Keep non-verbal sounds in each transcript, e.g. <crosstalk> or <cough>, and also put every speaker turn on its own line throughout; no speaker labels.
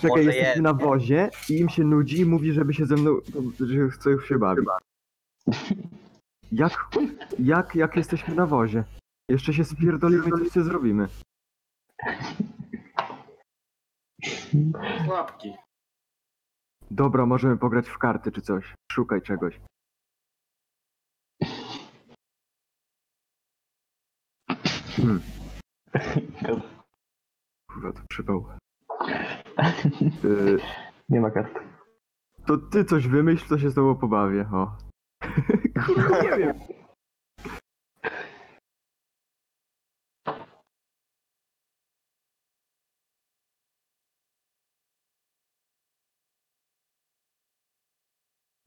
Czekaj,
Może
jesteśmy
jest,
na
nie?
wozie i im się nudzi i mówi, żeby się ze mną, że chce już się bawić. Jak, jak, jak jesteśmy na wozie? Jeszcze się spierdolimy, coś sobie zrobimy.
Łapki.
Dobra, możemy pograć w karty czy coś. Szukaj czegoś. Hmm. Kurwa, to przypał. Y,
Nie ma kart.
to ty coś wymyśl, to się z tobą pobawię, o. <laughs> Kurwa, nie wiem.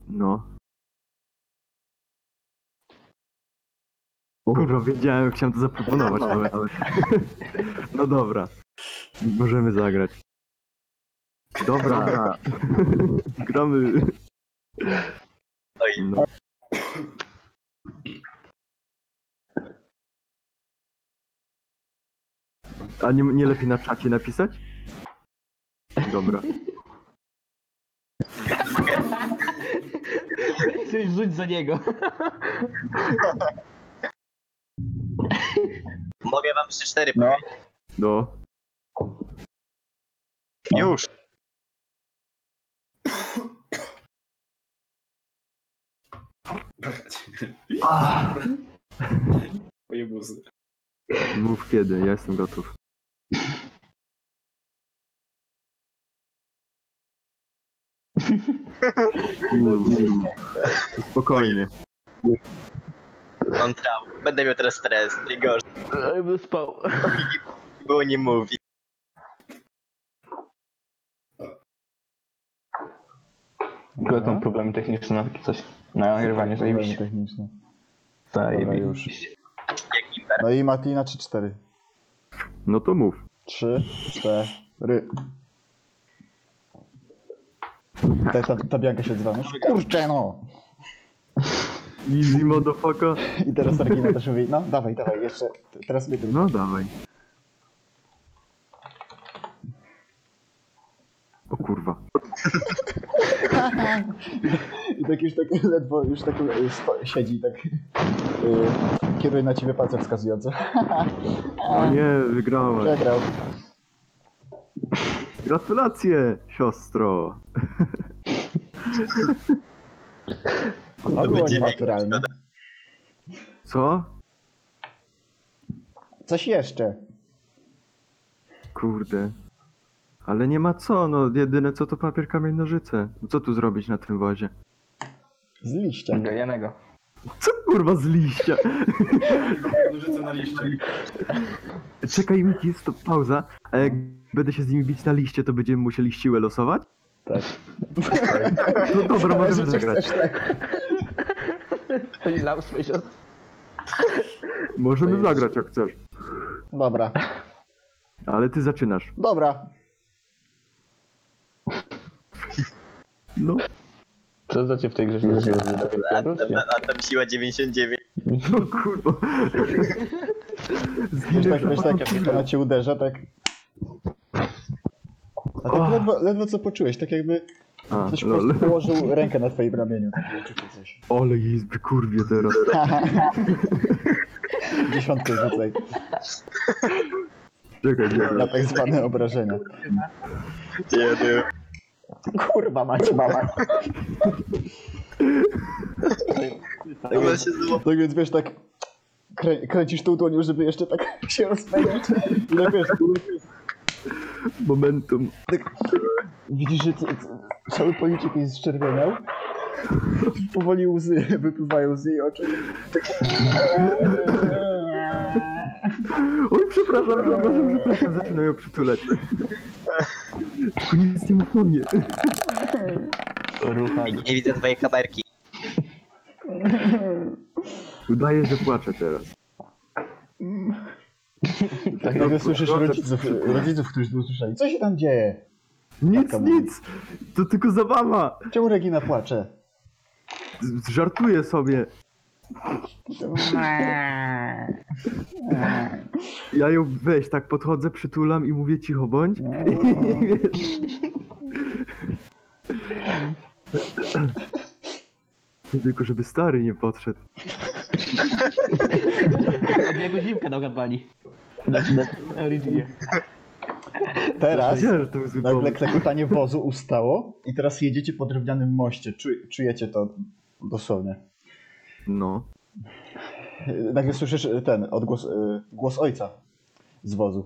No. Kurwa, wiedziałem, chciałem to zaproponować, ale... <laughs> ale- No dobra. Możemy zagrać. Dobra. <laughs> Gramy.
No i
No. A nie, nie lepiej na czacie napisać? Dobra.
Coś rzuć za niego.
mogę wam jeszcze cztery
No.
powiedzieć.
No.
Już.
Moje buzy.
Mów kiedy, ja jestem gotów. Mm, Spokojnie.
Mam traumę. Będę miał teraz stres. Najgorszy.
Jakby spał.
Było nie mówi.
Były tam problemy techniczne, takie coś. Na nagrywanie,
Problemy
zajebiście.
techniczne. Dobra, już.
Zajebiście.
Jak Imper.
No i Matina czy 4?
No to mów.
3, 4. Ta, ta, ta bianka się dzwa. No kurczę no!
Easy motherfucker.
I teraz Regina też mówi, no dawaj, dawaj, jeszcze. t- Teraz my drugi.
No dawaj. O kurwa.
I tak już tak ledwo, już tak y, sto, siedzi i tak y, kieruje na ciebie palce wskazujące.
O nie, wygrałem.
Przegrał.
Gratulacje, siostro.
No było
będzie
nienaturalne.
Co?
Coś jeszcze.
Kurde. Ale nie ma co, no jedyne co to papier, kamień, nożyce. No Co tu zrobić na tym wozie?
Z liścia.
Gajanego.
Co kurwa z liścia?
<laughs> Nożyce na liście.
Czekaj, Miki, jest to pauza. A jak będę się z nimi bić na liście, to będziemy musieli siłę losować?
Tak.
No dobra, możemy
Rzeczy
zagrać.
chcesz, tak.
Coś lał swoje siostry.
Możemy zagrać jak chcesz.
Dobra.
Ale ty zaczynasz.
Dobra.
No,
Co znacie w tej grze?
A
No
tam, a tam siła 99.
no kurwa.
Wiesz
Zginę
tak, wiesz tak, jak ona cię uderza, tak. A
Och.
tak ledwo, ledwo co poczułeś, tak jakby
A,
ktoś po
lol.
prostu położył rękę na twoim ramieniu. Takie uczucie
<laughs>
coś.
Ole jest kurwie teraz.
Dziesiątkę rzucaj
Czekaj,
na
czekaj.
tak zwane obrażenia.
Nie wiem.
Kurwa macie mama.
Chyba się zło.
Tak więc wiesz tak. Krę, kręcisz tą dłonią, żeby jeszcze tak się rozpędzić. I tak wiesz,
Momentum.
widzisz, że c- c- cały policzek jest zczerwieniał. Powoli łzy wypływają z jej oczu.
Oj, przepraszam, przepraszam, przepraszam. Zaczynam ją przytulać. Tylko nic nie mów o mnie.
Ruchaj.
Nie widzę twojej kamerki.
Udaję, że płaczę teraz.
Tak,
No,
nagle słyszysz
proszę,
rodziców, rodziców, którzy usłyszeli. Co się tam dzieje?
Nic,
Taka
nic! To tylko zabawa!
Czemu Regina płacze?
Z- Żartuję sobie.
Eee.
Ja ją weź, tak podchodzę, przytulam i mówię cicho bądź. I
Eee.
wiesz. Tylko żeby stary nie podszedł.
Jego zimkę dał gadbani. Originie.
Teraz
Wiedziałem, że to jest zły
nagle
pomysł.
klekotanie wozu ustało i teraz jedziecie po drewnianym moście. Czu, czujecie to dosłownie.
No.
Yy, Nagle słyszysz yy, ten odgłos, yy, głos ojca z wozu.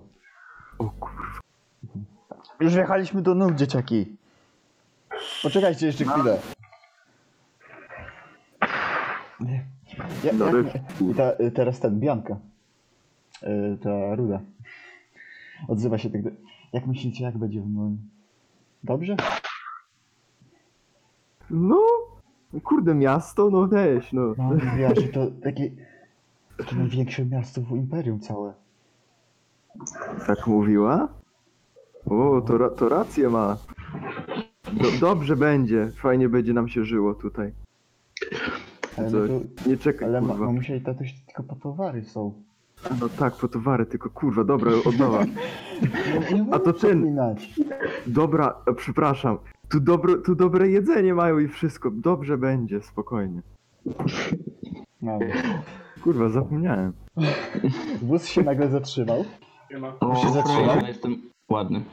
O kurwa.
Już wjechaliśmy do nóg, dzieciaki. Poczekajcie
No.
jeszcze chwilę. Ja,
No,
I ta, y, teraz ten, Bianka. Y, Ta ruda. Odzywa się tak. do- Jak myślicie, jak będzie w moim. Dobrze?
No. Kurde, miasto, no weź, no.
No, mówiła, że to takie. To największe miasto w imperium całe.
Tak mówiła? O, to, ra- to rację ma. Do, dobrze będzie, fajnie będzie nam się żyło tutaj.
Ale,
Coś.
no to,
Nie czekaj,
ale ma,
kurwa.
mamusia i tatuś tylko po towary są.
No tak, po towary, tylko kurwa, dobra, od nowa.
Nie, nie
A to
wolno
ten-
przypominać.
Dobra, e, przepraszam. Tu, dobro, tu dobre jedzenie mają i wszystko. Dobrze będzie, spokojnie.
No.
Kurwa, zapomniałem.
Wóz się nagle zatrzymał.
Siema.
Już się zatrzymał.
Ja jestem ładny.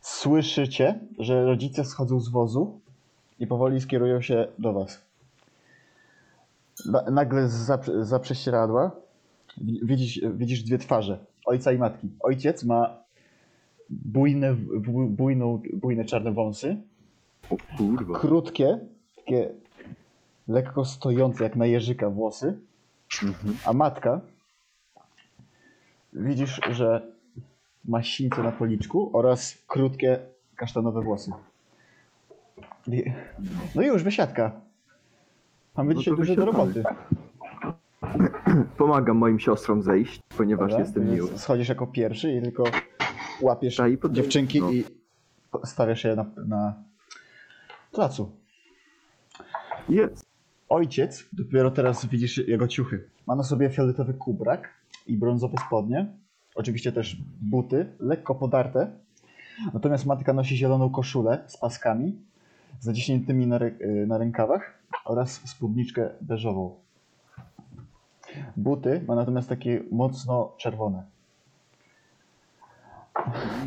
Słyszycie, że rodzice schodzą z wozu i powoli skierują się do was. Ba- nagle za, za prześcieradła wi- widzisz, widzisz dwie twarze, ojca i matki. Ojciec ma bujne, bu- bujną, bujne czarne wąsy,
O kurwa.
krótkie, takie lekko stojące jak na jeżyka włosy,
Mhm.
a matka widzisz, że ma sińce na policzku oraz krótkie kasztanowe włosy. I- No i już, wysiadka. Mamy
No
dzisiaj
to
dużo do
wysiadamy.
roboty.
Pomagam moim siostrom zejść, ponieważ
Dobra?
jestem
Więc
miły.
Schodzisz jako pierwszy i tylko łapiesz
A i pod-
dziewczynki
no.
i stawiasz je na, na placu.
Jest.
Ojciec, dopiero teraz widzisz jego ciuchy. Ma na sobie fioletowy kubrak i brązowe spodnie. Oczywiście też buty, lekko podarte. Natomiast matka nosi zieloną koszulę z paskami, z zaciśniętymi na, rę- y, na rękawach oraz spódniczkę beżową. Buty ma natomiast takie mocno czerwone.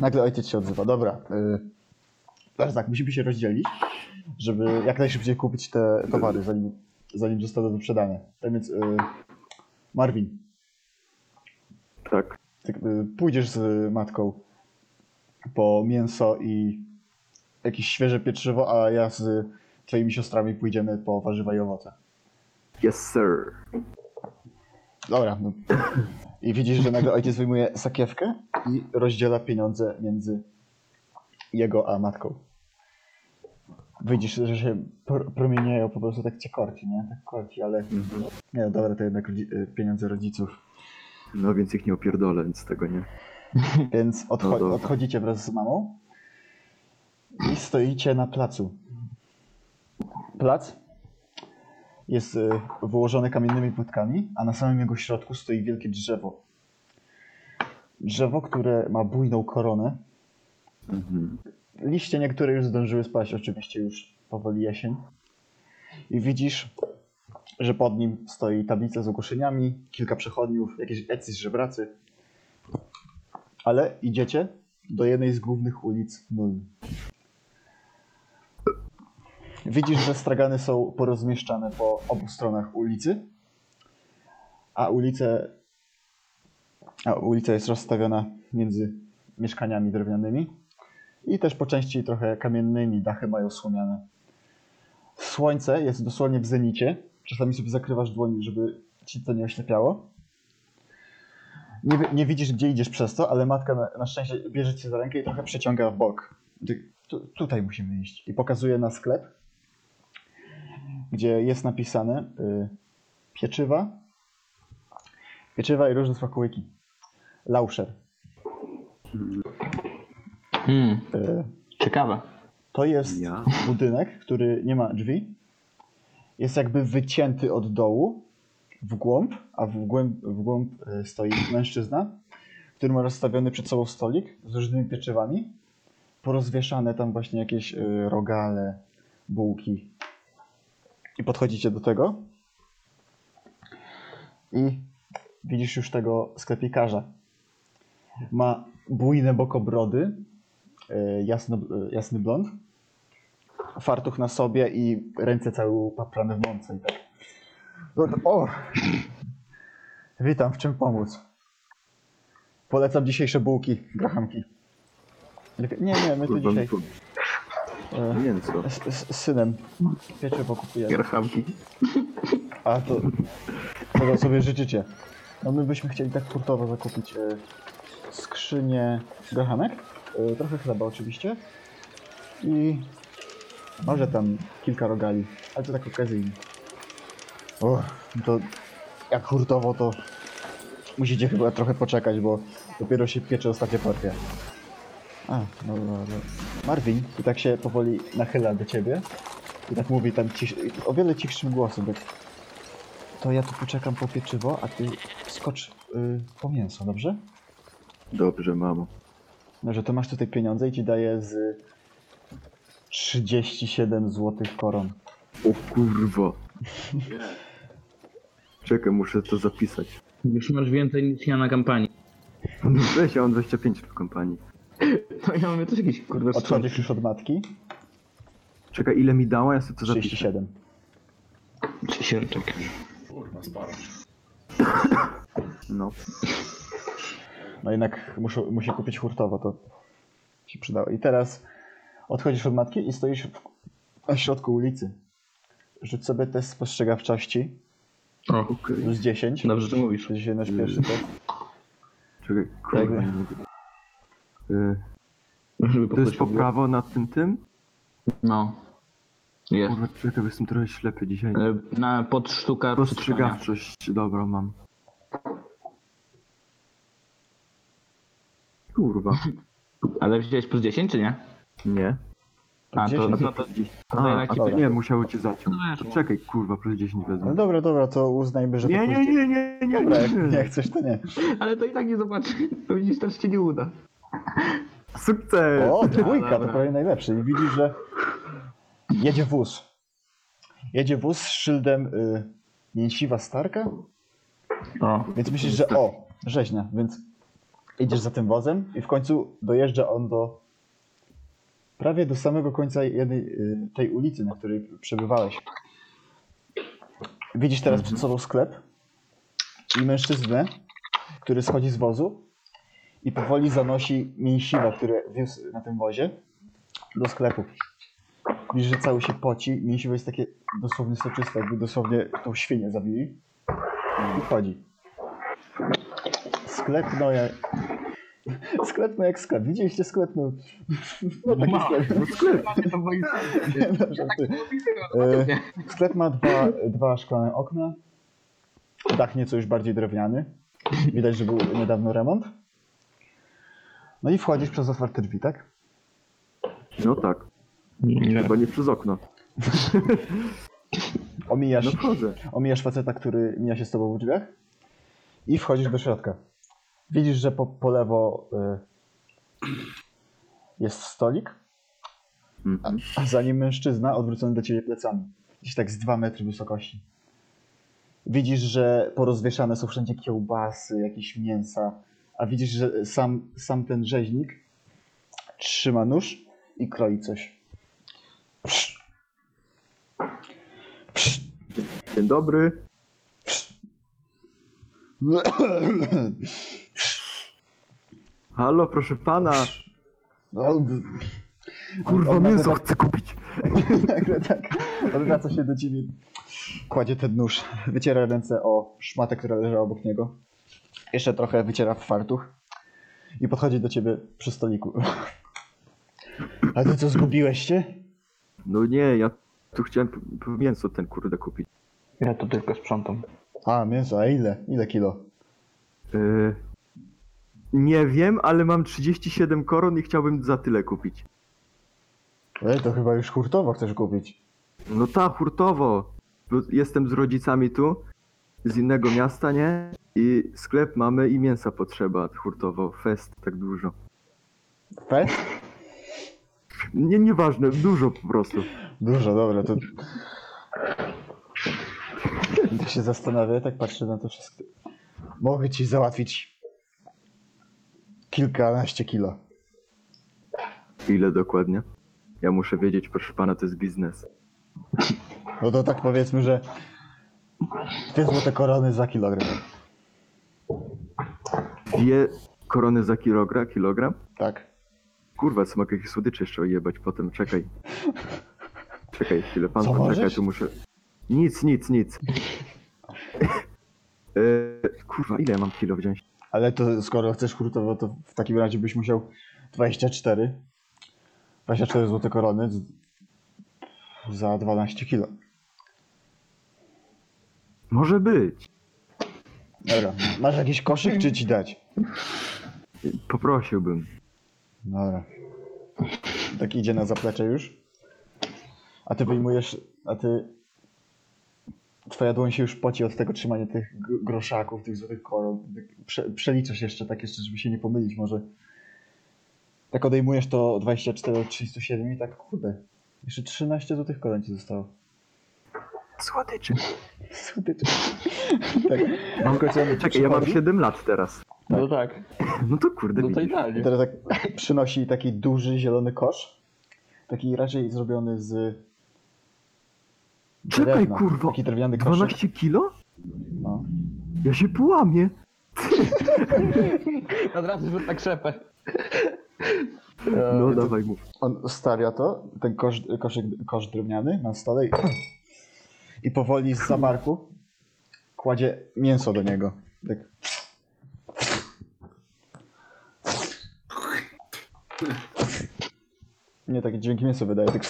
Nagle ojciec się odzywa. Dobra. y, Teraz tak, musimy się rozdzielić, żeby jak najszybciej kupić te towary, zanim zanim zostaną wyprzedane. Tak więc y, Marvin,
Tak.
ty, y, pójdziesz z matką po mięso i jakieś świeże pieczywo, a ja z twoimi siostrami pójdziemy po warzywa i owoce.
Yes, sir.
Dobra. No. I widzisz, że nagle ojciec wyjmuje sakiewkę i rozdziela pieniądze między jego a matką. Widzisz, że się pr- promienieją, po prostu tak cię korci, nie? Tak korci, ale... Nie, no dobra, to jednak rodzi- y, pieniądze rodziców.
No więc ich nie opierdolę, więc tego nie.
Więc odcho-
No dobra.
odchodzicie wraz z mamą i stoicie na placu. Plac jest y, wyłożony kamiennymi płytkami, a na samym jego środku stoi wielkie drzewo. Drzewo, które ma bujną koronę.
Mhm.
Liście niektóre już zdążyły spaść, oczywiście już powoli jesień. I widzisz, że pod nim stoi tablica z ogłoszeniami, kilka przechodniów, jakieś jacyś żebracy. Ale idziecie do jednej z głównych ulic Nuln. Widzisz, że stragany są porozmieszczane po obu stronach ulicy, a ulice, a ulica jest rozstawiona między mieszkaniami drewnianymi i też po części trochę kamiennymi, dachy mają słomiane. Słońce jest dosłownie w zenicie. Czasami sobie zakrywasz dłoń, żeby ci to nie oślepiało. Nie, wi- nie widzisz, gdzie idziesz przez to, ale matka na, na szczęście bierze cię za rękę i trochę przeciąga w bok. Ty, tu, tutaj musimy iść. I pokazuje na sklep, gdzie jest napisane y, pieczywa, pieczywa i różne smakołyki. Lauscher.
Hmm,
Y,
ciekawe.
to jest...
Ja.
budynek, który nie ma drzwi. Jest jakby wycięty od dołu w głąb, a w głąb, w głąb e, stoi mężczyzna, który ma rozstawiony przed sobą stolik z różnymi pieczywami, porozwieszane tam właśnie jakieś e, rogale, bułki. I podchodzicie do tego i widzisz już tego sklepikarza. Ma bujne bokobrody, e, jasno, e, jasny blond, fartuch na sobie i ręce całe upaprane w mące i tak. No O! Witam, w czym pomóc? Polecam dzisiejsze bułki, grachanki. Nie, nie, my tu
Kurwa, no
dzisiaj
mi tu
e,
mięso.
z, z z synem pieczywo kupujemy.
Gerchamki.
A to tego sobie życzycie. No my byśmy chcieli tak hurtowo zakupić e, skrzynię grachanek, e, trochę chleba oczywiście i może tam kilka rogali, ale to tak okazyjnie. O, no to jak hurtowo to musicie chyba trochę poczekać, bo dopiero się piecze ostatnia partia. A, no, no, no. Marvin i tak się powoli nachyla do ciebie i tak mówi tam cisz, o wiele cichszym głosem, tak to ja tu poczekam po pieczywo, a ty skocz y, po mięso, dobrze?
Dobrze, mamo.
Dobrze, to masz tutaj pieniądze i ci daję z 37 złotych koron.
O kurwa. Czekaj, muszę to zapisać.
Już masz więcej niż ja na kampanii.
No weź, ja mam 25 w kompanii.
To ja mamy też jakieś
No,
kurde skąd.
Odchodzisz już od matki?
Czekaj, ile mi dała? Ja sobie to zapiszę.
37.
Sierczek.
Kurwa, sparł.
No.
No jednak muszę, musi kupić hurtowo, to się przydało. I teraz odchodzisz od matki i stoisz w, na środku ulicy. Rzuć sobie test spostrzegawczości
O,
Okej.
plus 10.
dobrze to mówisz.
To dzisiaj nasz pierwszy test.
Czekaj,
Tak.
kurwa. nie mogę. Y,
Żeby
To jest po prawo nad tym tym?
No. Jest.
Kurwa, czekaj, bo jestem trochę ślepy dzisiaj.
E, Na podsztuka przetrwania.
Dostrzegawczość, dobra, mam.
<laughs>
Kurwa.
Ale wziąłeś plus 10 czy nie?
Nie.
A to,
10.
no to
A,
daj
a to
dobra.
nie, musiało cię zaciąć.
No,
To Czekaj, kurwa, plus 10 wezmę.
No dobra, dobra, to uznajmy, że to
Nie, nie,
plus
nie, nie, nie, nie,
Dobra, jak,
nie.
jak chcesz, to nie.
<laughs> ale to i tak nie zobaczy. To widzisz, też się nie uda.
Sukces!
<laughs>
<laughs>
O, dwójka, to
dobra.
prawie najlepszy. I widzisz, że jedzie wóz. Jedzie wóz z szyldem y, mięsiwa Starka,
O,
No.
więc myślisz, że o, rzeźnia, więc idziesz za tym wozem i w końcu dojeżdża on do prawie do samego końca jednej, y, tej ulicy, na której przebywałeś. Widzisz teraz przed sobą sklep i mężczyznę, który schodzi z wozu i powoli zanosi mięsiwa, które wiózł na tym wozie do sklepu. Widzisz, że cały się poci, mięsiwo jest takie dosłownie soczyste, jakby dosłownie tą świnię zabili. I wchodzi. Sklep no jak... <laughs> Sklep no jak sklep. Widzieliście sklep no...
tak
Taki sklep.
No sklep!
<laughs>
to moje-
No, żarty. E, Sklep ma dwa, dwa szklane okna. Dach nieco już bardziej drewniany. Widać, że był niedawno remont. No i wchodzisz przez otwarte drzwi, tak?
No tak,
Nie.
Tak.
chyba nie przez okno. No
Omijasz,
wchodzę.
omijasz faceta, który mija się z tobą w drzwiach i wchodzisz do środka. Widzisz, że po, po lewo y, jest stolik, a,
Mhm.
a za nim mężczyzna odwrócony do ciebie plecami. Gdzieś tak z 2 metry wysokości. Widzisz, że porozwieszane są wszędzie kiełbasy, jakieś mięsa, a widzisz, że sam, sam ten rzeźnik trzyma nóż i kroi coś. Psz. Psz.
Dzień dobry.
Halo,
Halo, proszę pana.
No,
Kurwa,
on nagle
mięso
tak-
chcę kupić.
Nagle <laughs> tak odwraca się do ciebie. Kładzie ten nóż, wyciera ręce o szmatę, która leżała obok niego. Jeszcze trochę wyciera w fartuch. I podchodzi do ciebie przy stoliku. A ty co, zgubiłeś się?
No nie, ja tu chciałem p- p- mięso ten kurde kupić.
Ja to tylko sprzątam.
A, mięso, a ile? Ile kilo?
Y, Nie wiem, ale mam 37 koron i chciałbym za tyle kupić.
Ej, to chyba już hurtowo chcesz kupić.
No ta, hurtowo. Bo Jestem z rodzicami tu. z innego miasta, nie? I sklep mamy i mięsa potrzeba hurtowo. Fest tak dużo.
Fest?
Nie, nieważne, dużo po prostu.
Dużo, dobra, to... Tak się zastanawiam, tak patrzę na to wszystko. Mogę ci załatwić kilkanaście kilo.
Ile dokładnie? Ja muszę wiedzieć, proszę pana, to jest biznes.
No to tak powiedzmy, że dwie złote korony za kilogram.
Dwie korony za kilogram? Kilogram?
Tak.
Kurwa, co mogę jakieś słodycze jeszcze jebać potem, czekaj. Czekaj chwilę, pan
Co
poczekaj,
możesz?
tu muszę... Nic, nic, nic. E, kurwa, ile ja mam kilo wziąć?
Ale to skoro chcesz hurtowo, to w takim razie byś musiał 24. 24 złote korony z- za 12 kilo.
Może być.
Dobra. Masz jakiś koszyk, czy ci dać?
E, Poprosiłbym.
Dobra. Tak idzie na zaplecze już. A ty wyjmujesz, a ty... Twoja dłoń się już poci od tego trzymania tych gr- groszaków, tych złotych koron. Prze przeliczasz jeszcze tak jeszcze, żeby się nie pomylić może. Tak odejmujesz to 24 od 37 i tak kurde. Jeszcze 13 złotych koron ci zostało.
Słodycze.
Słodycze. <laughs> tak.
Mam-
W końcu on
Czekaj, ja mam
przychodzi.
7 lat teraz.
No tak,
No to kurde,
no to
widzisz.
I
idealnie.
teraz tak przynosi taki duży zielony kosz. Taki raczej zrobiony z
Czekaj,
drewna.
kurwa.
Taki drewniany koszyk.
12 kilo?
No.
Ja się połamię.
Od razu rzut na krzepę.
E,
No dawaj mów.
On stawia to, ten kosz, koszyk, kosz drewniany na stole i, i powoli z zamarku kładzie mięso do niego. Tak. Nie, takie dźwięki mięso wydaje, tak,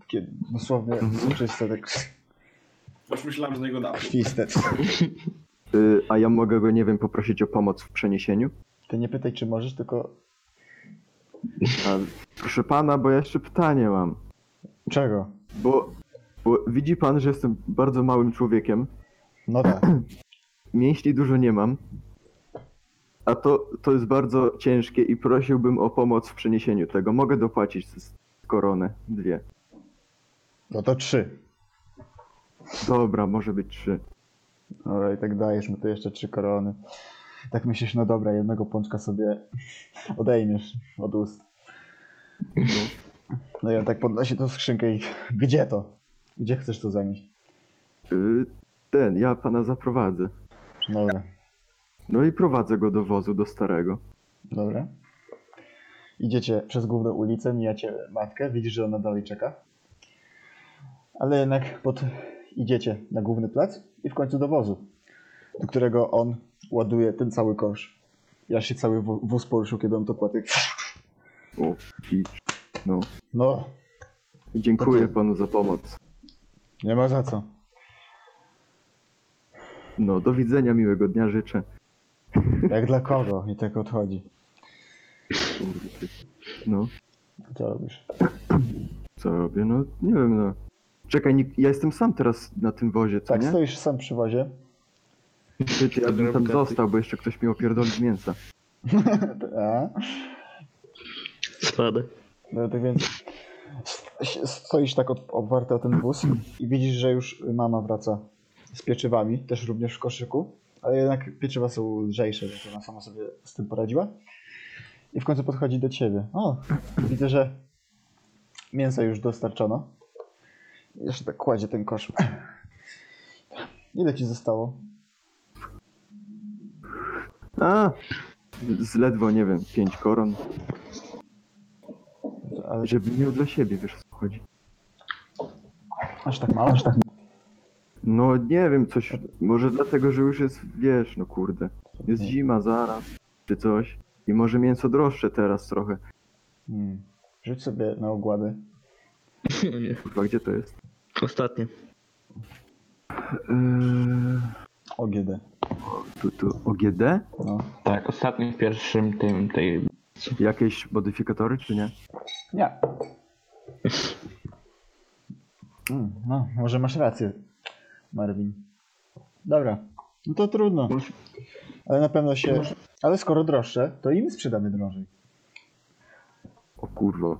takie dosłownie czyste, tak
Aż myślałem, że na niego dam.
krwiste.
Y, a ja mogę go, nie wiem, poprosić o pomoc w przeniesieniu?
Ty nie pytaj, czy możesz, tylko
A, proszę pana, bo ja jeszcze pytanie mam.
czego?
Bo, bo widzi pan, że jestem bardzo małym człowiekiem.
No tak.
Mięśni dużo nie mam. A to, to jest bardzo ciężkie i prosiłbym o pomoc w przeniesieniu tego. Mogę dopłacić z koronę. Dwie.
No to trzy.
Dobra, może być trzy.
Dobra, i tak dajesz mu to jeszcze trzy korony. Tak myślisz, no dobra, jednego pączka sobie odejmiesz od ust. No i on tak podnosi tą skrzynkę i gdzie to? Gdzie chcesz to zanieść?
Y, ten, ja pana zaprowadzę.
Dobra,
No i prowadzę go do wozu, do starego.
dobra. Idziecie przez główną ulicę, mijacie matkę, widzisz, że ona dalej czeka. Ale jednak pod... idziecie na główny plac i w końcu do wozu, do którego on ładuje ten cały kosz. Ja się cały wó- wóz poruszył, kiedy on to kładł.
O, i, no.
No,
Dziękuję panu za pomoc.
nie ma za co.
No, do widzenia, miłego dnia życzę.
Jak dla kogo? I tak odchodzi.
Kurde, ty. No.
Co robisz?
Co robię? No nie wiem, no. Czekaj, nie, ja jestem sam teraz na tym wozie, co
Tak,
nie?
stoisz sam przy wozie. <laughs>
Ty, ja bym tam został, bo jeszcze ktoś mi opierdoli z mięsa.
A?
Spadę.
No tak więc st- stoisz tak op- oparty o ten wóz i widzisz, że już mama wraca z pieczywami, też również w koszyku, ale jednak pieczywa są lżejsze, więc ona sama sobie z tym poradziła. I w końcu podchodzi do ciebie. O, widzę, że mięsa już dostarczono. Jeszcze tak kładzie ten kosz. <laughs> Ile ci zostało?
A! Z ledwo, nie wiem, pięć koron.
Ale
Żeby miał dla siebie, wiesz o co chodzi.
aż tak mało? Aż tak
No nie wiem, coś. Może dlatego, że już jest, wiesz, no kurde. Jest zima zaraz, czy coś. I może mięso droższe teraz trochę.
Hmm. Rzuć sobie na ogłady.
Kurwa, gdzie to jest?
Ostatnie.
Eee,
OGD.
tu, tu OGD?
No.
Tak, ostatnim w pierwszym tym, tej...
Jakieś modyfikatory, czy nie?
Nie. Hmm, no, może masz rację, Marvin. Dobra. No to trudno. Ale na pewno się. Ale skoro droższe, to i my sprzedamy drożej.
O kurwa.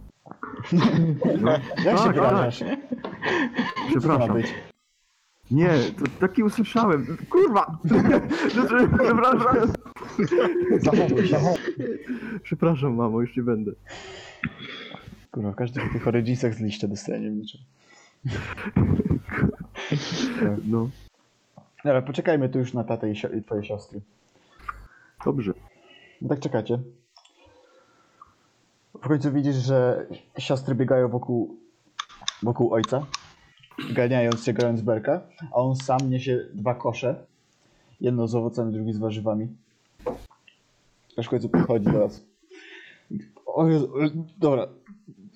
Jak się
Tak,
obrażasz? Co to ma
Przepraszam.
być?
Nie, to taki usłyszałem. Kurwa! <laughs> Przepraszam.
Zachowuj się.
Przepraszam, mamo, już nie będę.
Kurwa, każdy po tych oredzicach z liścia dostanie niczym.
No,
Dobra, poczekajmy tu już na tatę i, sio- i twoje siostry.
dobrze.
No tak czekacie. W końcu widzisz, że siostry biegają wokół, wokół ojca, ganiając się, grając w berka, a on sam niesie dwa kosze. Jedno z owocami, drugie z warzywami. Aż w końcu podchodzi do was. O Jezu, o Jezu, dobra.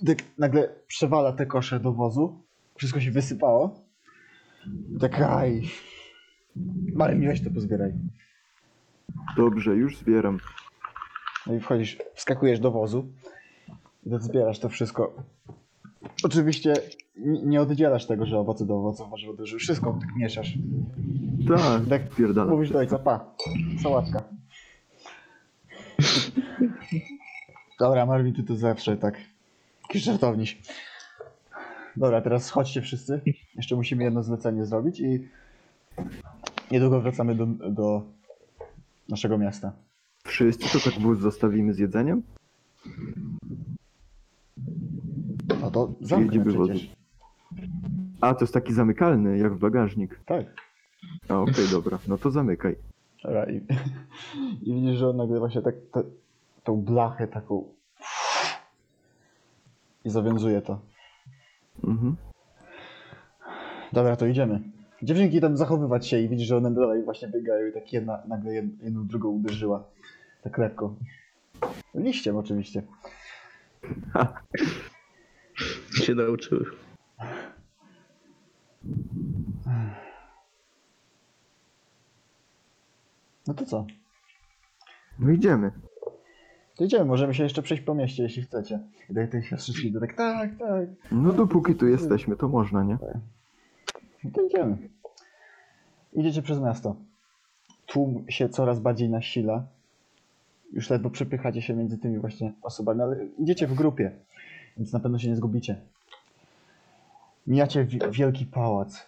Tak nagle przewala te kosze do wozu. Wszystko się wysypało. Tak, aj. Ale miłeś to pozbieraj.
Dobrze, już zbieram.
No i wchodzisz, wskakujesz do wozu i to zbierasz to wszystko. Oczywiście n- nie oddzielasz tego, że owoce do owoców, warzywa do warzyw. Wszystko tak mieszasz.
Tak,
Tak
pierdala.
mówisz do ojca, pa, sałatka. Dobra, Marvin, ty to zawsze tak. Jakiś żartowniś. Dobra, teraz chodźcie wszyscy. Jeszcze musimy jedno zlecenie zrobić i niedługo wracamy do, do naszego miasta.
Wszyscy to tak wóz zostawimy z jedzeniem?
No to zamknę
Jedziemy wozem.
przecież.
A, to jest taki zamykalny, jak w bagażnik.
Tak.
A, okej,
<laughs>
dobra. No to zamykaj.
Dobra, i, <laughs> i widzisz, że on nagle właśnie tak te, tą blachę taką i zawiązuje to.
Mhm.
Dobra, to idziemy. Dziewczynki tam zachowywać się i widzisz, że one dalej właśnie biegają i tak jedna nagle jed, jedną drugą uderzyła. Tak lekko. Liściem oczywiście.
się nauczyły.
No to co?
No idziemy.
To idziemy, możemy się jeszcze przejść po mieście, jeśli chcecie. I tak te siostrzyczki to tak, tak, tak.
No dopóki tu jesteśmy, to można, nie?
No to idziemy. Idziecie przez miasto. Tłum się coraz bardziej nasila. Już ledwo przepychacie się między tymi właśnie osobami, ale idziecie w grupie, więc na pewno się nie zgubicie. Mijacie wi- wielki pałac.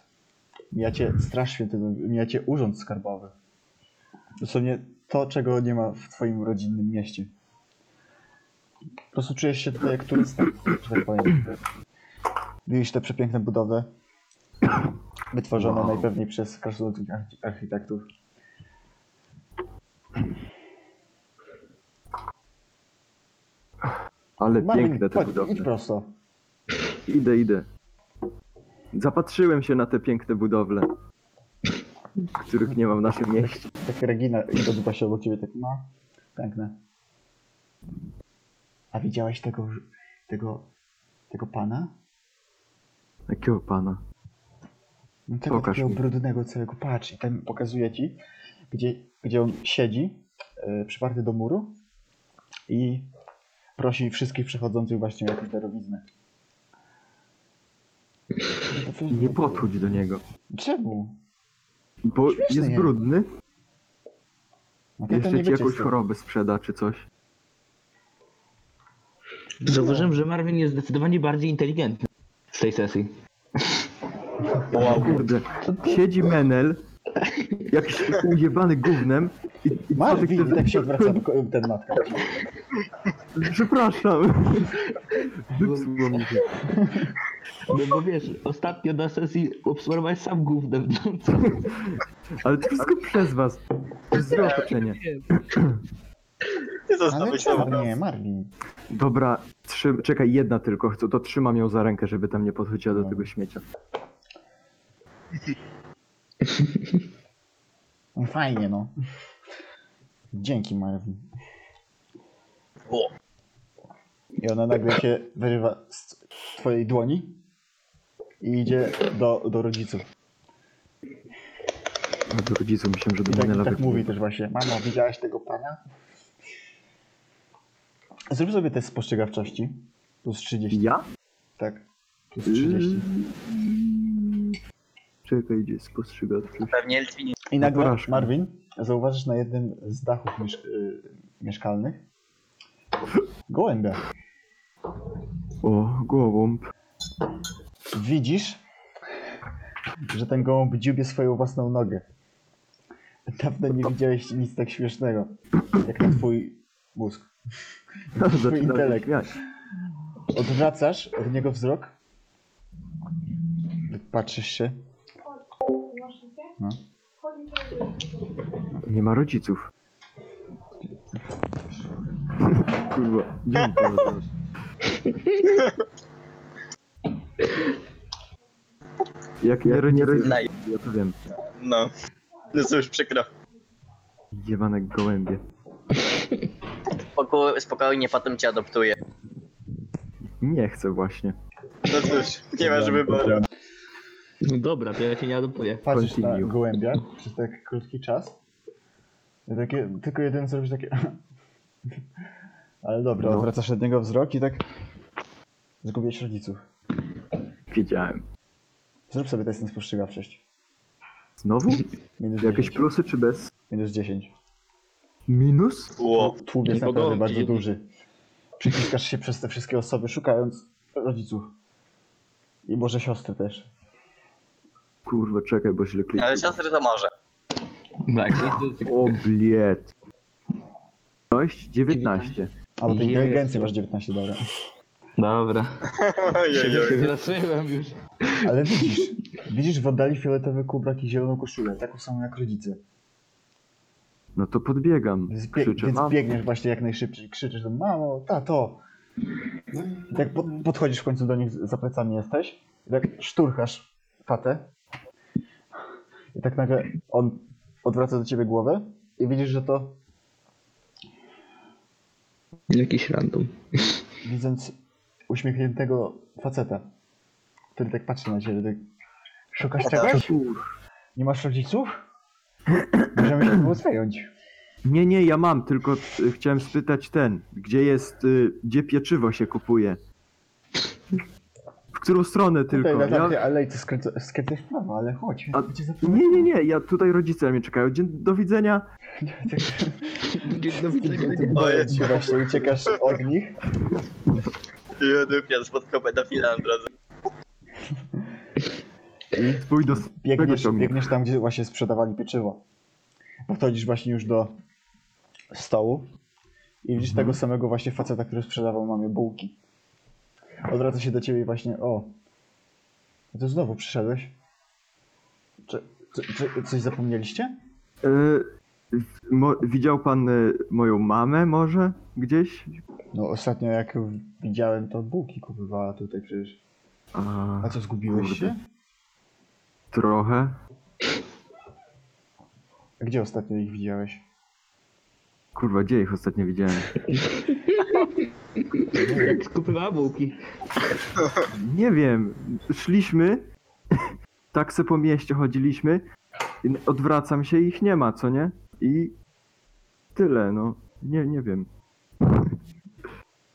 Mijacie Straż Świętego, mijacie Urząd Skarbowy. Dosłownie to, czego nie ma w twoim rodzinnym mieście. Po prostu czujesz się tutaj jak turysta, że tak powiem. Widzisz te przepiękne budowle, wytworzone
Wow.
najpewniej przez krasnoludów archi- architektów.
Ale
Marvin,
piękne te
chodź, Idź
budowle.
prosto.
Idę, idę. Zapatrzyłem się na te piękne budowle, których nie mam w naszym mieście.
Tak Regina idąc właśnie obok ciebie, tak no, piękne. A widziałeś tego, tego, tego pana?
Jakiego pana?
No tego
Pokaż
takiego
mi.
brudnego całego, patrz, i tam pokazuje ci, gdzie, gdzie on siedzi, yy, przyparty do muru i prosi wszystkich przechodzących właśnie o jakąś darowiznę. No to-
Nie podchodź do niego,
Czemu?
bo
Śmieszny
jest
jest.
brudny.
No to to
Jeszcze
nie
ci jakąś
wyczyste.
chorobę sprzeda czy coś.
Zauważyłem,
Zauważyłem, że Marvin jest zdecydowanie bardziej inteligentny z tej sesji.
O kurde, siedzi menel, jakiś ujebany gównem i, i co ty
Marvin,
chcesz-
tak się odwraca do ko- ten matka.
Przepraszam. Wypsuło mi się.
No bo wiesz, ostatnio na sesji obserwowałeś sam gównem. No, co?
Ale to wszystko przez was. Przez złe otoczenie.
Nie
Ale
zostawię się
czemu nie, Marvin?
Dobra, trzy, czekaj, jedna tylko, to, to trzymam ją za rękę, żeby tam nie podchodziła do tego śmiecia.
No Fajnie, no. Dzięki, Marvin.
O.
I ona nagle się wyrywa z twojej dłoni i idzie do, do rodziców.
A do rodziców myślałem, że
I
do
tak,
mnie
i tak mówi też właśnie, mamo, widziałaś tego pana? Zrób sobie test spostrzegawczości. Plus 30,
Ja?
tak. Plus 30.
Czekaj, gdzie jest spostrzegawczy?
Pewnie Eltwin
I
Na
nagle,
porażkę.
Marvin, zauważysz na jednym z dachów miesz- y, mieszkalnych gołębia.
O, gołąb.
Widzisz, że ten gołąb dziubie swoją własną nogę. Dawno nie widziałeś nic tak śmiesznego, jak na twój mózg. Twój
Zaczyna się
intelekt.
śmiać.
Odwracasz od niego wzrok. Patrzysz się.
No.
Nie ma rodziców. <laughs> Kurwa, dzień dobry. Jak nie rodziców,
Naj-
ja to wiem.
No. To jest już przykro.
Jebanek gołębie.
Spoko- spokojnie, potem cię adoptuję.
Nie chcę właśnie.
No cóż, nie ma żeby było.
No dobra, to ja cię nie adoptuję.
Patrzysz na
Continue.
gołębia przez tak krótki czas. I Takie, tylko jeden zrobisz takie. <laughs> Ale dobra, odwracasz od niego wzrok i tak. Zgubiłeś rodziców.
Wiedziałem.
Zrób sobie test na spostrzegawczość.
Znowu?
Minus 10.
Jakieś plusy czy bez?
Minus 10.
Minus?
Ło.
Tłum jest
Nie
naprawdę
pogodzi.
bardzo duży. Przyciskasz się przez te wszystkie osoby, szukając rodziców. I może siostry też.
Kurwa, czekaj, bo źle kliknąłem.
Ale siostry to może.
Tak, to jest
O bliet. Dość 19.
A bo tej
Jezu.
inteligencji masz 19, dobra.
Dobra.
Ojej, ojej.
Zaczęłem już.
Ale widzisz, widzisz w oddali fioletowy kubrak i zieloną koszulę, taką samą jak rodzice.
No to podbiegam.
Więc, bie-
Krzyczę,
więc
mam.
biegniesz właśnie jak najszybciej, krzyczysz do mamo, tato. I Tak po- podchodzisz w końcu do nich, za plecami jesteś, i tak szturchasz tatę. I tak nagle on odwraca do ciebie głowę i widzisz, że to
Jakiś random.
widząc uśmiechniętego faceta, który tak patrzy na ciebie, tak szukasz czegoś? Nie masz rodziców? Możemy się było zająć.
Nie, nie, ja mam, tylko y, chciałem spytać ten, gdzie jest, y, gdzie pieczywo się kupuje? W którą stronę tylko?
Tutaj na
Ja...
tamtej alejce skręca- skręcasz w prawo, ale chodź.
A-
cię zaprowadzę.
Nie, nie, nie, ja tutaj rodzice mnie czekają. Dzień, do widzenia.
Do widzenia.
Ojej.
Ci Właśnie uciekasz od nich.
I odupiam spotkał pedofila na drodze.
Pójdź do tego
Biegniesz,
ciągu.
biegniesz tam, gdzie właśnie sprzedawali pieczywo. Podchodzisz właśnie już do stołu i widzisz tego samego właśnie faceta, który sprzedawał mamie bułki. Odwraca się do ciebie i właśnie, o, no to znowu przyszedłeś. Czy, czy, czy coś zapomnieliście?
Y, w- mo, widział pan y, moją mamę może gdzieś?
No ostatnio jak ją widziałem, to bułki kupywała tutaj przecież.
A,
A co, zgubiłeś się?
trochę.
Gdzie ostatnio ich widziałeś?
Kurwa, gdzie ich ostatnio widziałem?
Jak skupywała bułki.
Nie wiem, szliśmy, <laughs> tak se po mieście chodziliśmy, i odwracam się i ich nie ma, co nie? I tyle, no. Nie, nie wiem.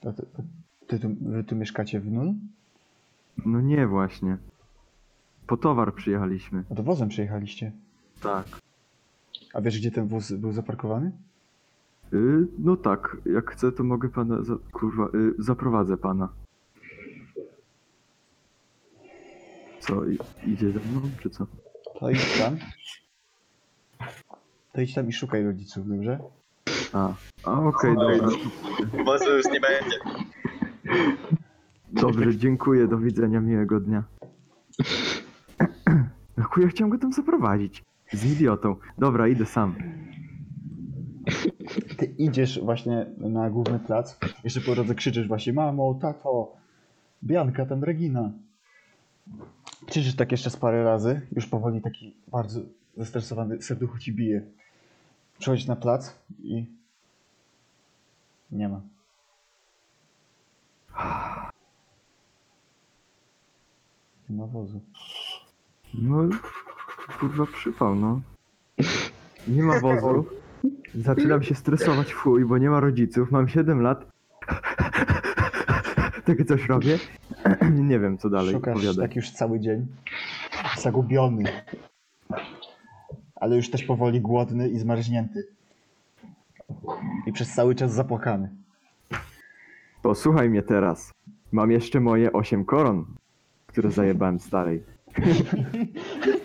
To, to, to, ty tu, wy tu mieszkacie w Nun?
No nie właśnie. Po towar przyjechaliśmy.
No to wozem przyjechaliście.
Tak.
A wiesz, gdzie ten wóz był zaparkowany?
Y, no tak, jak chcę, to mogę pana. Za, kurwa, y, zaprowadzę pana. Co, i, idzie ze mną, czy co?
To idź tam. To idź tam i szukaj rodziców, dobrze?
A, a okej, dobra.
Bo już nie będzie.
Dobrze, dziękuję, do widzenia, miłego dnia. No chuj, ja chciałem go tam zaprowadzić. Z idiotą. Dobra, idę sam.
Ty idziesz właśnie na główny plac. Jeszcze po drodze krzyczysz właśnie mamo, tato, Bianka, tam Regina. Krzyczysz tak jeszcze z parę razy. Już powoli taki bardzo zestresowany serducho ci bije. Przechodzisz na plac i... Nie ma. Nie ma wozu.
No, kurwa, przypał, no. Nie ma wozu. Zaczynam się stresować w chuj, bo nie ma rodziców, mam 7 lat. Takie coś robię. <clears throat> Nie wiem, co dalej
Szukasz
opowiadać.
tak już cały dzień. Zagubiony. ale już też powoli głodny i zmarznięty. I przez cały czas zapłakany.
Posłuchaj mnie teraz. Mam jeszcze moje 8 koron, które zajebałem starej.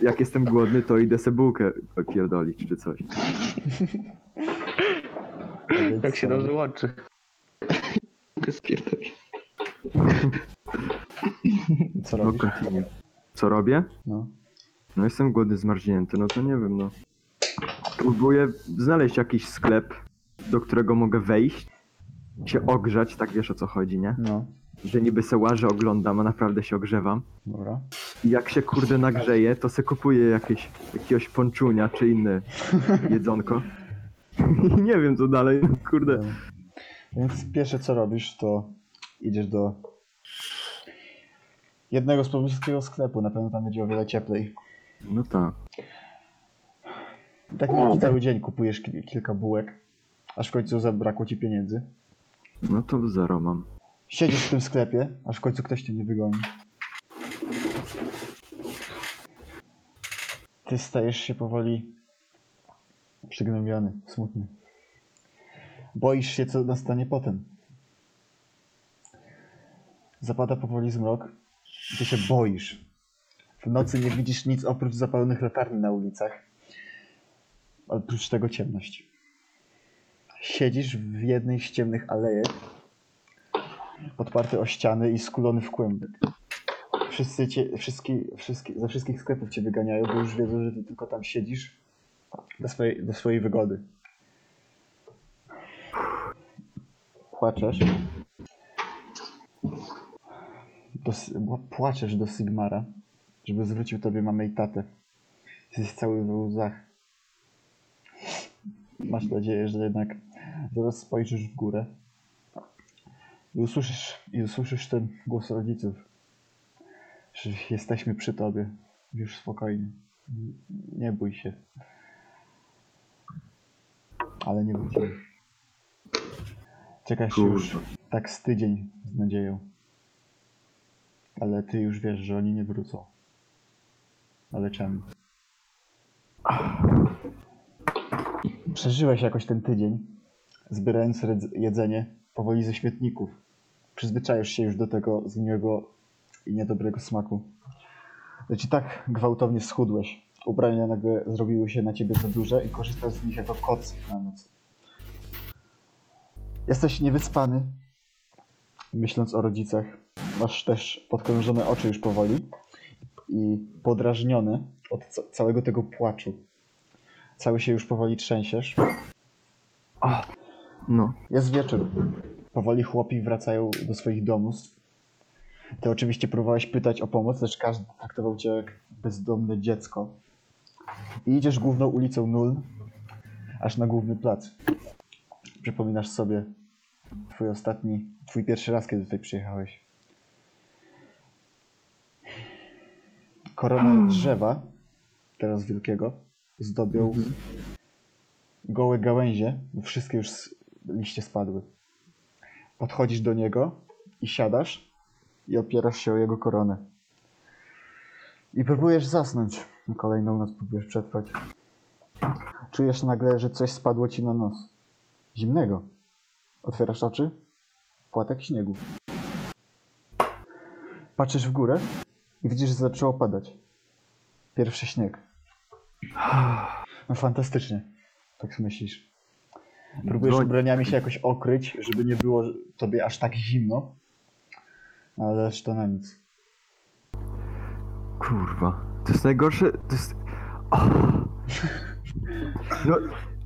Jak jestem głodny, to idę se bułkę pierdolić czy coś.
Jak się dobrze łączy.
Spierdolę.
Co
No,
robisz?
continue. Co robię?
No.
No jestem głodny, zmarznięty, no to nie wiem, no. Próbuję znaleźć jakiś sklep, do którego mogę wejść, się ogrzać, tak wiesz o co chodzi, nie?
No.
Że niby se łażę, oglądam, a naprawdę się ogrzewam.
Dobra.
I jak się kurde nagrzeje, to se kupuję jakieś, jakiegoś ponczunia czy inne jedzonko. <laughs> I nie wiem co dalej, no kurde.
Więc pierwsze co robisz, to idziesz do jednego z pobliskiego sklepu. Na pewno tam będzie o wiele cieplej.
No tak.
Tak na cały dzień kupujesz ki- kilka bułek, aż w końcu zabrakło ci pieniędzy.
No to zero mam.
Siedzisz w tym sklepie, aż w końcu ktoś cię nie wygoni. Ty stajesz się powoli przygnębiony, smutny. Boisz się, co nastanie potem. Zapada powoli zmrok. Ty się boisz. W nocy nie widzisz nic oprócz zapalonych latarni na ulicach. Oprócz tego ciemność. Siedzisz w jednej z ciemnych alejek, podparty o ściany i skulony w kłębek. Wszyscy cię, wszystkie, wszystkie, ze wszystkich sklepów cię wyganiają, bo już wiedzą, że ty tylko tam siedzisz do swojej, do swojej wygody. Płaczesz. Do, Sy- płaczesz do Sigmara, żeby zwrócił tobie mamę i tatę. Jesteś cały w łzach. Masz nadzieję, że jednak zaraz spojrzysz w górę i usłyszysz, i usłyszysz ten głos rodziców, że jesteśmy przy tobie. Już spokojnie. N- Nie bój się. Ale nie bój się. Czekasz już
Kurwa.
tak z tydzień z nadzieją. Ale ty już wiesz, że oni nie wrócą. Ale czemu? Przeżyłeś jakoś ten tydzień, zbierając redz- jedzenie powoli ze śmietników. Przyzwyczajasz się już do tego zgniłego i niedobrego smaku. Lecz i tak gwałtownie schudłeś. Ubrania nagle zrobiły się na ciebie za duże i korzystasz z nich jako koc na noc. Jesteś niewyspany, myśląc o rodzicach. Masz też podkrążone oczy już powoli i podrażnione od ca- całego tego płaczu. Cały się już powoli trzęsiesz.
No.
Jest wieczór. Powoli chłopi wracają do swoich domostw. Ty oczywiście próbowałeś pytać o pomoc, lecz każdy traktował cię jak bezdomne dziecko. I idziesz główną ulicą Nul, aż na główny plac. Przypominasz sobie twój ostatni, twój pierwszy raz, kiedy tutaj przyjechałeś. Korona drzewa, teraz wielkiego, zdobią gołe gałęzie, bo wszystkie już s- liście spadły. Podchodzisz do niego i siadasz i opierasz się o jego koronę. I próbujesz zasnąć. Kolejną noc próbujesz przetrwać. Czujesz nagle, że coś spadło ci na nos. Zimnego. Otwierasz oczy. Płatek śniegu. Patrzysz w górę i widzisz, że zaczęło padać. Pierwszy śnieg. No fantastycznie. Tak myślisz. Próbujesz
Broń.
ubraniami się jakoś okryć, żeby nie było tobie aż tak zimno. Ale to na nic.
Kurwa. To jest najgorsze. To jest. O! No,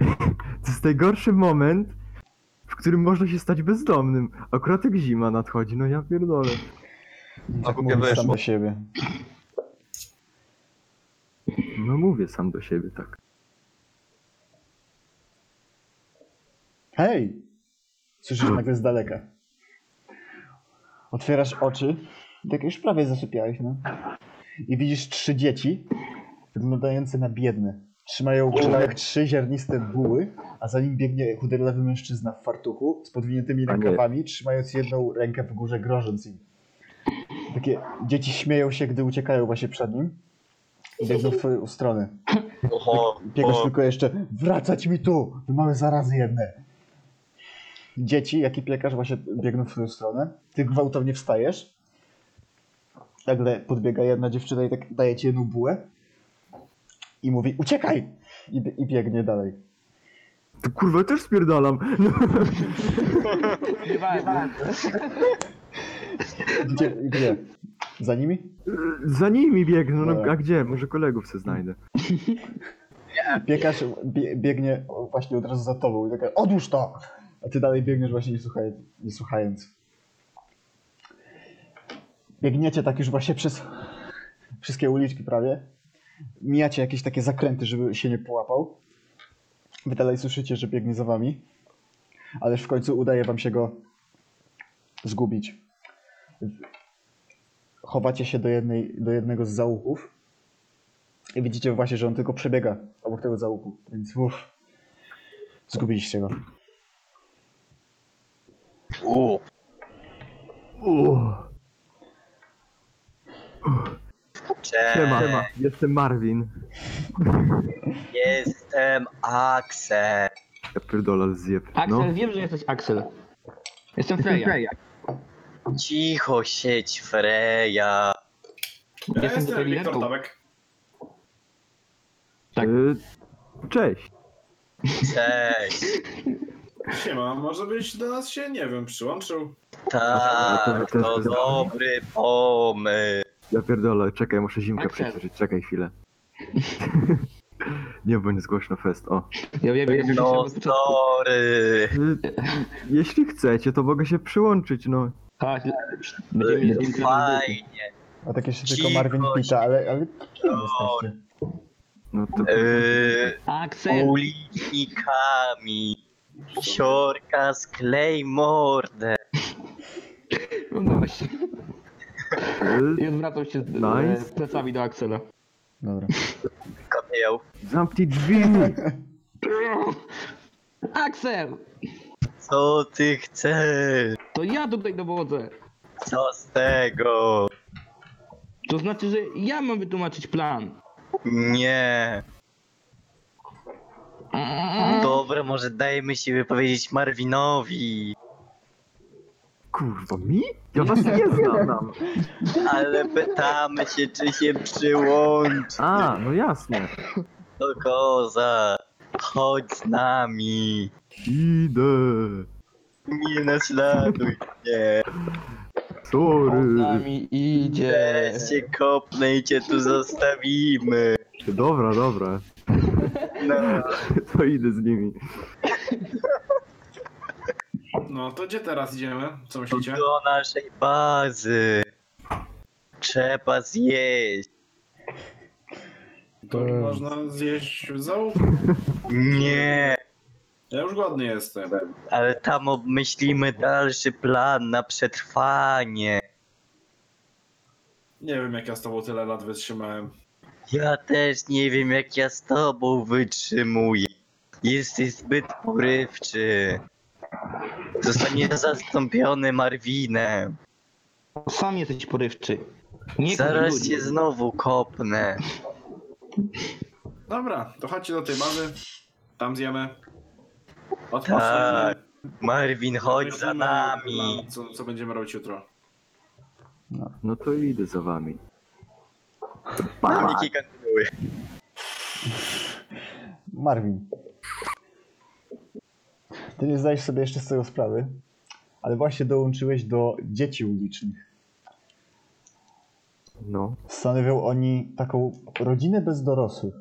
<laughs> to jest najgorszy moment, w którym można się stać bezdomnym. Akurat jak zima nadchodzi, no ja pierdolę.
Tak
głupie
mówisz sam
weszło.
do siebie.
No mówię sam do siebie tak.
Hej! Słyszysz nagle z daleka. Otwierasz oczy. Tak już prawie zasypiałeś, no. I widzisz trzy dzieci, wyglądające na biedne. Trzymają w rękach trzy ziarniste buły, a za nim biegnie chuderlawy mężczyzna w fartuchu z podwiniętymi
Panie.
rękawami, trzymając jedną rękę w górze, grożąc im. Takie dzieci śmieją się, gdy uciekają właśnie przed nim i biegną w twoją stronę.
Oho,
Biegasz
o,
tylko jeszcze, wracać mi tu, wy mamy zarazy jedne. Dzieci, jak i piekarz właśnie biegną w twoją stronę. Ty gwałtownie wstajesz. Nagle podbiega jedna dziewczyna i tak daje ci jedną bułę. I mówi, uciekaj! I, bie- i biegnie dalej.
To kurwa ja też spierdalam. No,
No.
Gdzie? gdzie? Za nimi?
za nimi biegną, no,
Dobra.
a gdzie? Może kolegów se znajdę.
Piekarz bie, biegnie właśnie od razu za tobą i taka, odłóż to! A ty dalej biegniesz właśnie nie, słuchaj, nie słuchając. Biegniecie tak już właśnie przez wszystkie uliczki prawie. Mijacie jakieś takie zakręty, żeby się nie połapał. Wy dalej słyszycie, że biegnie za wami. Ależ w końcu udaje wam się go zgubić. Chowacie się do, jednej, do jednego z zaułków. I widzicie właśnie, że on tylko przebiega obok tego załuku, więc uff. Zgubiliście go.
u,
Uuu,
Cześć,
siema, jestem Marvin.
jestem Axel.
Ja pierdolę zjeb.
Tak,
Axel,
No.
wiem, że jesteś Axel. Jestem Freya.
Cicho sieć, Freja.
Ja
Jestem
jestem
tutaj
Wiktor
liderką.
Tomek.
Tak.
Y, Cześć.
Cześć.
Siema, może byś do nas się, nie wiem, przyłączył?
Tak,
to- to-
to dobry pomysł.
Ja pierdolę, czekaj, muszę zimkę
Axel.
przeczytać, czekaj chwilę. <laughs> Nie bądź głośno fest, o.
Ja wiem, ja jestem
No,
od początku.
sorry.
Y, Jeśli chcecie, to mogę się przyłączyć, no.
Chodź, będziemy mieli zwiększoną grupę.
Fajnie.
A tak jeszcze tylko
Cicho,
Marvin pita, ale... ale kim jesteście?
no to...
Yy,
Axel,
ulicznikami. Siorka z Claymore.
no właśnie.
y,
I odwracam się z-
Nice.
z plecami do Axela.
Dobra.
Kapieł.
Zamknij drzwi!
Axel!
Co ty chcesz?
To ja tutaj dowodzę.
Co z tego?
To znaczy, że ja mam wytłumaczyć plan.
Nie. Dobra, może dajmy się wypowiedzieć Marvinowi.
Kurwa, mi? Ja was nie znam.
Ale pytamy się, czy się przyłączy.
A, no jasne.
To koza. Chodź z nami.
Idę.
Nie naśladuj mnie.
Z
Sorry.
nami idzie.
Teraz cię kopnę i cię tu zostawimy.
Dobra, dobra. <laughs>
No.
To idę z nimi.
No to gdzie teraz idziemy? Co myślicie?
do naszej bazy. Trzeba zjeść.
To można zjeść w załóg?
Nie,
Ja już głodny jestem.
ale tam obmyślimy dalszy plan na przetrwanie.
Nie wiem jak ja z tobą tyle lat wytrzymałem.
Ja też nie wiem, jak ja z tobą wytrzymuję. Jesteś zbyt porywczy. Zostaniesz zastąpiony Marwinem.
Sam jesteś porywczy. Nie
Zaraz
kłóć ludzi.
cię znowu kopnę.
Dobra, to chodźcie do tej bazy. Tam zjemy. Odpocznijmy.
Tak, Marwin, chodź za
Pomyślimy
nami.
na Co, co będziemy robić jutro.
No to idę za wami.
Paniki kontynuuj.
Marvin. Ty nie zdajesz sobie jeszcze z tego sprawy, ale właśnie dołączyłeś do dzieci ulicznych.
No.
Stanowią oni taką rodzinę bez dorosłych.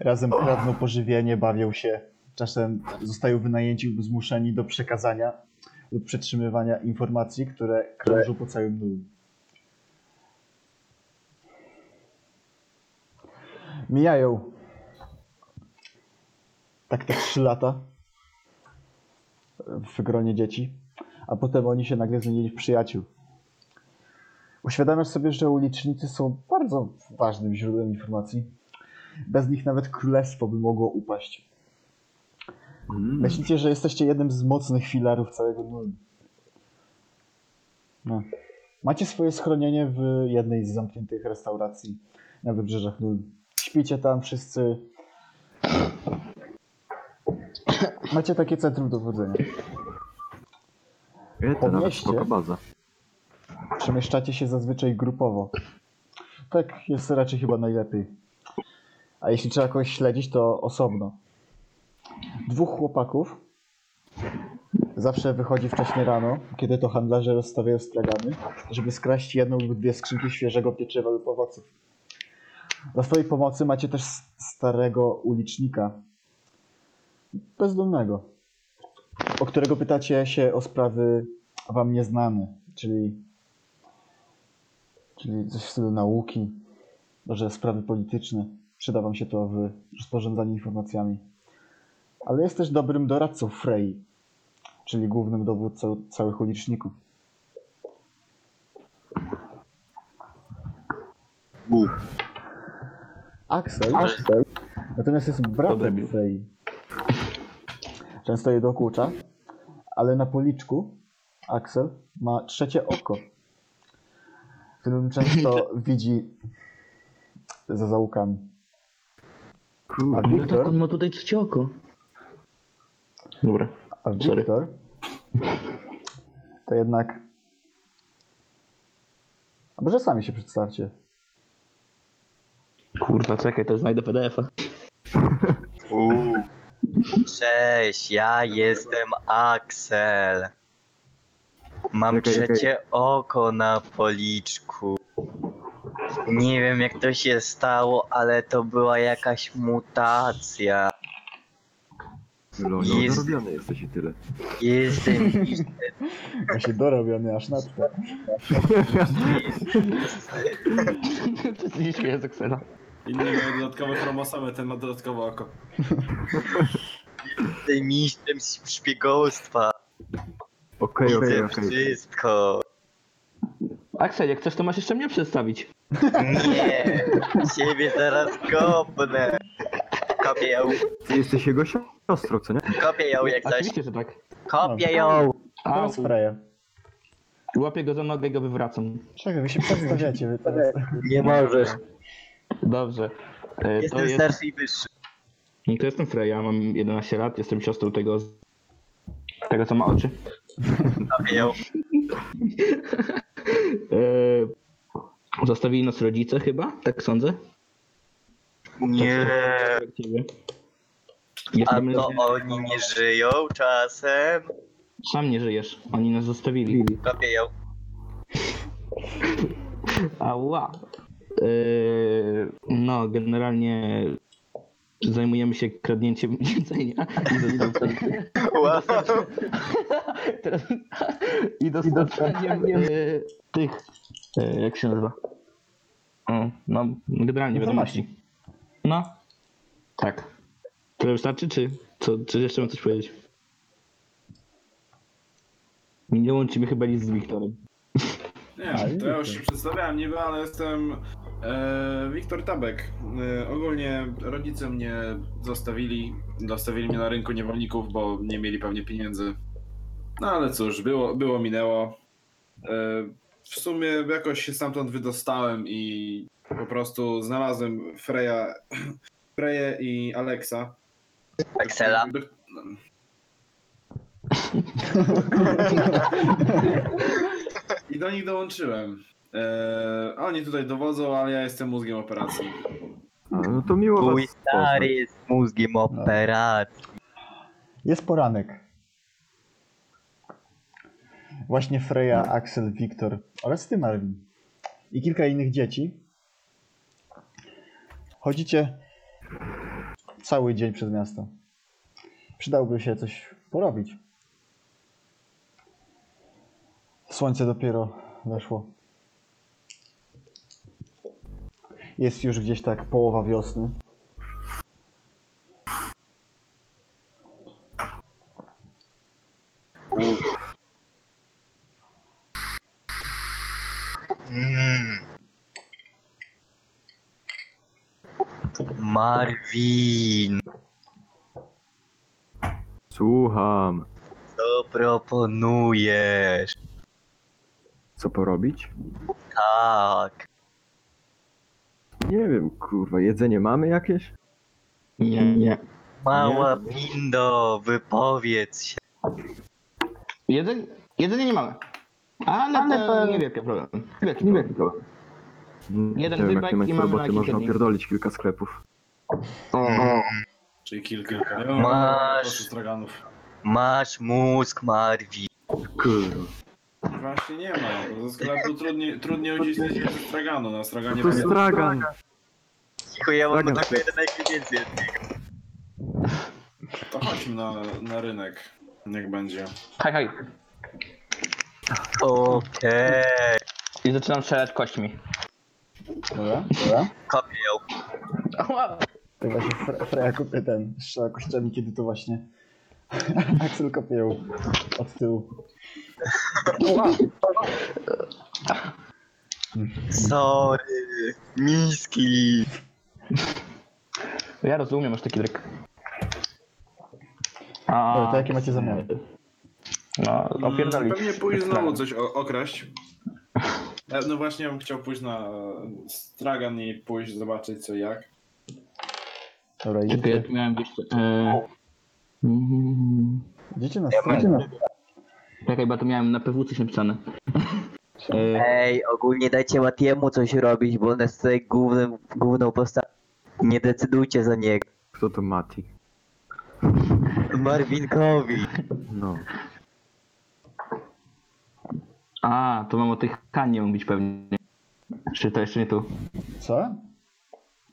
Razem kradną pożywienie, bawią się, czasem zostają wynajęci lub zmuszeni do przekazania lub przetrzymywania informacji, które krążą po całym nulu. Mijają. Tak te trzy lata w gronie dzieci, a potem oni się nagle zmienili w przyjaciół. Uświadamiasz sobie, że ulicznicy są bardzo ważnym źródłem informacji. Bez nich nawet królestwo by mogło upaść.
Mm.
Myślicie, że jesteście jednym z mocnych filarów całego Nuln. No. Macie swoje schronienie w jednej z zamkniętych restauracji na wybrzeżach Nuln. świcie tam wszyscy. Macie takie centrum dowodzenia.
Nie, to nawet
Podnieście.
spoko baza.
Przemieszczacie się zazwyczaj grupowo. Tak jest raczej chyba najlepiej. A jeśli trzeba kogoś śledzić, to osobno. Dwóch chłopaków zawsze wychodzi wcześnie rano, kiedy to handlarze rozstawiają stragany, żeby skraść jedną lub dwie skrzynki świeżego pieczywa lub owoców. Dla swojej pomocy macie też s- starego ulicznika. Bezdomnego. O którego pytacie się o sprawy wam nieznane, czyli czyli coś w stylu nauki, może sprawy polityczne. Przyda wam się to w rozporządzaniu informacjami. Ale jest też dobrym doradcą Frey, czyli głównym dowódcą całych uliczników. Axel, natomiast jest bratem
debil.
Frey. Często je dokucza, ale na policzku Axel ma trzecie oko, w którym <laughs> często widzi za załukami. A
Kurde,
No tak,
Wiktor,
on ma tutaj trzecie oko.
Dobra.
a
sorry.
Wiktor to jednak... A może sami się przedstawcie.
Kurwa, czekaj, to znajdę PDF-a.
Cześć, ja jestem Axel. Mam
Czekaj, czekaj.
trzecie oko na policzku. Nie wiem jak to się stało, ale to była jakaś mutacja.
Lolo,
Jest-
zarobiony jesteś i tyle.
Jestem
Właśnie dorobiony aż na to.
to się nie śmieję z Excela.
Inni mają dodatkowe chromosomy, ten ma dodatkowe oko.
jestem mistrzem szpiegostwa.
Okej, okej,
Widzę
okej.
wszystko.
Aksel, jak chcesz, to masz jeszcze mnie przedstawić.
Nie, ciebie zaraz kopnę. Kopię ją,
Ty jesteś jego siostrą, co nie?
kopię ją No, jak coś.
Oczywiście, że tak.
Kopię ją.
Au,
Teraz tak. Freya.
łapię go za nogę i go wywracam.
Czekaj, wy się przedstawiacie, wy teraz...
Nie możesz.
Dobrze. E, to,
Jestem
jest,
starszy i wyższy.
to jestem Freya, mam 11 lat, jestem siostrą tego... z- Tego, co ma oczy.
Kopię ją.
E, zostawili nas rodzice chyba, tak sądzę.
Nie. E, A
Jesteśmy
to oni nie żyją czasem.
Sam nie żyjesz, oni nas zostawili.
Kopię ją.
Ała. Yy, no, generalnie zajmujemy się kradnięciem <laughs> jedzenia i dostarczaniem,
Wow.
teraz, i dostarczaniem yy, tych, yy, jak się nazywa? Mm, No, generalnie wiadomości. No, tak. Tyle wystarczy, czy, co, czy jeszcze mam coś powiedzieć? Nie łączymy chyba nic z Wiktorem.
Nie, to ja już się przedstawiałem niby, ale jestem e, Wiktor Tabek. E, ogólnie rodzice mnie zostawili, zostawili mnie na rynku niewolników, bo nie mieli pewnie pieniędzy. No ale cóż, było, było minęło. E, w sumie jakoś się stamtąd wydostałem i po prostu znalazłem Freya, <clears throat> Freję i Alexa.
Axela.
Do- I do nich dołączyłem. Eee, oni tutaj dowodzą, ale ja jestem mózgiem operacji.
A, no to miło was
Mój stary
poznać.
jest
No.
mózgiem operacji.
Jest poranek. Właśnie Freya, Axel, Wiktor oraz ty, Marvin. I kilka innych dzieci. Chodzicie cały dzień przez miasto. Przydałby się coś porobić. Słońce dopiero weszło. Jest już gdzieś tak połowa wiosny.
Marvin,
Słucham.
co proponujesz?
Co porobić?
Tak.
Nie wiem, kurwa, jedzenie mamy jakieś?
Nie, nie.
Mała Bindo, wypowiedz się.
Jedzenie, jedzenie nie mamy. Ale,
Ale
to
to-
nie wielki problem. Wielki, nie wielki problem. Jeden
nie wiem, jak
wybek
nie macie
i mamy
roboty,
na
można
kilka dni.
opierdolić kilka sklepów.
Czyli kilka. Ja
Masz.
straganów.
Masz mózg, Marwi.
Kurwa.
Właśnie nie ma. Ze sklepu trudniej, trudniej ucisnąć niż ze straganu. Na straganie
To
będzie-
stragan.
Cicho, ja mam
Zgadzam
tylko
się.
jeden najwięcej.
To chodźmy na, na rynek. Jak będzie.
Hej, hej.
Okej,
I zaczynam strzelać kośćmi.
Dobra, dobra.
kopię ją.
To właśnie Fre- Freja kopie ten strzela kościami, kiedy to właśnie <laughs> Axel kopie ją od tyłu.
Sorry, miski.
Ja rozumiem, masz taki dryk.
Dobra,
A,
to jakie macie zamiary?
no, opierdolić.
Mm, Pewnie pójść znowu coś o, okraść. E, No właśnie, ja bym chciał pójść na e, stragan i pójść zobaczyć co i jak.
Dobra,
Czekaj,
idziecie,
jak miałem gdzieś... E... Mm.
idziecie na stronę.
Czekaj, bo to miałem na PW coś napisane. E...
Ej, ogólnie dajcie Matiemu coś robić, bo on jest tutaj głównym, główną postacią. Nie decydujcie za niego.
Kto to Mati?
Marwinkowi.
No.
A, to mam o tych tanie mówić pewnie. Czy to jeszcze nie tu?
Co?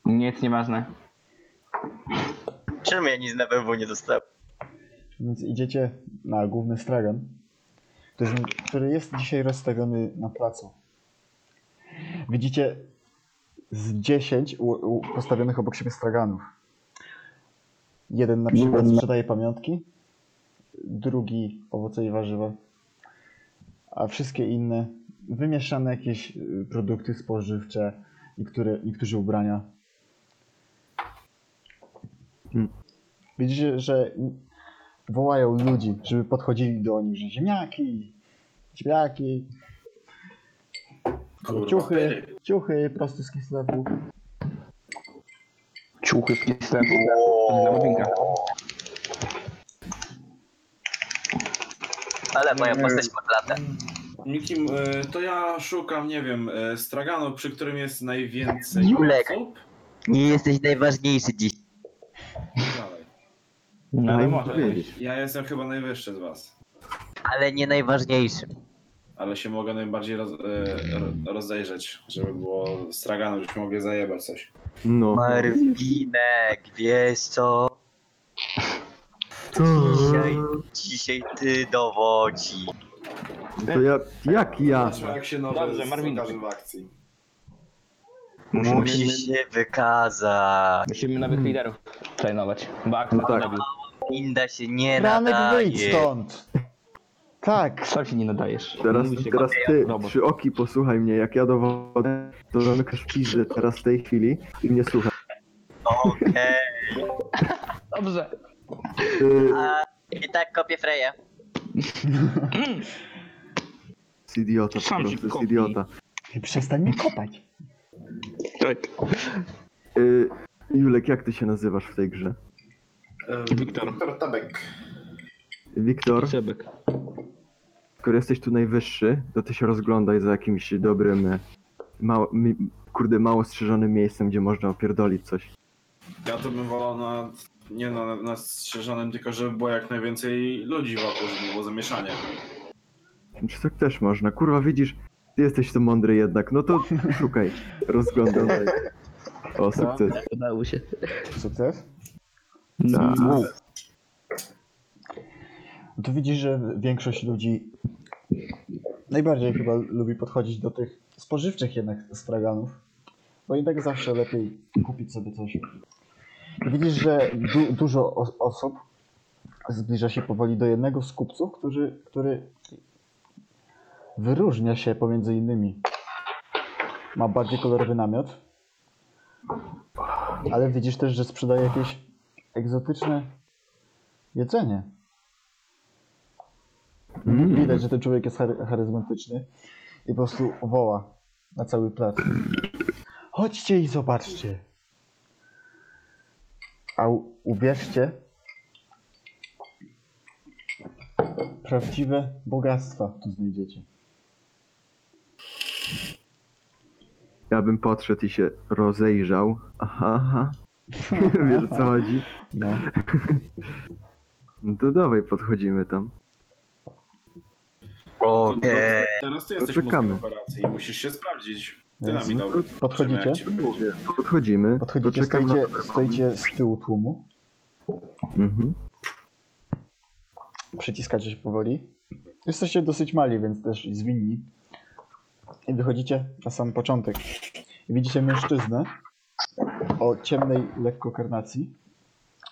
Nic, nieważne.
Czemu ja nic na pewno nie dostałem?
Więc idziecie na główny stragan, który, który jest dzisiaj rozstawiony na placu. Widzicie z 10 u, u postawionych obok siebie straganów. Jeden na przykład sprzedaje pamiątki, drugi owoce i warzywa, a wszystkie inne wymieszane jakieś y, produkty spożywcze, niektóre, niektórzy ubrania.
Hmm.
Widzicie, że wołają ludzi, żeby podchodzili do nich, że ziemniaki, ziemniaki,
Kurwa,
ciuchy,
ty.
ciuchy prosto z sklepu.
Ciuchy w sklepu. Dla Marwinka.
Ale moja postać ma latę. Tak.
Nikim, e, to ja szukam, nie wiem, e, straganu, przy którym jest najwięcej
Julek.
osób.
Nie jesteś najważniejszy dziś.
Dalej.
No,
Daj
ale
mi
może.
powiedzieć.
Ja jestem chyba najwyższy z was,
Ale nie najważniejszy.
ale się mogę najbardziej roz, e, ro- rozejrzeć, żeby było straganu, żebyśmy mogli zajebać coś.
No.
Marwinek, wiesz co? Dzisiaj, dzisiaj ty dowodzi.
No To ja... Jak ja?
Zobaczmy, jak się nowy
Dobrze, Marwin.
pokaże w akcji.
Musisz się wykazać.
Musimy nowych liderów trenować. Bak,
No tak.
tak.
Inda się nie
Franek, wyjdź
nadaje.
stąd! Tak,
Co się nie nadajesz?
Teraz,
Mówi się,
teraz ty,
Robot.
trzy oki, posłuchaj mnie. Jak ja dowodzę, to zamykasz pizdę teraz w tej chwili i mnie słuchaj.
Okej.
Dobrze.
Ty,
I tak kopię Freya.
z idiota, po
Sam się
prostu z
kopnij.
idiota.
przestań mnie kopać.
Tak.
Y, Julek, jak ty się nazywasz w tej grze?
Wiktor.
E, Doktor Tabek.
Wiktor,
Sebek.
skoro jesteś tu najwyższy, to ty się rozglądaj za jakimś dobrym, e, mało, mi, kurde, mało strzeżonym miejscem, gdzie można opierdolić coś.
Ja to bym wolał na, nie na, na strzeżonym, tylko żeby było jak najwięcej ludzi wokół, żeby nie było zamieszania.
Czy tak też można? Kurwa, widzisz, ty jesteś to mądry jednak, no to szukaj, rozglądaj. O, sukces.
Udało się.
Sukces?
No.
Tu widzisz, że większość ludzi najbardziej chyba lubi podchodzić do tych spożywczych jednak straganów, bo i tak zawsze lepiej kupić sobie coś. Widzisz, że du- dużo o- osób zbliża się powoli do jednego z kupców, który, który wyróżnia się pomiędzy innymi. Ma bardziej kolorowy namiot, ale widzisz też, że sprzedaje jakieś egzotyczne jedzenie. Widać, że ten człowiek jest chary- charyzmatyczny i po prostu woła na cały plac. Chodźcie i zobaczcie. A u- ubierzcie prawdziwe bogactwa tu znajdziecie.
Ja bym podszedł i się rozejrzał. Aha, aha. <laughs> Wiesz o co chodzi?
No.
No to dawaj, podchodzimy tam.
Okej.
Teraz ty jesteś
Poczekamy.
mózgiem operacji i musisz się sprawdzić. Ty
Więc
nami
no,
dobry.
podchodzicie?
Zobaczymy, jak ci będzie.
Podchodzimy.
Podchodzicie,
poczekam
stoicie,
na-
stoicie z tyłu tłumu,
Mhm.
przyciskacie się powoli. Jesteście dosyć mali, więc też zwinni. I wychodzicie na sam początek. I Widzicie mężczyznę o ciemnej, lekko karnacji,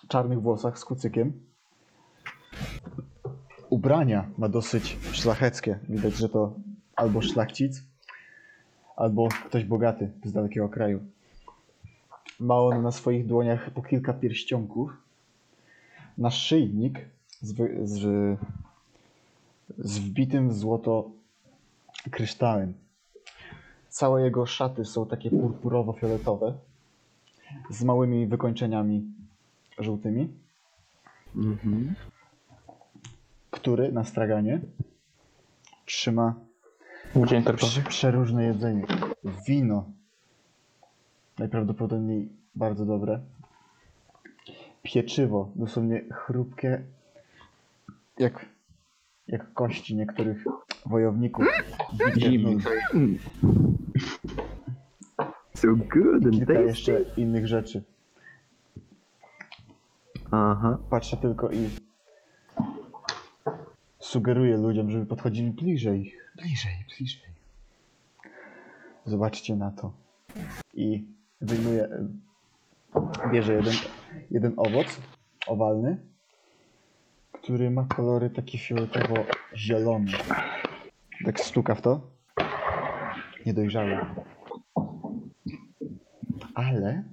czarnych włosach z kucykiem. Ubrania ma dosyć szlacheckie. Widać, że to albo szlachcic, albo ktoś bogaty z dalekiego kraju. Ma on na swoich dłoniach po kilka pierścionków. Na szyjnik z, wy- z, z wbitym w złoto kryształem. Całe jego szaty są takie purpurowo-fioletowe z małymi wykończeniami żółtymi,
Mhm.
który na straganie trzyma
Dzień
Prze- przeróżne jedzenie. Wino. Najprawdopodobniej bardzo dobre. Pieczywo. Dosłownie chrupkie. Jak, jak kości niektórych wojowników.
Zimno.
So good and
Kilka
tasty.
jeszcze innych rzeczy.
Aha.
Patrzę tylko i sugeruję ludziom, żeby podchodzili bliżej. Bliżej, bliżej. Zobaczcie na to. I wyjmuję, bierze jeden, jeden owoc owalny, który ma kolory takie fioletowo-zielone. Tak stuka w to. Niedojrzały. Ale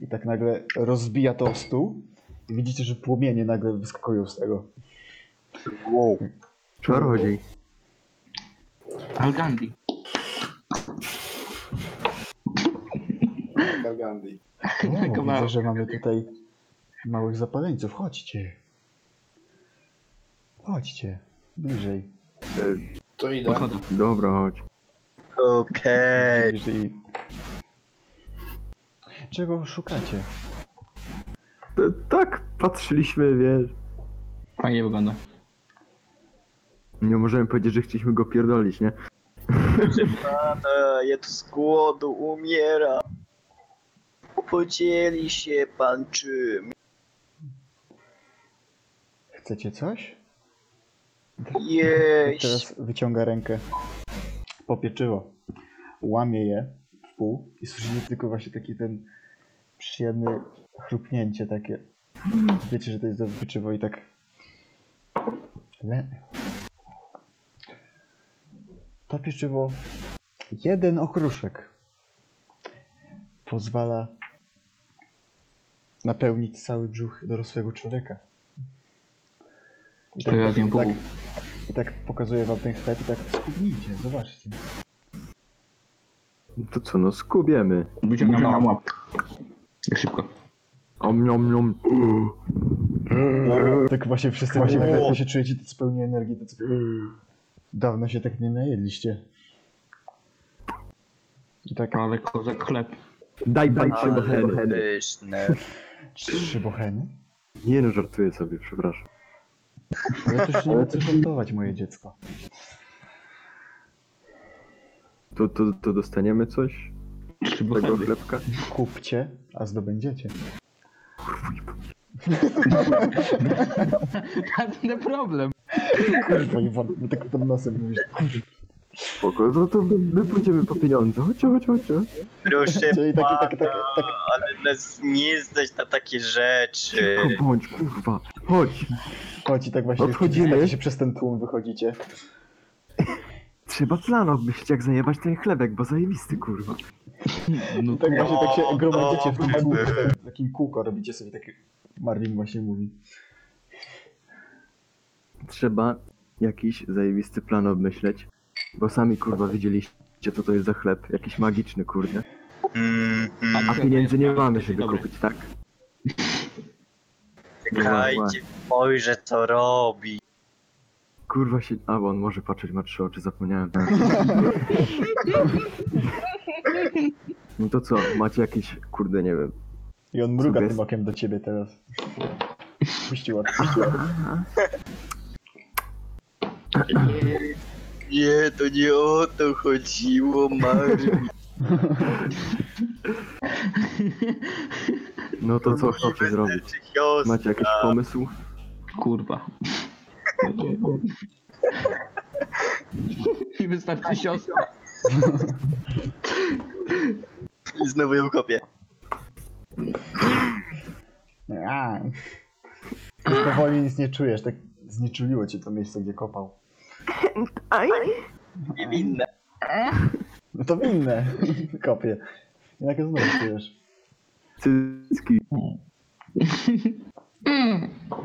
i tak nagle rozbija to o stół i widzicie, że płomienie nagle wyskakują z tego.
Czarodziej.
Al Gandhi.
O,
Kawałek.
widzę, że mamy tutaj małych zapaleńców. Chodźcie. Chodźcie. Bliżej.
To idę.
Dobra, chodź.
Okej.
Bliżej. Czego szukacie?
T- tak, patrzyliśmy, wiesz.
Fajnie wygląda.
Nie możemy powiedzieć, że chcieliśmy go pierdolić, nie?
Pana, ja tu z głodu umieram. Podzieli się pan czym?
Chcecie coś?
Jeść.
Teraz wyciąga rękę. Popieczyło. Łamie je w pół i słyszycie tylko właśnie taki ten przyjemny chrupnięcie takie. Wiecie, że to jest dobre pieczywo i tak... Le... To pieczywo... Jeden okruszek. Pozwala napełnić cały brzuch dorosłego człowieka. I
To ja zjem
tak,
pół.
i tak pokazuję wam ten chleb i tak skubnijcie, zobaczcie.
To co, no skubiemy.
Wyciągam na łap. Jak szybko.
Om, nom, nom.
Tak właśnie przez ten właśnie tak się czujecie tacy pełni energii, tacy... Dawno się tak nie najedliście. I tak
Ale kozak <laughs> chleb.
Daj, daj,
Ale
przybocheny.
pyszne.
trzy bocheny.
Nie no, żartuję sobie, przepraszam.
Ale to już nie ma co żartować, moje dziecko.
To, to, to dostaniemy coś z tego
Szybko.
chlebka?
Kupcie, a zdobędziecie.
Żadny problem.
Kurwa, i wam tak pod nosem mówisz.
Spoko, no to my, my pójdziemy po pieniądze. Chodź, chodź, chodź. chodź.
Proszę
Czyli takie, takie, takie, takie...
ale nas nie zdać na takie rzeczy.
Tylko bądź, kurwa. Chodź.
Chodź i tak właśnie
Odchodzimy.
wciskacie się przez ten tłum, wychodzicie.
Trzeba plan obmyślić, jak zajebać ten chlebek, bo zajebisty, kurwa.
No
Tak właśnie tak
No,
się gromadzicie w tym
no.
kółku, w tym- w takim kółko robicie sobie takie... Marlin właśnie mówi.
Trzeba jakiś zajebisty plan obmyśleć, bo sami, kurwa, widzieliście, co to jest za chleb. Jakiś magiczny, kurde.
Mm, mm,
A pieniędzy nie mamy, żeby
Dobry.
kupić, tak?
czekajcie, ojże co robi.
Kurwa się... A, bo on może patrzeć, ma trzy oczy, zapomniałem. <laughs> No to co, macie jakieś, kurde, nie wiem.
I on mruga
Sugestie.
tym okiem do ciebie teraz. Puściła.
Nie, to nie o to chodziło, Mario.
No to co chcecie zrobić? Macie jakiś pomysł?
Kurwa. <laughs> I wystarczy siostra.
I znowu ją kopię.
A. Już Powoli nic nie czujesz, tak znieczuliło cię to miejsce, gdzie kopał.
Niewinne.
No to winne. Kopie. Jednak znowu czujesz.
Cycki.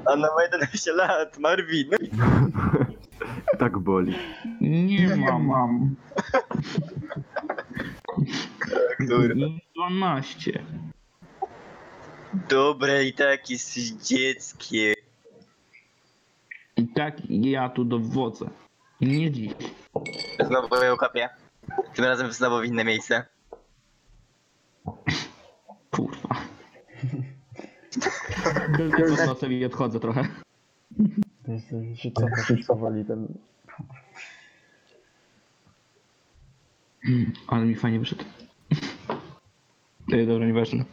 Ona ma 11 lat, Marvin. No
Tak boli.
Nie ma, mam.
tak, Dobra.
12.
Dobre i tak jest dzieckiem.
I tak ja tu dowodzę. Nie dziś.
Znowu ją kopię. Tym razem znowu w inne miejsce.
Kurwa. Tylko z nosem i odchodzę trochę.
To jest to się cofasz powoli ten...
Ale mi fajnie wyszedł. Ej, Dobra, nieważne.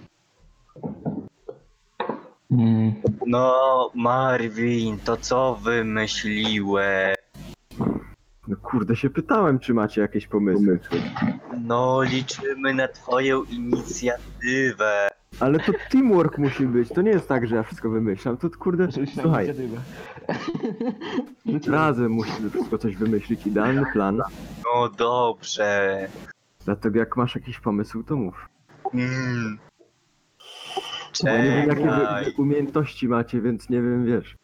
Mm.
No, Marvin, to co wymyśliłeś?
No kurde, się pytałem, czy macie jakieś pomysły.
No, liczymy na twoją inicjatywę.
Ale to teamwork musi być, to nie jest tak, że ja wszystko wymyślam, to kurde,
Rzuć na
słuchaj,
inicjatywę.
razem musimy wszystko coś wymyślić, idealny plan,
No dobrze.
dlatego jak masz jakiś pomysł, to mów.
Mm.
Bo ja nie wiem, jakie
Czekaj.
wy umiejętności macie, więc nie wiem, wiesz,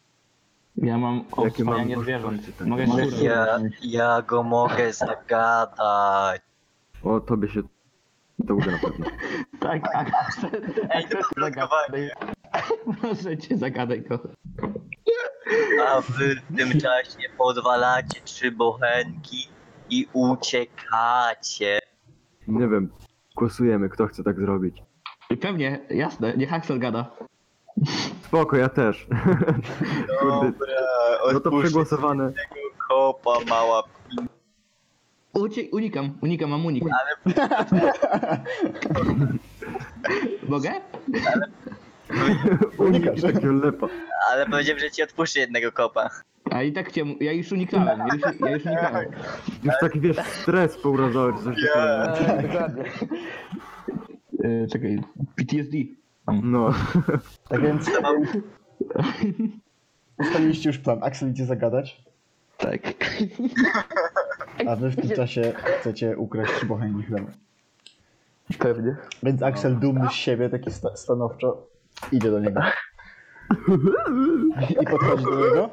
Ja mam
jakie mam
obstajanie zwierząt.
możliwości, tak.
Mogę się kurwa.
Ja, ja go mogę zagadać.
O, tobie się to uda na pewno.
Tak, <laughs> tak. Ej, to zagadaj. Proszę cię, zagadaj go.
A wy w tym czasie podwalacie trzy bochenki i uciekacie.
Nie wiem, głosujemy, kto chce tak zrobić.
I pewnie, jasne, niech Axel gada.
Spoko, ja też. <laughs> Kurde, no to
odpuszczę
przegłosowane.
kopa mała.
Ucie- unikam, unikam, mam unik. <laughs> Mogę?
Unikasz takiego lepa.
Ale powiedziałem, że ci odpuszczę jednego kopa.
A i tak cię, ja już unikałem, ja już, ja już unikałem.
Już taki, wiesz, stres pourazał, czy coś takiego.
E, czekaj, PTSD.
No,
Tak więc ustaliliście już plan. Axel idzie zagadać,
Tak.
a wy w tym czasie chcecie ukraść bochenki chleba.
Pewnie.
Więc Axel dumny z siebie, taki sta- stanowczo, idzie do niego. I podchodzi do niego.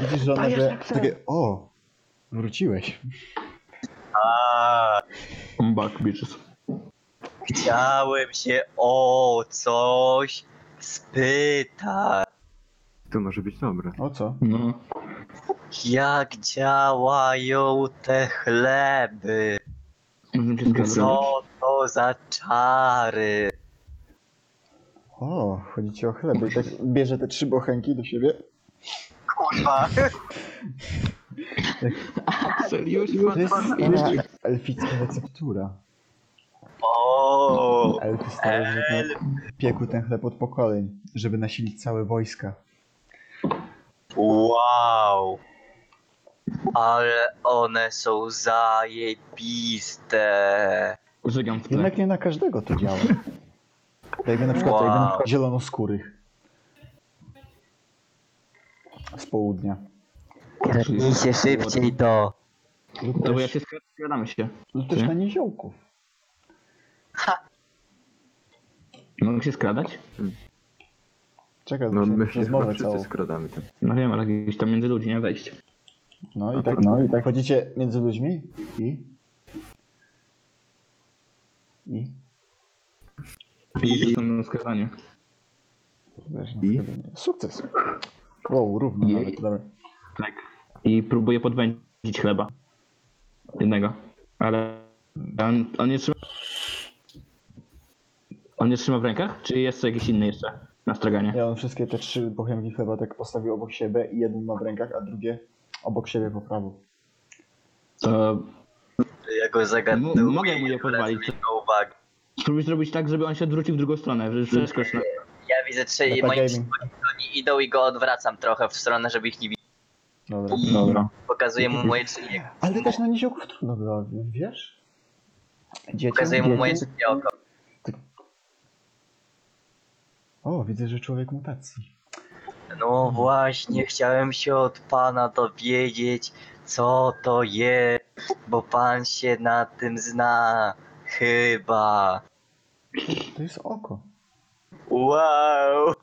Widzisz, że on nagle takie, o, wróciłeś.
A,
I'm back, bitches.
<laughs> chciałem się o coś spytać.
to może być dobre.
O co?
No.
Jak działają te chleby?
Możemy się zgadzać.
Co to za czary?
O, chodzi ci o chleb. I tak bierze te trzy bochenki do siebie.
Kurwa.
Axel, już
To jest stara elficka receptura.
O,
Elfy starożytne piekły ten chleb od pokoleń, żeby nasilić całe wojska.
wow. Ale one są zajebiste.
Żegam w tle.
Tak.
Jednak nie na każdego to działa. Jakby na przykład,
Wow.
jakby na przykład zielonoskórych. Z południa.
Zacznijcie szybciej to.
Lub
Dobra, ja
też,
się skradamy się.
lub też na niziołków.
No, Mogę się skradać?
Czekaj,
No,
muszę
my się chyba
rozmowę
wszyscy
całą.
skradamy tam.
No wiem, ale gdzieś tam między ludzi, nie wejść.
No i tak, no i tak. Chodzicie między ludźmi i... I?
I na skazanie.
Wiesz,
I?
no, chyba nie. Sukces. Wow, równo
Jej.
nawet, dobra.
Tak. I próbuję podwędzić chleba. Jednego. Ale on, on nie trzyma... On nie trzyma w rękach? Czy jest to jakiś inny jeszcze na straganie?
Ja on wszystkie te trzy bochenki chleba tak postawił obok siebie i jeden ma w rękach, a drugie obok siebie po prawu.
To
Ja go zagadnę.
M- mogę mu je pozwolić.
Uwagę.
spróbuj zrobić tak, żeby on się odwrócił w drugą stronę, żeby przeskocz na...
Ja widzę, czy
Meta
moi
gaming.
przyjaciele idą i go odwracam trochę w stronę, żeby ich nie widzieć.
Dobra.
Dobra.
Pokazuję mu moje czynienie.
Ale też na niziołków trudno było, wiesz? Dzieciom,
Pokazuję mu moje
dzieciom.
trzecie oko.
O, widzę, że człowiek mutacji.
No właśnie, chciałem się od pana dowiedzieć, co to jest, bo pan się na tym zna. Chyba.
To jest oko.
Wow!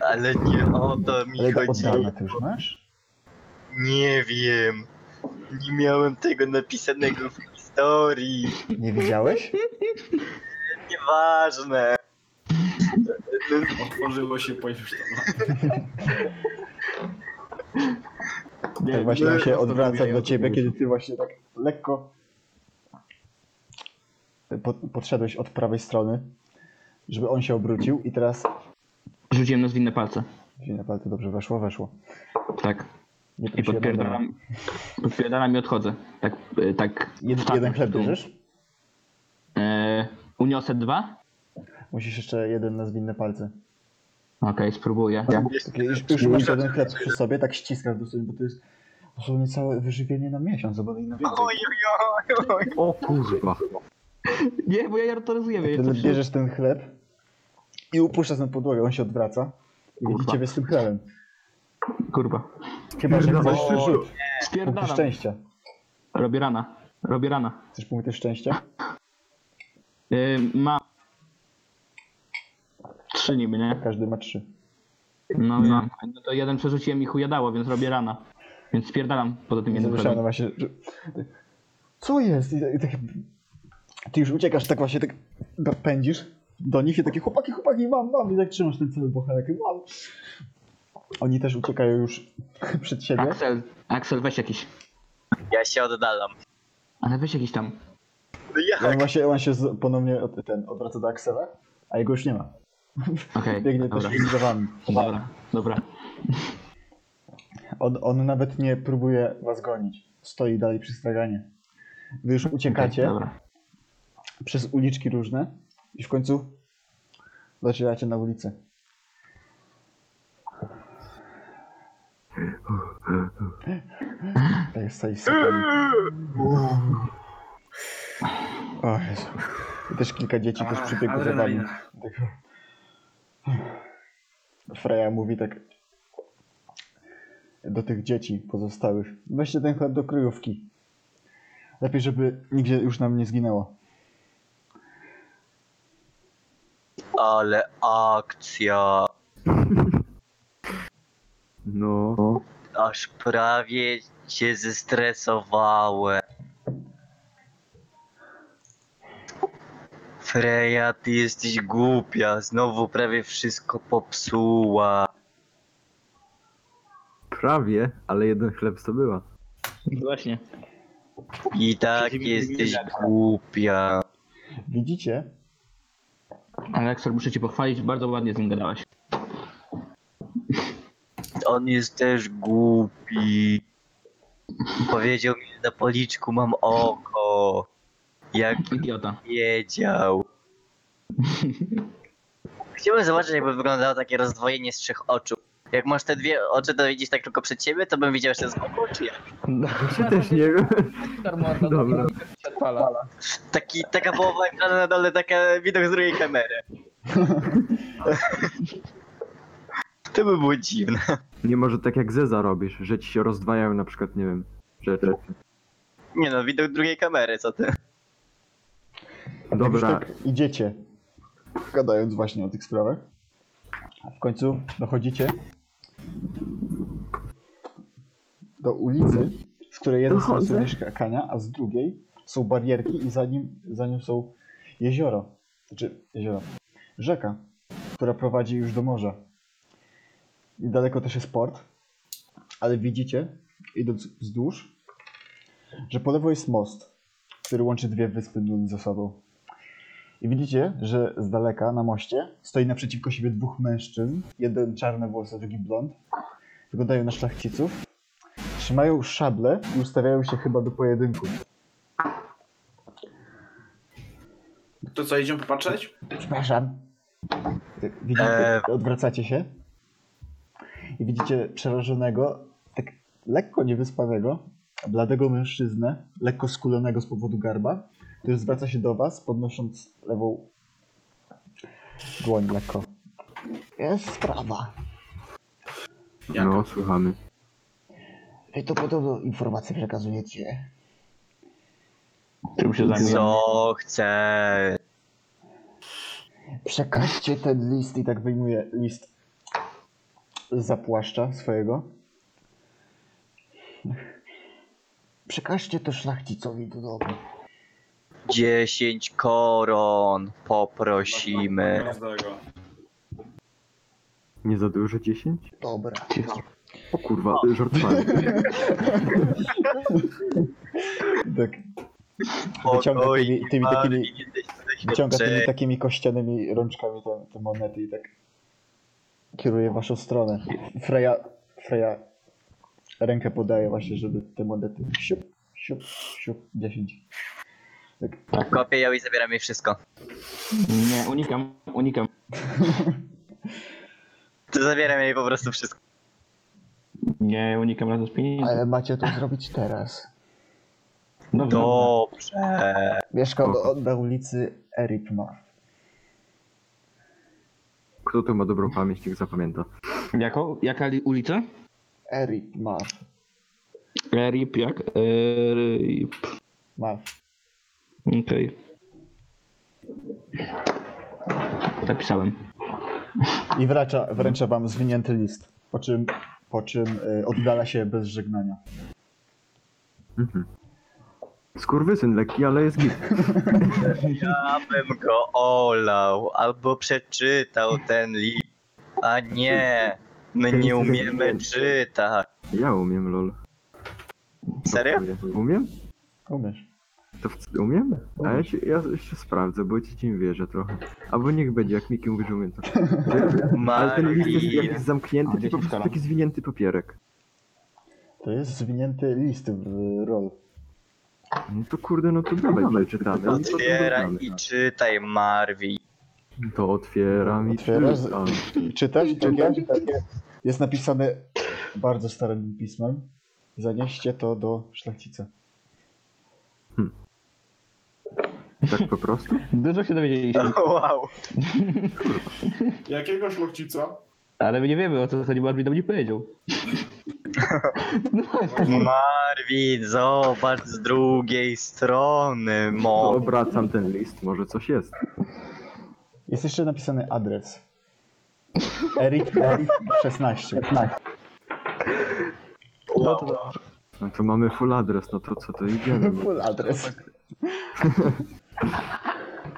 Ale nie o to mi
Ale od
chodziło.
dawna ty już masz?
Nie wiem. Nie miałem tego napisanego w historii.
Nie widziałeś?
Nieważne.
Otworzyło się pojemność.
<laughs> Tak właśnie on się odwraca do ciebie, kiedy ty właśnie tak lekko po, podszedłeś od prawej strony, żeby on się obrócił i teraz...
Rzuciłem na zwinne palce.
Dzień dobry, to dobrze weszło, weszło.
Tak.
Nie
I
prosiłem, dobra.
podpierdalam, podpierdalam i odchodzę. Tak, y, tak.
Jed,
tak,
jeden chleb
w dół.
bierzesz?
E, uniosę dwa?
Musisz jeszcze jeden na zwinne palce.
Okej, spróbuję. Ja,
Takie, już, już masz jeden chleb przy sobie, tak ściskasz do sobie, bo to jest dosłownie całe wyżywienie na miesiąc, no albo i na więcej.
Ojojoj.
O kurwa.
nie, bo ja ja to rozumiem.
Wtedy bierzesz ten chleb i upuszczasz na podłogę, on się odwraca i widzi
Kurwa.
ciebie z tym chlebem.
Kurwa.
Chyba, że
Pierdolę.
chcesz rzut. Punkty
Spierdalam.
szczęścia.
Robię rana. Robię rana.
Chcesz punkty szczęścia?
Y, mam. Trzy niby, nie?
Każdy ma trzy.
No, ja- no to jeden przerzuciłem i chujadało, więc robię rana. Więc spierdalam poza tym
I
jednym
zawieszałem
krokiem.
no właśnie, że... Co jest? I, i tak... Ty już uciekasz, tak właśnie tak p- pędzisz do nich i takie chłopaki, chłopaki, mam, mam. I tak trzymasz ten cały bochenek, mam. Oni też uciekają już <laughs> przed siebie.
Axel, Axel, weź jakiś.
Ja się oddalam.
Ale weź jakiś tam.
No
On
jak?
właśnie, on się z, ponownie od, ten, odwraca do Aksela, a jego już nie ma.
Okej,
Biegnie
dobra.
też za wami.
Dobra, dobra.
On, on nawet nie próbuje was gonić. Stoi dalej przy straganie. Wy już uciekacie
Dobra.
przez uliczki różne i w końcu docieracie na ulicę. Tak jest stoi sypialni. O Jezu. I też kilka dzieci też przybiegło za wami.
Adrenalina.
Freja mówi tak do tych dzieci pozostałych. Weźcie ten chleb do kryjówki. Lepiej, żeby nigdzie już nam nie zginęło.
Ale akcja.
No.
Aż prawie się zestresowałem. Freja, ty jesteś głupia. Znowu prawie wszystko popsuła.
Prawie, ale jeden chleb to <laughs> była.
Właśnie.
I tak
Przeciwnie,
jesteś
tak.
głupia.
Widzicie,
Ale Axel, muszę cię pochwalić, bardzo ładnie z nim gadałeś.
On jest też głupi. Powiedział mi, że na policzku mam oko. Jak
Idiota.
wiedział. <laughs> Chciałbym zobaczyć, jakby wyglądało takie rozdwojenie z trzech oczu. Jak masz te dwie oczy, to widzisz tak tylko przed siebie, to bym widział jeszcze z boku, czy jak?
Ja też nie wiem. Dobra.
Taki, taka połowa ekranu na dole, taka widok z drugiej kamery. <laughs> To by było dziwne.
Nie może tak jak Zeza robisz, że ci się rozdwajają na przykład, nie wiem, rzeczy. No,
Nie no, widok drugiej kamery, co ty?
jak już
Dobra,
tak idziecie, gadając właśnie o tych sprawach, a w końcu dochodzicie do ulicy, z której jeden
Dochodzę.
są mieszkania, a z drugiej są barierki i za, nim, za nią są jezioro. Znaczy, jezioro. Rzeka, która prowadzi już do morza. Niedaleko też jest port, ale widzicie, idąc wzdłuż, że po lewo jest most, który łączy dwie wyspy Duny ze sobą. I widzicie, że z daleka na moście stoi naprzeciwko siebie dwóch mężczyzn. Jeden czarne włosy, drugi blond. Wyglądają na szlachciców. Trzymają szable i ustawiają się chyba do pojedynku.
To co, idziemy popatrzeć?
Przepraszam. Widzicie,
Eee.
odwracacie się i widzicie przerażonego, tak lekko niewyspanego, bladego mężczyznę, lekko skulonego z powodu garba, który zwraca się do was, podnosząc lewą dłoń lekko. Jest sprawa.
Jaka?
No, słuchamy.
Wy to podobno informacje przekazujecie.
Czym
No,
się zajmuje?
Co chce?
Przekażcie ten list i tak wyjmuje list zapłaszcza swojego. Przekażcie to szlachcicowi do domu.
10 koron poprosimy.
Każdego.
Nie za dużo 10?
Dobra.
O kurwa, żartowałem.
Tak, wyciąga tymi, tymi takimi, wyciąga tymi takimi kościanymi rączkami te, te monety i tak kieruje w waszą stronę. Freja, Freja rękę podaje właśnie, żeby te monety siup, siup, siup, 10. Tak.
Kopię ją i zabieram jej wszystko.
Nie, unikam, unikam.
To zabieram jej po prostu wszystko.
Nie, unikam razem z pieniędzmi.
Ale macie to zrobić teraz.
Dobrze.
Dobrze.
Mieszkam na ulicy Erip North.
Kto tu ma dobrą pamięć, niech zapamięta.
Jaką? Jaka li- ulica?
Erip North.
E, Rip, jak? E, Rip.
North.
Okej. Zapisałem.
I wracza, wręcza wam zwinięty list, po czym, po czym y, oddala się bez żegnania.
Mhm. Skurwysyn lekki, ale jest git.
Ja bym go olał albo przeczytał ten list. A nie, my nie umiemy czytać.
Ja umiem, lol.
Serio?
Umiem?
Umiesz.
To w... umiem? A ja, się, ja jeszcze sprawdzę, bo ci ci wierzę trochę. Albo niech będzie, jak Miki mówi, że umiem to. Ale ten list jest
Magi.
jakiś zamknięty, czy
A,
po
10
prostu
koron.
taki zwinięty papierek.
To jest zwinięty list w rol.
No to kurde, no to dawaj, czytamy. no to
Otwieraj
oglądamy.
i czytaj, Marwi.
To otwieram i
Otwierasz-
czytam.
Czytasz? Takie, takie. Jest napisane bardzo starym pismem. Zanieście to do szlachcica.
Tak po prostu?
Dużo się dowiedzieliśmy,
Wow.
Jakiego szlachcica?
ale my nie wiemy o co zasadzie Barbie nam nie powiedział.
Marwin, zobacz z drugiej strony,
To
mo.
obracam ten list, może coś jest.
Jest jeszcze napisany adres. Erik, Erik 16.
No to mamy full adres, no to co, to idziemy. bo-
<laughs> Full adres.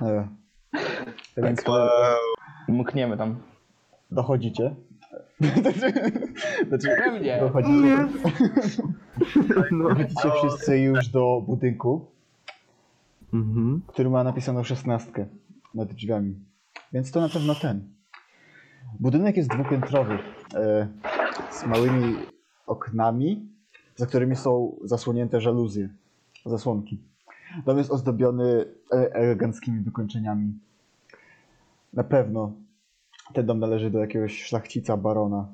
E, Więc
Wow.
Mkniemy tam.
dochodzicie. <laughs> Znaczy, znaczy,
Pewnie.
dochodzicie.
No.
Dochodzicie wszyscy już do budynku.
Mhm.
który ma napisaną szesnastkę nad drzwiami. Więc to na pewno ten. Budynek jest dwupiętrowy, e, z małymi oknami, za którymi są zasłonięte żaluzje, zasłonki. Dom jest ozdobiony e, eleganckimi wykończeniami. Na pewno ten dom należy do jakiegoś szlachcica, barona.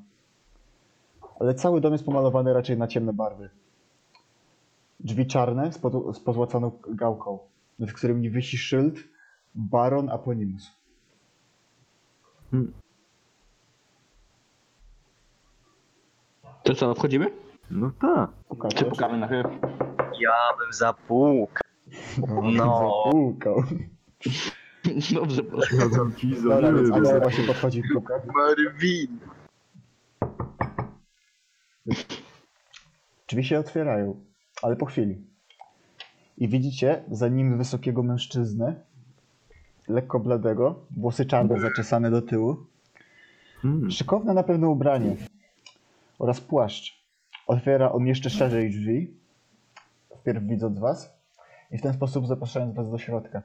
Ale cały dom jest pomalowany raczej na ciemne barwy. Drzwi czarne z, podu- z pozłacaną gałką nad którym nie wisi szyld Baron Aponimus.
To co, wchodzimy?
No tak.
Czy
Pukacie?
pukamy na chwilę?
Ja bym zapukał. No.
Zapukał.
<laughs>
Dobrze, proszę.
Ja tam ci
Dobra, więc
zalewam.
Axel właśnie podchodzi i puka.
Marwin.
Drzwi się otwierają, ale po chwili. I widzicie za nim wysokiego mężczyznę, lekko bladego, włosy czarne zaczesane do tyłu,
Hmm.
szykowne na pewno ubranie oraz płaszcz. Otwiera on jeszcze szerzej drzwi, wpierw widząc was i w ten sposób zapraszając was do środka.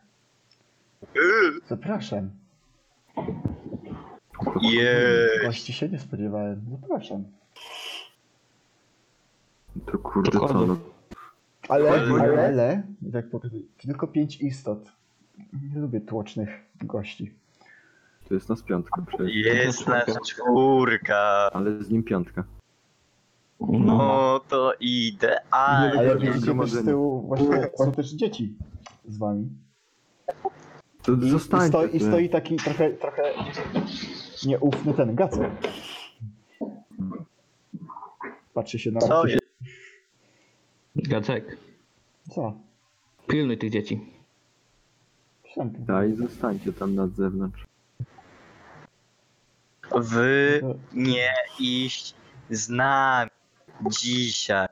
Zapraszam.
Jej.
Właściwie się nie spodziewałem. No Zapraszam.
To kurde co, no.
Ale,
Ale-
ale, ale, i tak pokazuję, tylko pięć istot. Nie lubię tłocznych gości.
To jest nas piątka przecież.
Jest nasza czwórka.
Ale z nim piątka.
No to idealnie.
Ale
bardzo
widzicie też z
zgromadzenie.
tyłu właśnie są też dzieci z wami.
To
I, i,
zostań.
stoi, I stoi taki trochę, trochę nieufny ten gacek. Patrzy się na
Co jest?
Gacek,
Co?
pilnuj tych dzieci.
Sam tu.
Daj, zostańcie tam na zewnątrz.
Wy nie iść z nami dzisiaj.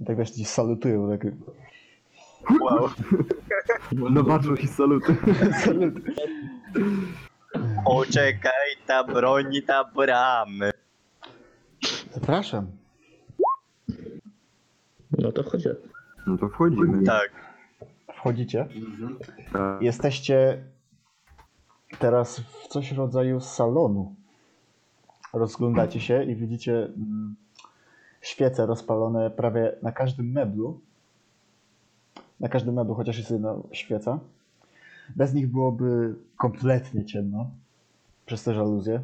I tak wiesz, ci salutują. Tak.
Wow.
No patrzą i saluty.
Salut.
Poczekaj, ta broni ta bramy.
Zapraszam.
No to wchodź.
No to wchodzimy.
Tak.
Wchodzicie.
Mhm.
Tak.
Jesteście teraz w coś rodzaju salonu. Rozglądacie się i widzicie mm, świece rozpalone prawie na każdym meblu. Na każdym meblu, chociaż jest jedna świeca. Bez nich byłoby kompletnie ciemno przez te żaluzje.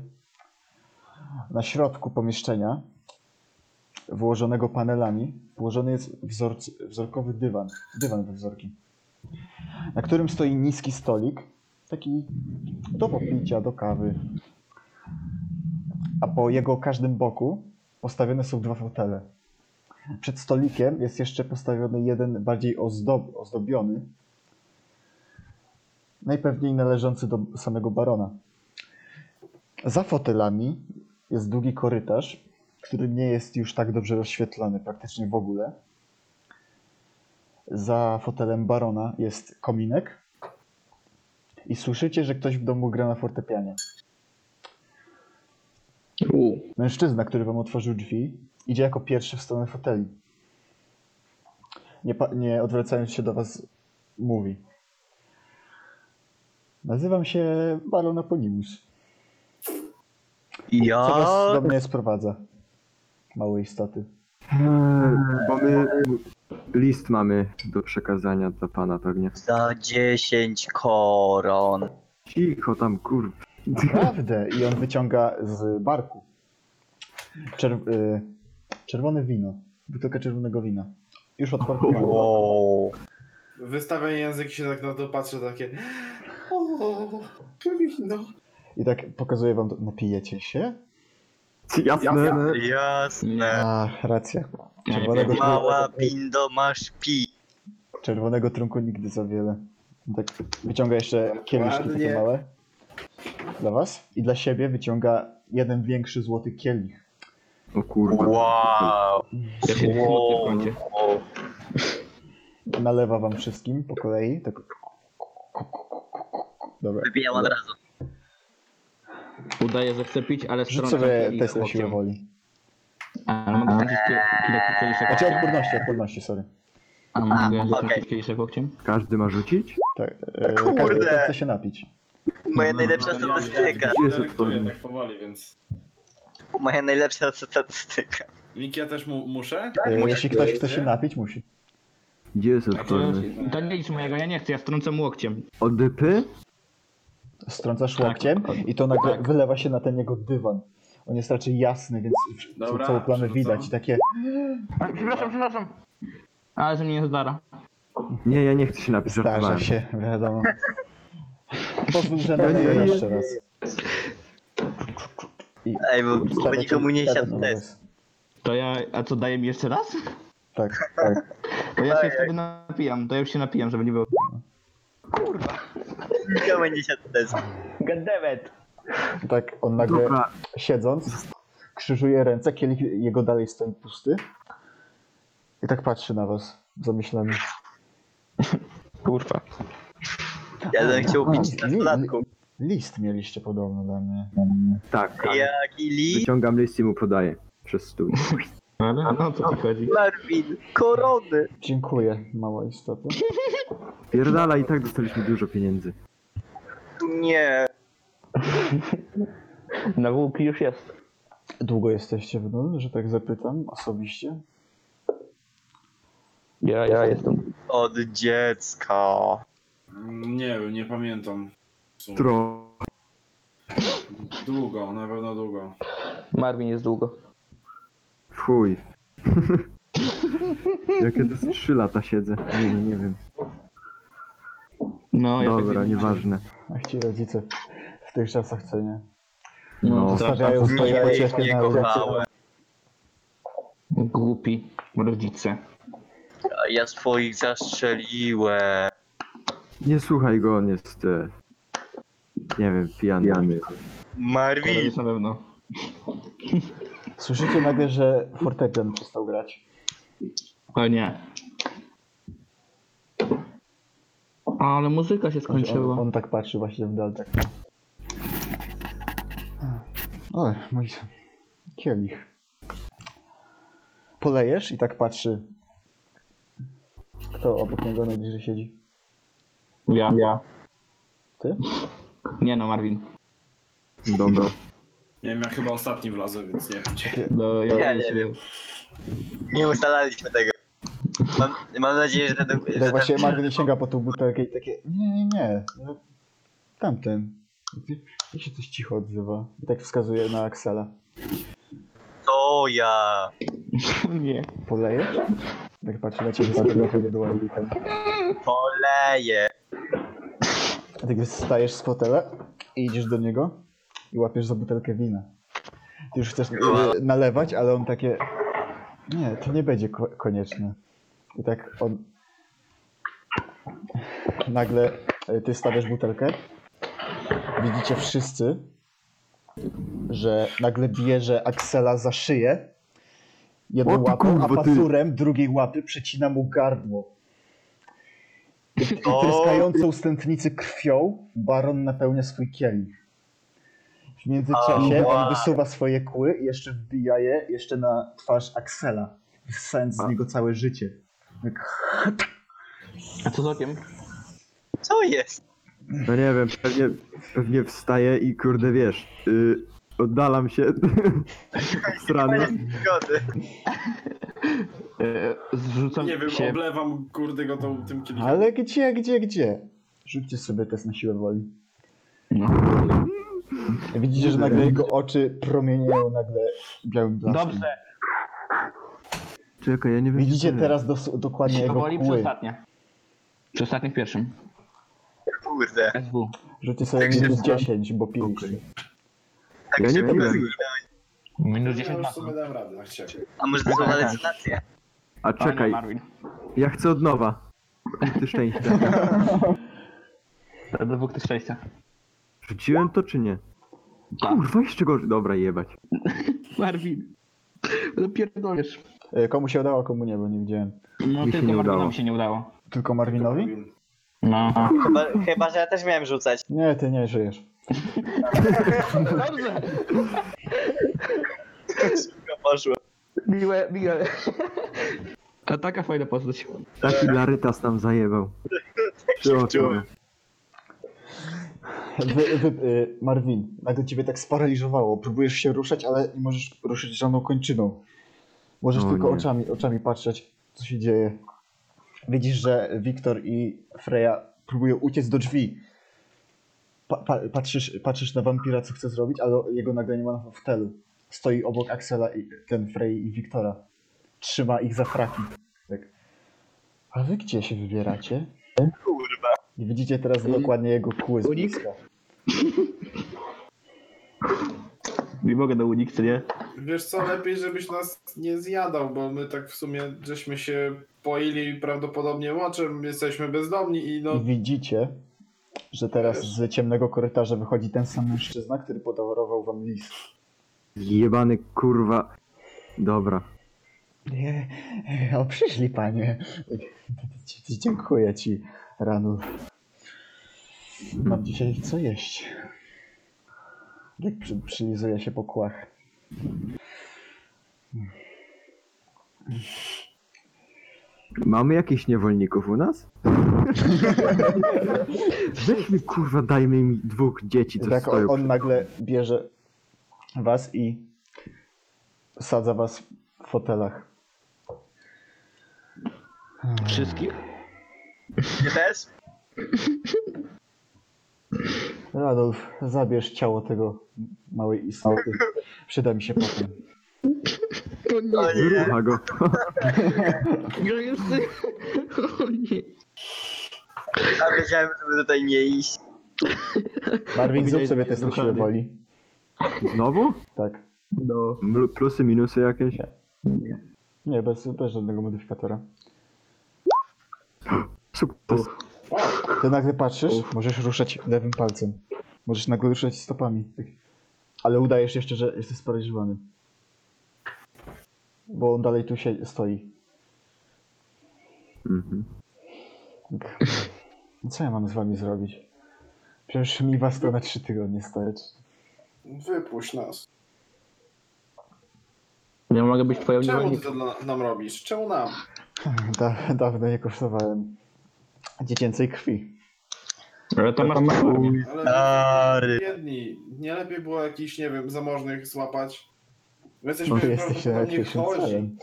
Na środku pomieszczenia, wyłożonego panelami, położony jest wzorc, wzorkowy dywan. Dywan we wzorki na którym stoi niski stolik, taki do popicia, do kawy. A po jego każdym boku postawione są dwa fotele. Przed stolikiem jest jeszcze postawiony jeden bardziej ozdob ozdobiony, najpewniej należący do samego barona. Za fotelami jest długi korytarz, który nie jest już tak dobrze rozświetlony praktycznie w ogóle za fotelem barona jest kominek i słyszycie, że ktoś w domu gra na fortepianie. Mężczyzna, który wam otworzył drzwi, idzie jako pierwszy w stronę foteli. Nie, pa- nie odwracając się do was, mówi. Nazywam się Baron Aponimus. Co
Ja
was do mnie sprowadza? Małe istoty.
Eee, Bo my list mamy do przekazania dla pana pewnie.
za 10 koron.
Cicho tam kurwa.
Naprawdę! I on wyciąga z barku czerw- y- czerwone wino. Butelkę czerwonego wina. Już odparkowane.
Wow.
Wystawiam język i się tak na to patrzę, takie... O, no." powinno.
I tak pokazuje wam, to. napijecie się?
Jasne.
Jasne.
A, racja.
Ja nie
Czerwonego,
Mała bindo masz pi.
czerwonego trunku nigdy za wiele. I Tak wyciąga jeszcze kieliszki takie
Ładnie.
małe. Dla was. I dla siebie wyciąga jeden większy złoty kielich.
O kurwa.
Wow.
Ja się wow. w kącie.
Wow.
Nalewa wam wszystkim po kolei. Tak. Dobra.
Wybijam od razu.
Udaję, że chcę pić, ale
Rzuć
stronę
sobie
i
test na
łokciem.
siłę woli.
A, ale mogę tak kręcić kie- kilka
Tak.
kieliszek
Znaczy
łokciem?
odporności, odporności, sorry.
A, mogę
okej.
kręcić kieliszek łokciem?
Każdy ma rzucić?
Tak, e,
No Kurde.
każdy kto chce się napić.
Moja
No,
najlepsza
No,
statystyka.
Jest
Delektuję
odporny.
tak powoli, więc...
Moja najlepsza statystyka.
Link ja też mu, muszę?
Tak
E, Jeśli ktoś chce się
nie?
napić, musi.
Gdzie jest
A to,
odporny?
to nie licz mojego, ja nie chcę, ja strącam łokciem.
Od dypy?
Strącasz
Tak.
łokciem i to nagle wylewa się na ten jego dywan. On jest raczej jasny, więc
Dobra,
Dobra, całą plamę
przerzucam.
widać i takie.
A, przepraszam, przepraszam. Ale że mnie nie zdara.
Nie, ja nie chcę się napisać.
Zdarza się, wiadomo. Pozwól, że
No
Ja nie-
naleję
ja nie-
jeszcze raz. I
Ej, bo, bo
wstawia
nikomu nie
ten
siadł
obraz.
test.
To ja, a co, daje mi jeszcze raz?
Tak, tak.
To ja się wtedy napijam, to ja już się napijam, żeby nie było.
Nikomu nie siadł test.
Goddammit!
Tak, on nagle
Dobra,
siedząc krzyżuje ręce, kielich jego dalej stoi pusty. I tak patrzy na was, zamyślony.
Kurwa.
Jeden chciał bić
A, li-
nastolatką.
List mieliście podobno dla mnie.
Tak,
Jaki list,
wyciągam list i mu podaję. Przez stół.
Ale a no co ci chodzi?
Marvin, korony.
Dziękuję, mała istota.
Pierdala i tak dostaliśmy dużo pieniędzy.
Nie.
Na łuki już jest.
Długo jesteście w dole, że tak zapytam osobiście?
Ja, ja jestem.
Od dziecka.
Mm, Nie wiem, nie pamiętam. W sumie.
Tro.
Długo, na pewno długo.
Marvin jest długo.
w Chuj. <laughs> Jakie to z 3 lata siedzę. Nie, wiem, nie wiem.
No,
tak-
Dobra, nieważne.
Ach ci rodzice w tych czasach co nie.
No,
Zostawiają swoje
Nigdy ich
pociechy
nie
na
kochałem.
głupi rodzice.
A Ja swoich zastrzeliłem.
Nie słuchaj go, on jest. E... Nie wiem, pijany.
Marvin,
Rodzice na pewno.
Słyszycie nagle, że fortepian przestał grać.
O nie. Ale muzyka się
On,
skończyła.
on tak patrzy właśnie w dal. Tak. Oj, mój kielich. Polejesz i tak patrzy. Kto obok niego najbliżej siedzi?
Ja. ja.
Ty?
Nie no, Marvin.
Dobra.
Nie wiem, ja chyba ostatni wlazłem, więc nie wiem gdzie.
No, ja,
Ja nie
się-
nie ustalaliśmy tego. Mam, mam nadzieję, że ten...
I
że
tak
ten-
właśnie Marvin sięga po tą butelkę i takie nie, nie, nie, no, tamten. I się coś cicho odzywa. I tak wskazuje na Axela.
To ja.
Nie.
Polejesz? Tak patrzy na ciebie, patrzy na ciebie dłoni.
Poleję.
A ty Tak wstajesz z fotela i idziesz do niego i łapiesz za butelkę wina. Ty już chcesz y, nalewać, ale on takie. Nie, to nie będzie ko- konieczne. I tak on. Nagle y, ty stawiasz butelkę. Widzicie wszyscy, że nagle bierze Axela za szyję.
O
Jedną
ty
łapą, a
kurwa, ty.
pasurem drugiej łapy przecina mu gardło.
No.
O,
Tryskającą stętnicy krwią baron napełnia swój kielich. W międzyczasie
Ała.
on wysuwa swoje kły i jeszcze wbija je jeszcze na twarz Axela, wysysając z niego całe życie. Tak.
A co z okiem?
co jest?
No nie wiem, pewnie, pewnie wstaję i kurde wiesz. Y... Oddalam się. <laughs> Strany.
Zgody.
E, Zrzucam
Nie wiem,
się.
oblewam kurde go tą, tym kielikiem.
Ale gdzie, gdzie, gdzie? Rzućcie sobie test na siłę woli.
No.
Widzicie, że nagle jego oczy promienieją nagle białym blaskiem.
Dobrze,
Czekaj, ja nie wiem. co
Widzicie
to
teraz dos- dokładnie
się
jego
powoli przy
kły.
ostatnie. Przy ostatnie w pierwszym.
Kurde.
SW.
Rzućcie sobie
się
minus
zna.
10, bo piliście.
Tak
Ja nie
szybko
piłem.
zginąłem.
Minus
ja
10
już
na
sobie dam radę, jak chciałem.
A może to są halucynacje?
jest. A czekaj,
Marvin.
ja chcę od nowa. Ty szczęścia.
Do dwóch tych szczęścia.
Rzuciłem to czy nie?
Tak.
Kurwa, jeszcze gorzej. Dobra, jebać.
Marvin. No pierdolisz.
Y, Komu się udało, komu nie, bo nie widziałem.
No
Mi się
tylko
nie
Marvin
udało.
nam się nie udało.
Tylko
Tak,
Marvinowi?
No.
Chyba, chyba, że ja też miałem rzucać.
Nie, ty nie żyjesz.
Dobrze.
Szybko poszło.
Miłe, miłe. A taka fajna postać.
Taki larytas nam zajebał.
Tak
Przy oku.
Wy, wy, y, Marvin, nagle ciebie tak sparaliżowało. Próbujesz się ruszać, ale nie możesz ruszyć żadną kończyną. Możesz
O
tylko
nie.
oczami, oczami patrzeć, co się dzieje. Widzisz, że Wiktor i Freya próbują uciec do drzwi. Pa, pa, patrzysz, patrzysz na wampira, co chce zrobić, ale jego nagle nie ma na fotelu. Stoi obok Axela i ten Frey i Wiktora. Trzyma ich za fraki. Tak. A wy gdzie się wybieracie?
Kurwa.
I widzicie teraz dokładnie jego kły z
Unik?
bliska.
Nie mogę do unik, czy nie?
Wiesz co, lepiej żebyś nas nie zjadał, bo my tak w sumie żeśmy się poili prawdopodobnie moczem, jesteśmy bezdomni i
I
no...
widzicie, że teraz z ciemnego korytarza wychodzi ten sam mężczyzna, który podarował wam list.
Jebany kurwa. Dobra.
Nie, o przyszli panie. Dziękuję ci, Ranu. Mam dzisiaj co jeść. Jak przy, przylizuję się po kłach.
Mamy jakichś niewolników u
<laughs>
nas? Weźmy kurwa, dajmy im dwóch dzieci, co
tak on,
stoją.
on nagle bierze was i sadza was w fotelach.
Wszystkich?
Ty też?
Radolf, zabierz ciało tego małej istoty. Przyda mi się potem.
To nie,
O nie.
Rucha go.
Grajusy. O nie.
A wiedziałem, żeby tutaj nie iść.
Marvin, zrób
Powiedziałeś,
sobie
że
test na
jest
siłę
ruchany.
woli.
Znowu?
Tak.
No.
Mlu- Plusy, minusy jakieś?
Nie, bez, bez żadnego modyfikatora.
Sukces.
Ty nagle patrzysz, możesz ruszać lewym palcem. Możesz nagle ruszać stopami. Tak. Ale udajesz jeszcze, że jesteś sparaliżowany. Bo on dalej tu się stoi.
Mhm.
Tak. No Co ja mam z wami zrobić? Przecież mi was to na trzy tygodnie starczy.
Wypuść nas.
Ja mogę być twoją
Czemu ty
niewolnikiem.
to dla, nam robisz? Czemu nam?
Da, dawno nie kosztowałem dziecięcej krwi.
Ale to masz
Ale
Stary.
biedni. Nie lepiej było jakichś, nie wiem, zamożnych złapać. My jesteśmy
Bo wy jesteście nawet
prawdopodobnie
pierwszym
chorzy.
celem.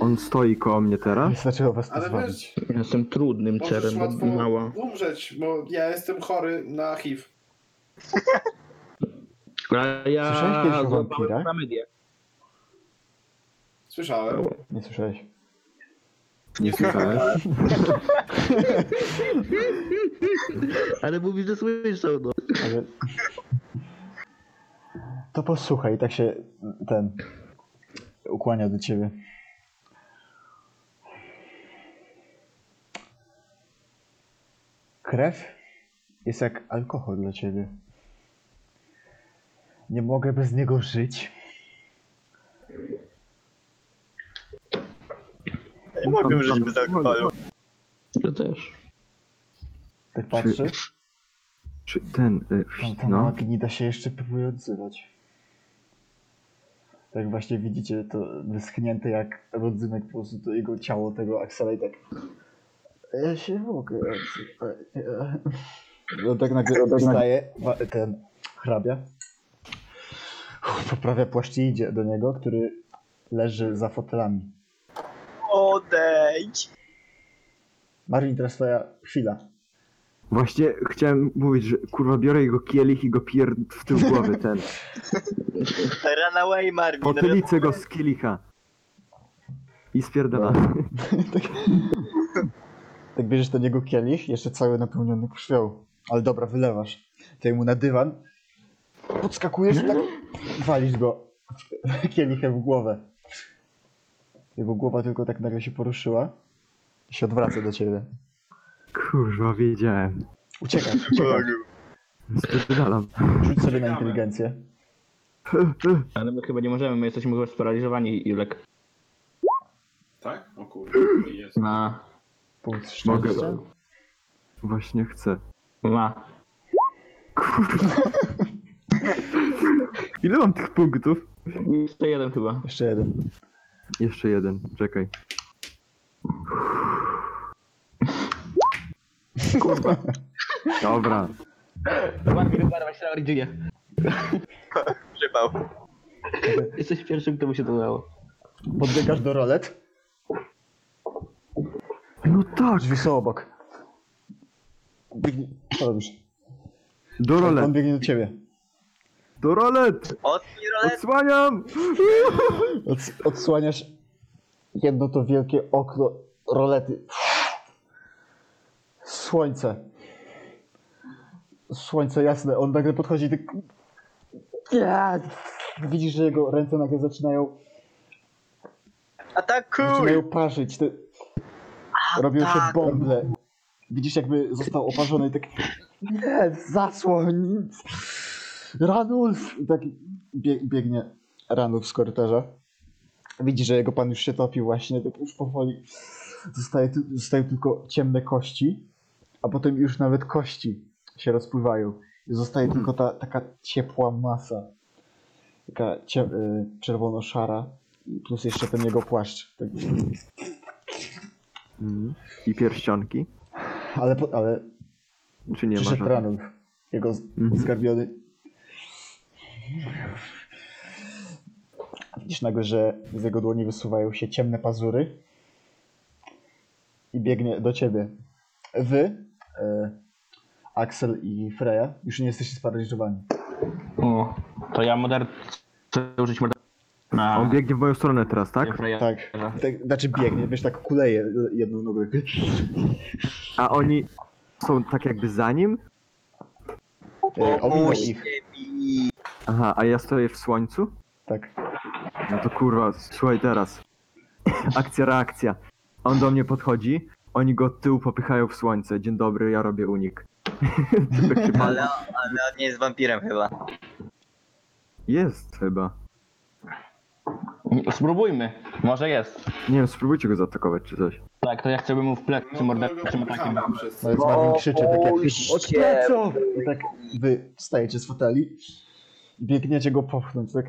On stoi koło mnie teraz.
Wystarczyło was tu
Ale
zwalić.
wiesz,
Ja Jestem trudnym
możesz
cerem, bo
łatwo
mała.
umrzeć, bo ja jestem chory na HIV.
A ja
Słyszałeś kiedyś o
złapałem
wampirach?
chlamydię.
Słyszałem.
Nie słyszałeś.
Nie słyszałeś?
Ale mówi, że słyszał, no.
Ale... To posłuchaj, tak się ten ukłania do ciebie. Krew jest jak alkohol dla ciebie. Nie mogę bez niego żyć. No
Nie mogę żyć bez alkoholu.
Ja też.
Tak patrzysz?
Czy ten... Y,
Tam, tam no.
no.
Magnida się jeszcze próbuje odzywać. Tak właśnie widzicie to wyschnięte jak rodzynek po prostu to jego ciało, tego Axela i tak. Ja się mogę odzywać. No tak nagle wstaje wa- ten hrabia. Uff, Poprawia płaszcz i idzie do niego, który leży za fotelami.
Odejdź.
Marvin, teraz twoja chwila.
Właśnie chciałem mówić, że kurwa biorę jego kielich i go pierd w tył głowy ten.
Run away, Marvin.
Potylicę go z kielicha. I spierdala.
Tak bierzesz do niego kielich, jeszcze cały napełniony krwią. Ale dobra, wylewasz. Ty mu na dywan, podskakujesz i tak walisz go <laughs> kielichem w głowę. Jego głowa tylko tak nagle się poruszyła i się odwraca do ciebie.
Kurwa, wiedziałem.
Uciekasz,
Tak.
uciekasz.
Spierdalam.
Rzuć sobie na inteligencję.
Ale my chyba nie możemy, my jesteśmy chyba sparaliżowani, Julek.
Tak?
<clears throat>
O kurde, jest.
Na.
Punkt
Mogę.
szczęścia.
Właśnie chcę.
Ma.
Ile mam tych punktów?
Jeszcze jeden chyba.
Jeszcze jeden.
Jeszcze jeden, czekaj. Kurwa. Dobra.
Barbie, Barbie, się originuje.
Grzybał.
Jesteś pierwszym, któremu się to udało.
Podbiegasz do rolet,
No tak,
drzwi są obok. Biegnie. Co robisz?
do
On
rolet,
biegnie do ciebie.
do rolet!
Otwórz rolet.
Odsłaniam!
Ods- odsłaniasz jedno to wielkie okno rolety. Słońce. Słońce jasne. On nagle podchodzi i tak... Ja! Widzisz, że jego ręce nagle zaczynają,
Atakuj.
zaczynają parzyć. Te... Robią się
tak.
bąble. Widzisz, jakby został oparzony i tak... Nie! Zasłoń! Ranulf! I tak bie- biegnie Ranulf z korytarza. Widzi, że jego pan już się topi właśnie, tak już powoli. Zostaje, ty- zostają tylko ciemne kości, a potem już nawet kości się rozpływają. I zostaje tylko ta, taka ciepła masa. Taka cie, y, czerwono-szara. I Plus jeszcze ten jego płaszcz. Tak.
Mhm. I pierścionki?
Ale, po, ale
Czy nie ma
przyszedł
żadnych?
Ranulf. Jego z-
Mhm.
zgarbiony. Widzisz nagle, że z jego dłoni wysuwają się ciemne pazury. I biegnie do ciebie. Wy, e, Axel i Freya, już nie jesteście sparaliżowani.
O, to ja mordercę użyć mordercę.
On
Na
biegnie w moją stronę teraz, tak?
Jeffreya.
Tak. tak znaczy biegnie, wiesz, tak kuleje jedną nogę.
A oni są tak jakby za nim?
E, Owinął ich.
Aha, a ja stoję w słońcu?
Tak.
No to kurwa, słuchaj teraz. <laughs> Akcja, reakcja. On do mnie podchodzi, oni go od tyłu popychają w słońce. Dzień dobry, ja robię unik. <laughs> Typek się
Ale, ale on nie jest wampirem chyba.
Jest chyba.
Spróbujmy, może jest.
Nie wiem, spróbujcie go zaatakować czy coś.
Tak, to ja chciałbym mu w
No
plecy morderczym atakiem.
Pychamy przez...
No jest Marvin krzyczy tak jak
Oczywiście.
co? I tak wy wstajecie z foteli i biegniecie go popchnąć, tak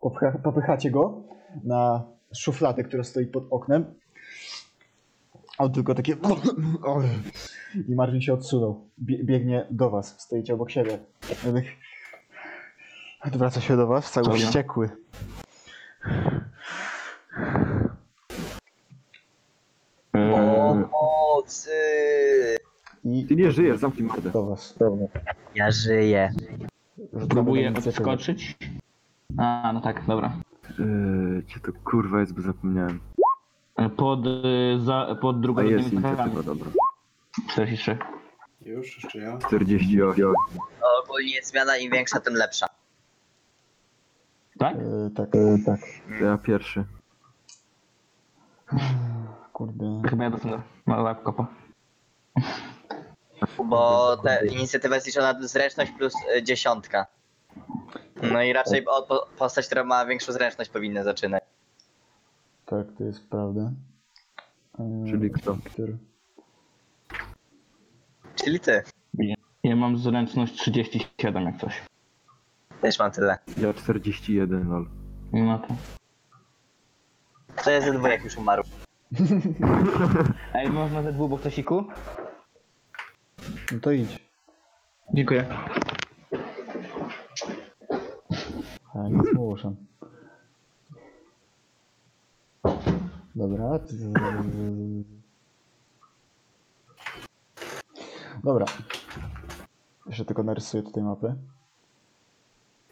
Popcha, popychacie go na szufladę, która stoi pod oknem. A on tylko takie i Marvin się odsunął. Bie, biegnie do was, stoicie obok siebie. Ja tak- Odwraca się do was, cały
Dobra.
wściekły.
Pomocy!
I
Ty nie żyjesz, zamknij mordę.
do was.
Ja żyję.
Rzucamy na
Próbuję
inicjatywę.
odskoczyć. A, no tak, dobra.
Yy, gdzie to kurwa jest, bo zapomniałem.
Pod, y, za, pod drugą
A jest inicjatywa, dobra.
43.
Już, jeszcze ja.
48.
Ogólnie zmiana im większa, tym lepsza.
Tak?
E, tak, tak.
To ja pierwszy.
Kurde.
Tak.
Chyba ja dostanę małe łapkopa.
Bo ta inicjatywa jest liczona zręczność plus y, dziesiątka. No i raczej o- po- postać, która ma większą zręczność powinna zaczynać.
Tak, to jest prawda. Eee,
Czyli kto?
Który?
Czyli ty.
Ja mam zręczność 37 jak coś.
Też mam tyle.
Ja 41, lol.
Nie ma to.
To jest ze dwóch, jak już umarł.
Ej, można ze dwóch boktosiku?
No to idź.
Dziękuję.
A, nie zmuszam. Dobra. ty- z- z- Dobra. Jeszcze tylko narysuję tutaj mapę.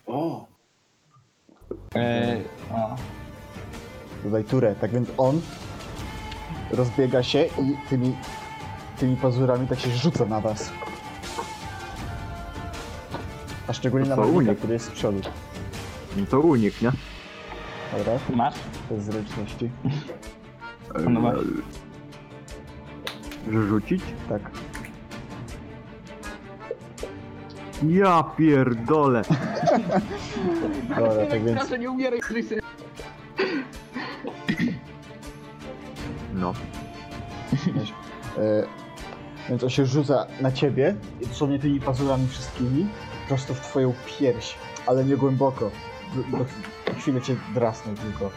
O!
Ej, o.
Dodaj turę. Tak więc on rozbiega się i tymi, tymi pazurami tak się rzuca na was. A szczególnie na
To
Marvina,
unik.
który jest z przodu.
No to unik, nie?
Dobra,
Masz?
to jest zręczności.
No właśnie.
Że Eee, rzucić?
Tak.
Ja pierdolę.
Dobra, tak więc
nie umieraj, Krysy.
<laughs>
No.
E, Więc on się rzuca na ciebie, i dosłownie tymi pazurami wszystkimi, prosto w twoją pierś, ale nie głęboko. Do, do, do chwilę cię drasnął tylko.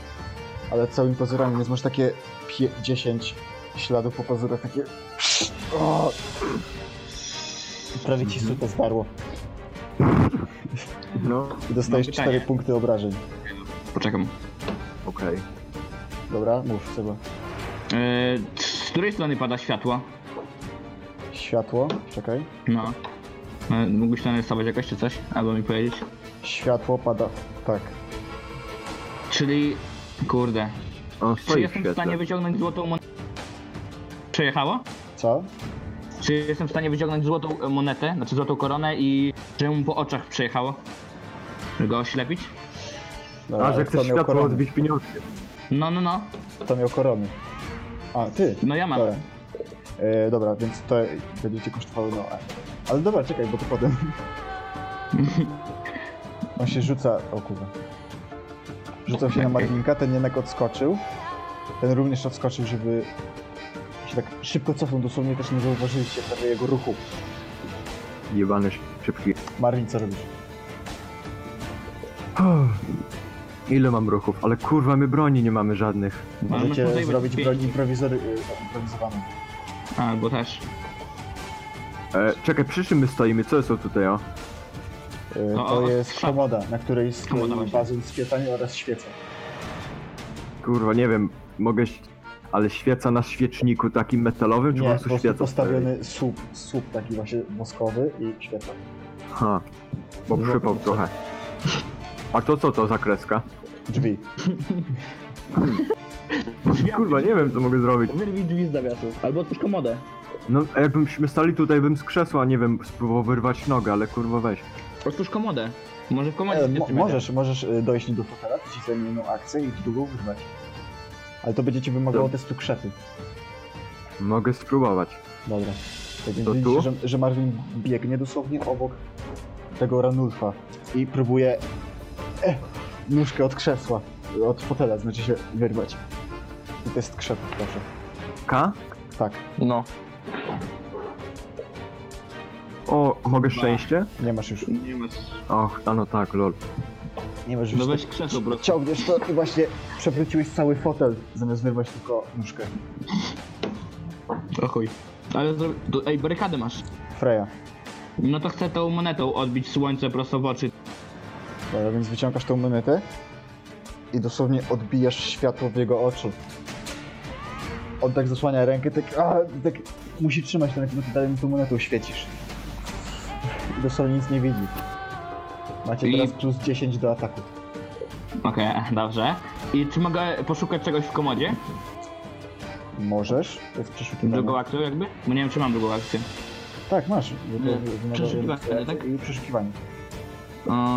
Ale całymi pazurami, więc masz takie pie- 10 śladów po pazurach, takie... O! Mhm. I Prawie ci sutę zdarło.
No,
I dostajesz
Mam pytanie.
4 punkty obrażeń.
Poczekam.
okej.
Dobra, mów, Seba.
Ej, E, z której strony pada światło?
Światło, czekaj.
No. E, Mógłbyś to narysować jakoś czy coś? Albo mi powiedzieć?
Światło pada... tak.
Czyli... Kurde.
On
Czy
stoi w
jestem w stanie
świetle.
wyciągnąć złotą monetę? Przejechało?
Co?
Czy jestem w stanie wyciągnąć złotą e, monetę, znaczy złotą koronę i że mu po oczach przejechało? Żeby go oślepić?
Dobra,
A, że
ale
chcesz
kto miał
światło
korony?
odbić pieniądze.
No, no, no.
Kto miał korony? A, ty.
No ja mam.
Dobra. E, dobra, więc to będzie cię kosztowało no. a- Ale dobra, czekaj, bo to
<laughs>
potem. On się rzuca. O kurwa. Rzucał się na Marvinka, ten jednak odskoczył. Ten również odskoczył, żeby się tak szybko cofnął, dosłownie też nie zauważyliście prawie jego ruchu.
jebane szybki. <sighs>
Marvin, co robisz?
Ile mam ruchów? Ale kurwa, my broni nie mamy żadnych.
No,
Możecie
możliwe-
zrobić
pi-
broń improwizory, y, improwizowaną.
A, bo też.
E, czekaj, przy czym my stoimy? Co są tutaj, o?
Y,
O,
To
o,
jest
szaf-
komoda, na której stoi
Komoda właśnie.
bazyn z kwiatami oraz świeca.
Kurwa, nie wiem, mogę... ś- Ale świeca na świeczniku takim metalowym, czy po
Nie, po
prostu
prostu
świeca stoi?
postawiony słup, słup taki właśnie woskowy i świeca.
Ha, bo
Dużo
przypał
pomocy.
trochę. A to co to za kreska?
Drzwi.
Kurwa, nie wiem co mogę zrobić.
Wyrwij drzwi z zawiasów. Albo otwórz komodę.
No, a jakbyśmy stali tutaj, bym z krzesła, nie wiem, spróbował wyrwać nogę, ale kurwa weź.
Otwórz komodę. Może w komodzie
E,
się
mo-
przymierzy.
możesz, możesz y, dojść do fotela, to ci zajmie jedną akcję i długo używać. Ale to będzie ci wymagało
Dobra.
testu krzepy.
Mogę spróbować.
Dobra. Tak więc
To
widzicie,
tu?
że, że Marvin biegnie dosłownie obok tego Ranulfa i próbuje e, nóżkę od krzesła, od fotela, znaczy się wyrwać. I to jest krzep, proszę.
K?
Tak,
No.
O, mogę szczęście?
nie masz już.
Nie masz.
Och, a no tak, lol.
Nie masz już.
No
tak-
weź krzesło, bro.
Ciągniesz to i właśnie przewróciłeś cały fotel, zamiast wyrwać tylko nóżkę.
O chuj. Ale zro... to- Ej, barykadę masz.
Freya.
No to chcę tą monetą odbić słońce prosto w oczy.
Dobra, więc wyciągasz tą monetę i dosłownie odbijasz światło w jego oczu. On tak zasłania rękę, tak, a, tak musi trzymać ten, bo ty dalej mu tą monetą świecisz. I dosłownie nic nie widzi. Macie
I-
teraz plus 10 do ataku.
Okej, <laughs> dobrze. I czy mogę poszukać czegoś w komodzie?
Możesz, to jest przeszukiwanie.
Drugą akcją jakby? Bo nie wiem, czy mam drugą akcję.
Tak, masz. Wy-
Nie,
wy- wy-
przeszukiwanie,
wy-
tak?
I przeszukiwanie.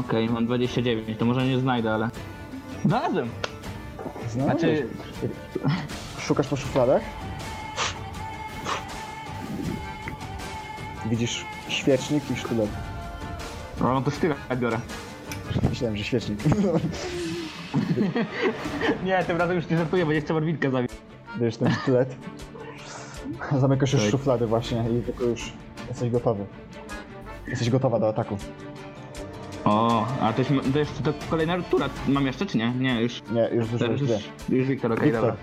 Okej, mam 29, to może nie znajdę, ale... Znalazłem!
Znalazłeś.
Znaczy,
Szukasz po szufladach? Widzisz świecznik i sztylet.
no to styla biorę.
Myślałem, że świecznik. <laughs>
Nie, tym razem już nie żartuję, bo nie chcę warwinkę zabić.
Wiesz, ten sztylet. Zamykasz
Tak.
już szuflady właśnie i tylko już jesteś gotowy. Jesteś gotowa do ataku.
O, a to, jest, to jest to kolejna tura. Mam jeszcze, czy nie? Nie, już.
Nie, już
Teraz
wyszłeś
już,
źle.
już Wiktor, okej,
Wiktor,
dobra.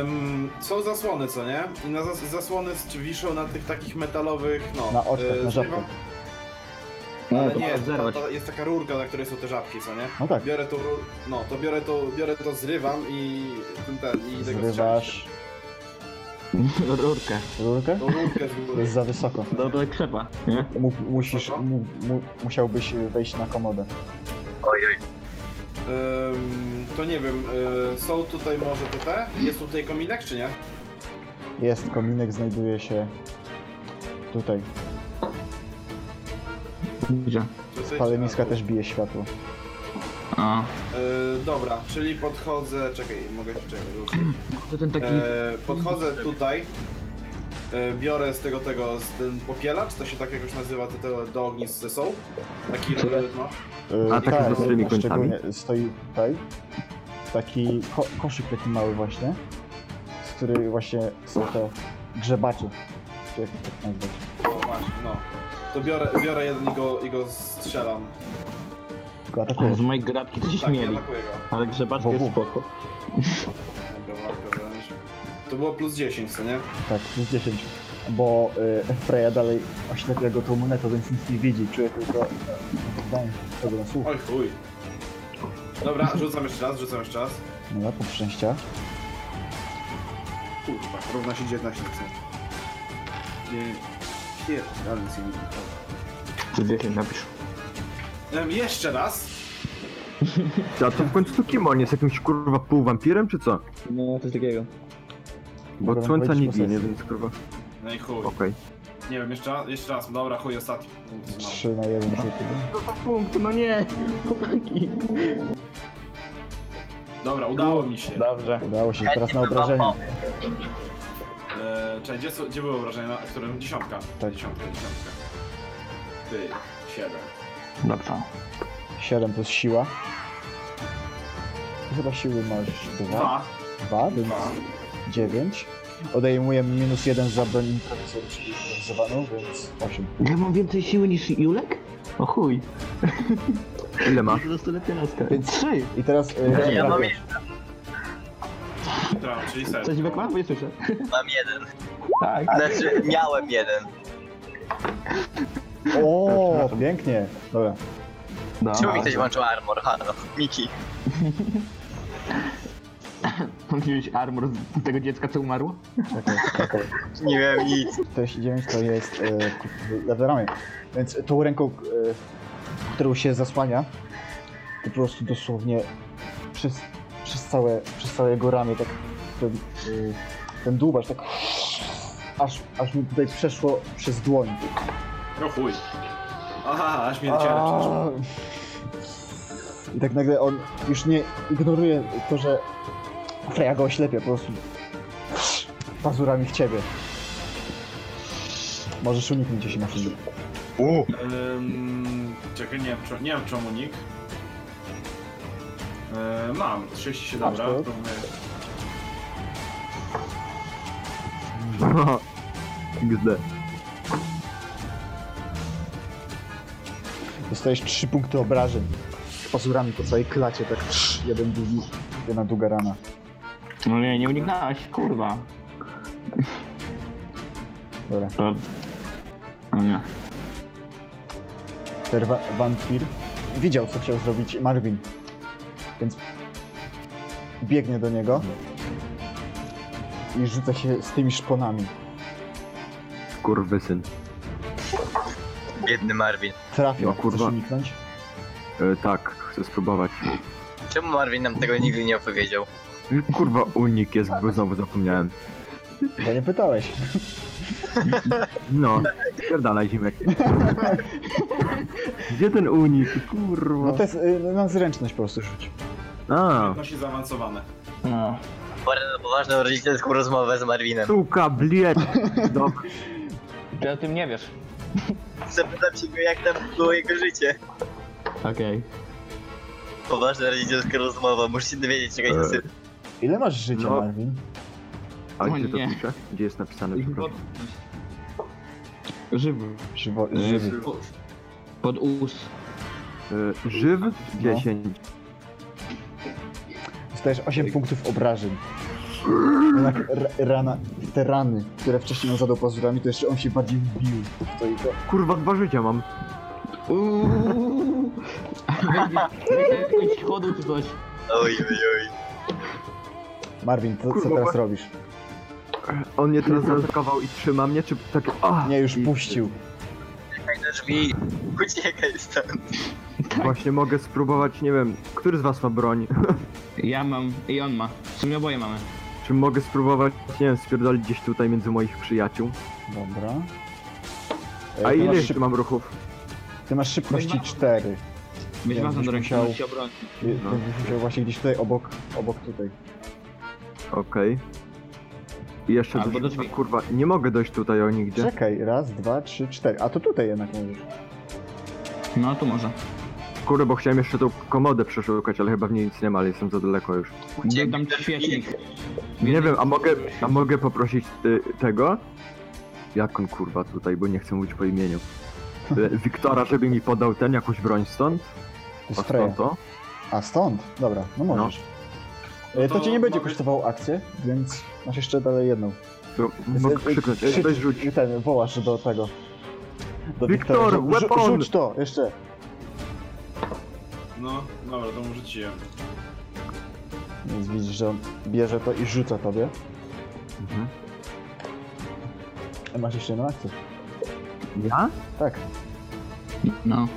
Ym, są zasłony, co nie? I na zas zasłony z- wiszą na tych takich metalowych, no...
Na oczkach,
E,
y,
na żabkach.
zrywam-
No,
Ale
to
nie,
nie,
ta,
<laughs> zerwać.
ta, jest taka rurka, na której są te żabki, co nie?
no tak.
Biorę to, no, to biorę to, biorę to, zrywam i ten, ten, i tego strzelam.
Zrywasz
Rurkę.
rurkę?
Tą rurkę z
To
góry.
jest za wysoko.
No to krzepa. Nie?
Mu, musisz, mu, mu, musiałbyś wejść na komodę.
Ym, to nie wiem, y, są tutaj może te te? Jest tutaj kominek, czy nie?
Jest, kominek znajduje się tutaj.
Dobrze.
Czy coś-
Paleniska też bije światło.
A.
Y, dobra, czyli podchodzę, czekaj, mogę się czekać.
To ten taki.
E, podchodzę tutaj, e, biorę z tego tego, z ten popielacz, to się tak jakoś nazywa, to tego do ognisk są. Taki no.
Yy,
A tak
ta-
z ostrymi
no,
końcami?
szczególnie Stoi tutaj taki ko koszyk taki mały właśnie, z której właśnie są te grzebacie. Czy jak to tak nazwać?
O, właśnie, no. To biorę, biorę jeden i go, i go strzelam.
Tylko
O,
atakuje.
z mojej grabki coś
Tak,
śmieli.
atakuję go.
Ale grzebaczka jest
Bogu.
spoko.
Dobra, walka wręcz. To było plus 10, co nie?
Tak, plus 10. Bo y, Freya dalej oślepia go tą monetą, więc nic nie widzi. Czuje tylko dam tego na słuch.
Oj chuj. Dobra, rzucam jeszcze raz, rzucam jeszcze raz.
No na punkt szczęścia.
Kurwa, równa się 19. co nie? Pierdolę, nic nie widzę.
Czy 10 napisz.
Em, Jeszcze raz.
A to w końcu to kim on jest? Jakimś kurwa półwampirem czy co?
No, coś takiego.
Bo
Mogę
od
wam
słońca
powiedzieć
nie
po
ginie,
sesji.
więc kurwa...
No i chuj.
Okej.
Nie wiem, jeszcze raz, jeszcze raz. Dobra, chuj, ostatni. No.
3 na 1 rzut.
Punkt, no nie! Chłopaki.
Dobra, udało mi się.
Tak.
Dobrze.
Udało się teraz
Chętnie
na
bym wam
obrażenie.
pomógł.
Eee, czekaj, gdzie, są- gdzie było wrażenie? Na którym? Dziesiątka.
Tak.
Dziesiątka, dziesiątka. Ty, siedem.
Dobrze.
7 plus siła. Ty Chyba siły masz 2.
Dwa.
2, więc
Dwa.
9. Odejmuję minus jeden za broń improwizowaną, więc 8.
Ja mam więcej siły niż Julek? O chuj.
Ile masz?
Dwunastoletnia laska.
Więc-
Trzy!
I teraz... e,
Ja
Ren
mam
trafiasz.
Traf, czyli set.
Coś Bek ma? Bo nie słyszę.
Mam jeden.
Tak.
Znaczy, miałem jeden.
O, pięknie. Dobra.
No,
Czemu mi ktoś
<laughs>
włączył armor? Halo, Miki.
Mam wziąć armor z tego dziecka, co umarło?
Nie miałem nic.
49 to jest e, ku- lewe ramię. Więc tą ręką, e, którą się zasłania, to po prostu dosłownie przez, przez, całe, przez całe jego ramię tak ten, e, ten dłubacz tak aż, aż mi tutaj przeszło przez dłoń.
No chuj. Aha, aż mnie dociera przecież.
I tak nagle on już nie ignoruje to, że Freya go oślepia, po prostu pazurami w ciebie. Możesz uniknąć, jeśli masz unik.
Ym, czekaj, nie wiem, czy- nie wiem czemu nick. Yy, mam, 37
Masz
dobra,
to?
to mówię.
XD.
Dostajesz 3 punkty obrażeń. Pazurami po całej klacie, tak trz, jeden długi, jedna długa rana.
No nie, nie uniknęłaś, kurwa.
Dobra.
To... No nie.
Ten wa- wampir widział, co chciał zrobić Marvin, więc biegnie do niego i rzuca się z tymi szponami.
Kurwysyn.
Biedny Marvin.
Trafia,
No, kurwa.
chcesz uniknąć?
E, tak, chcę spróbować.
Czemu Marvin nam tego nigdy nie opowiedział?
Kurwa, unik jest, bo znowu zapomniałem.
Bo nie pytałeś.
No, pierdalaj zimek. Gdzie ten unik? Kurwa.
No to jest y, na zręczność po prostu rzuć.
A,
Umiejętności zaawansowane.
No.
Porę na poważną rodzicielską rozmowę z Marvinem.
suka, bliet. Dobra.
Ty o tym nie wiesz.
Zapytam się go, jak tam było jego życie.
Okej.
Poważna rodzicielska rozmowa, musisz się dowiedzieć czegoś o
Eee.
synu.
Ile masz życia,
No.
Marvin?
A
O
gdzie to
nie.
pisze? Gdzie jest napisane? przepraszam?
Żywy.
Żywo,
No
Y,
żywy.
po- Pod ust.
E, żyw
No.
10.
Dostajesz 8 punktów obrażeń. Jednak ra- rana, te rany, które wcześniej on zadał pazurami, to jeszcze on się bardziej wbił w to i to.
Kurwa, dwa życia mam.
<laughs> Uuuu. jakiegoś chodu czy coś.
Oj, oj, oj.
Marvin, co, co
Kurwa,
teraz
właśnie-
robisz?
On mnie teraz zaatakował i trzyma mnie, czy tak... A,
Nie, już
i-
puścił.
Czekaj na drzwi. Uciekaj stąd.
Właśnie mogę spróbować, nie wiem, który z was ma broń?
Ja mam i on ma. W sumie oboje mamy.
Czy mogę spróbować, nie wiem, spierdolić gdzieś tutaj między moich przyjaciół?
Dobra. E,
A
ty
ile
masz
jeszcze
szyb-
mam ruchów?
Ty masz szybkości 4.
Być
Ja
ważna
byś
do
musiał-
ręki, obrony.
Ty
No.
będziesz musiał właśnie gdzieś tutaj obok, obok tutaj.
Okej. I jeszcze
Albo
coś...
do drzwi.
A, kurwa, nie mogę dojść tutaj o nigdzie.
Czekaj, raz, dwa, trzy, cztery. A to tutaj jednak możesz.
No tu może.
Kurwa, bo chciałem jeszcze tą komodę przeszukać, ale chyba w niej nic nie ma, ale jestem za daleko już.
Uciekaj
Dam
na
ci świecznik.
Nie wiem, a mogę, a mogę poprosić y, tego? Jak on kurwa tutaj, bo nie chcę mówić po
<laughs>
imieniu. Y, Wiktora, żeby mi podał ten jakąś broń stąd?
To jest
A
Freya.
stąd to?
A stąd? Dobra, no możesz.
No.
E, To,
No to
cię nie będzie
mogę-
kosztowało akcję, więc masz jeszcze dalej jedną.
to
Więc,
mogę
e,
krzyknąć,
krzyk-
Ej, No, weź rzuć.
Ten, wołasz do tego. Do
Wiktor,
Wiktora, że- rzu-
weapon!
Rzuć to, jeszcze.
No, dobra, to mu rzuciłem.
Więc widzisz, że on bierze to i rzuca tobie.
Mhm.
A E, Masz jeszcze jedną akcję.
Ja?
Tak.
No.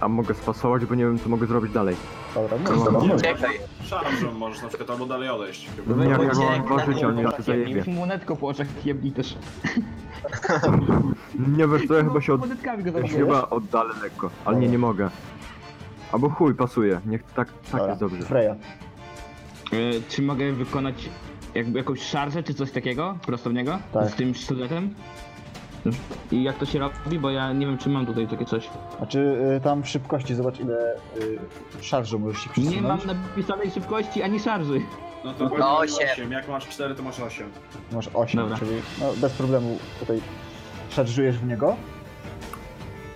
A mogę spasować, bo nie wiem co mogę zrobić dalej.
Dobra, no,
Kurwa,
dobra,
nie. tak
dobra.
Uciekaj.
Szarżą możesz na przykład albo dalej odejść.
No Nie, jak tak ja
Wojciech,
mam dwa
na
życia, on
mnie
mi to zajebie.
Już mu netko po oczach jebni też.
Nie wiesz co, ja chyba się od...
Monetkami go
ja się
zabiję.
chyba oddalę lekko, ale nie, nie mogę. Albo chuj, pasuje. Niech tak, tak
Dobra,
jest dobrze.
Freya.
Y, Czy mogę wykonać jakby jakąś szarżę czy coś takiego? Prosto w niego?
Tak.
Z tym sztyletem? I jak to się robi, bo ja nie wiem czy mam tutaj takie coś.
A czy y, tam w szybkości, zobacz ile y, szarżu możesz się
Nie mam
przesunąć.
napisanej szybkości ani szarży.
No to powinno być
osiem.
8. Jak masz 4, to masz 8.
Masz 8,
Dobra.
czyli no, bez problemu tutaj szarżujesz w niego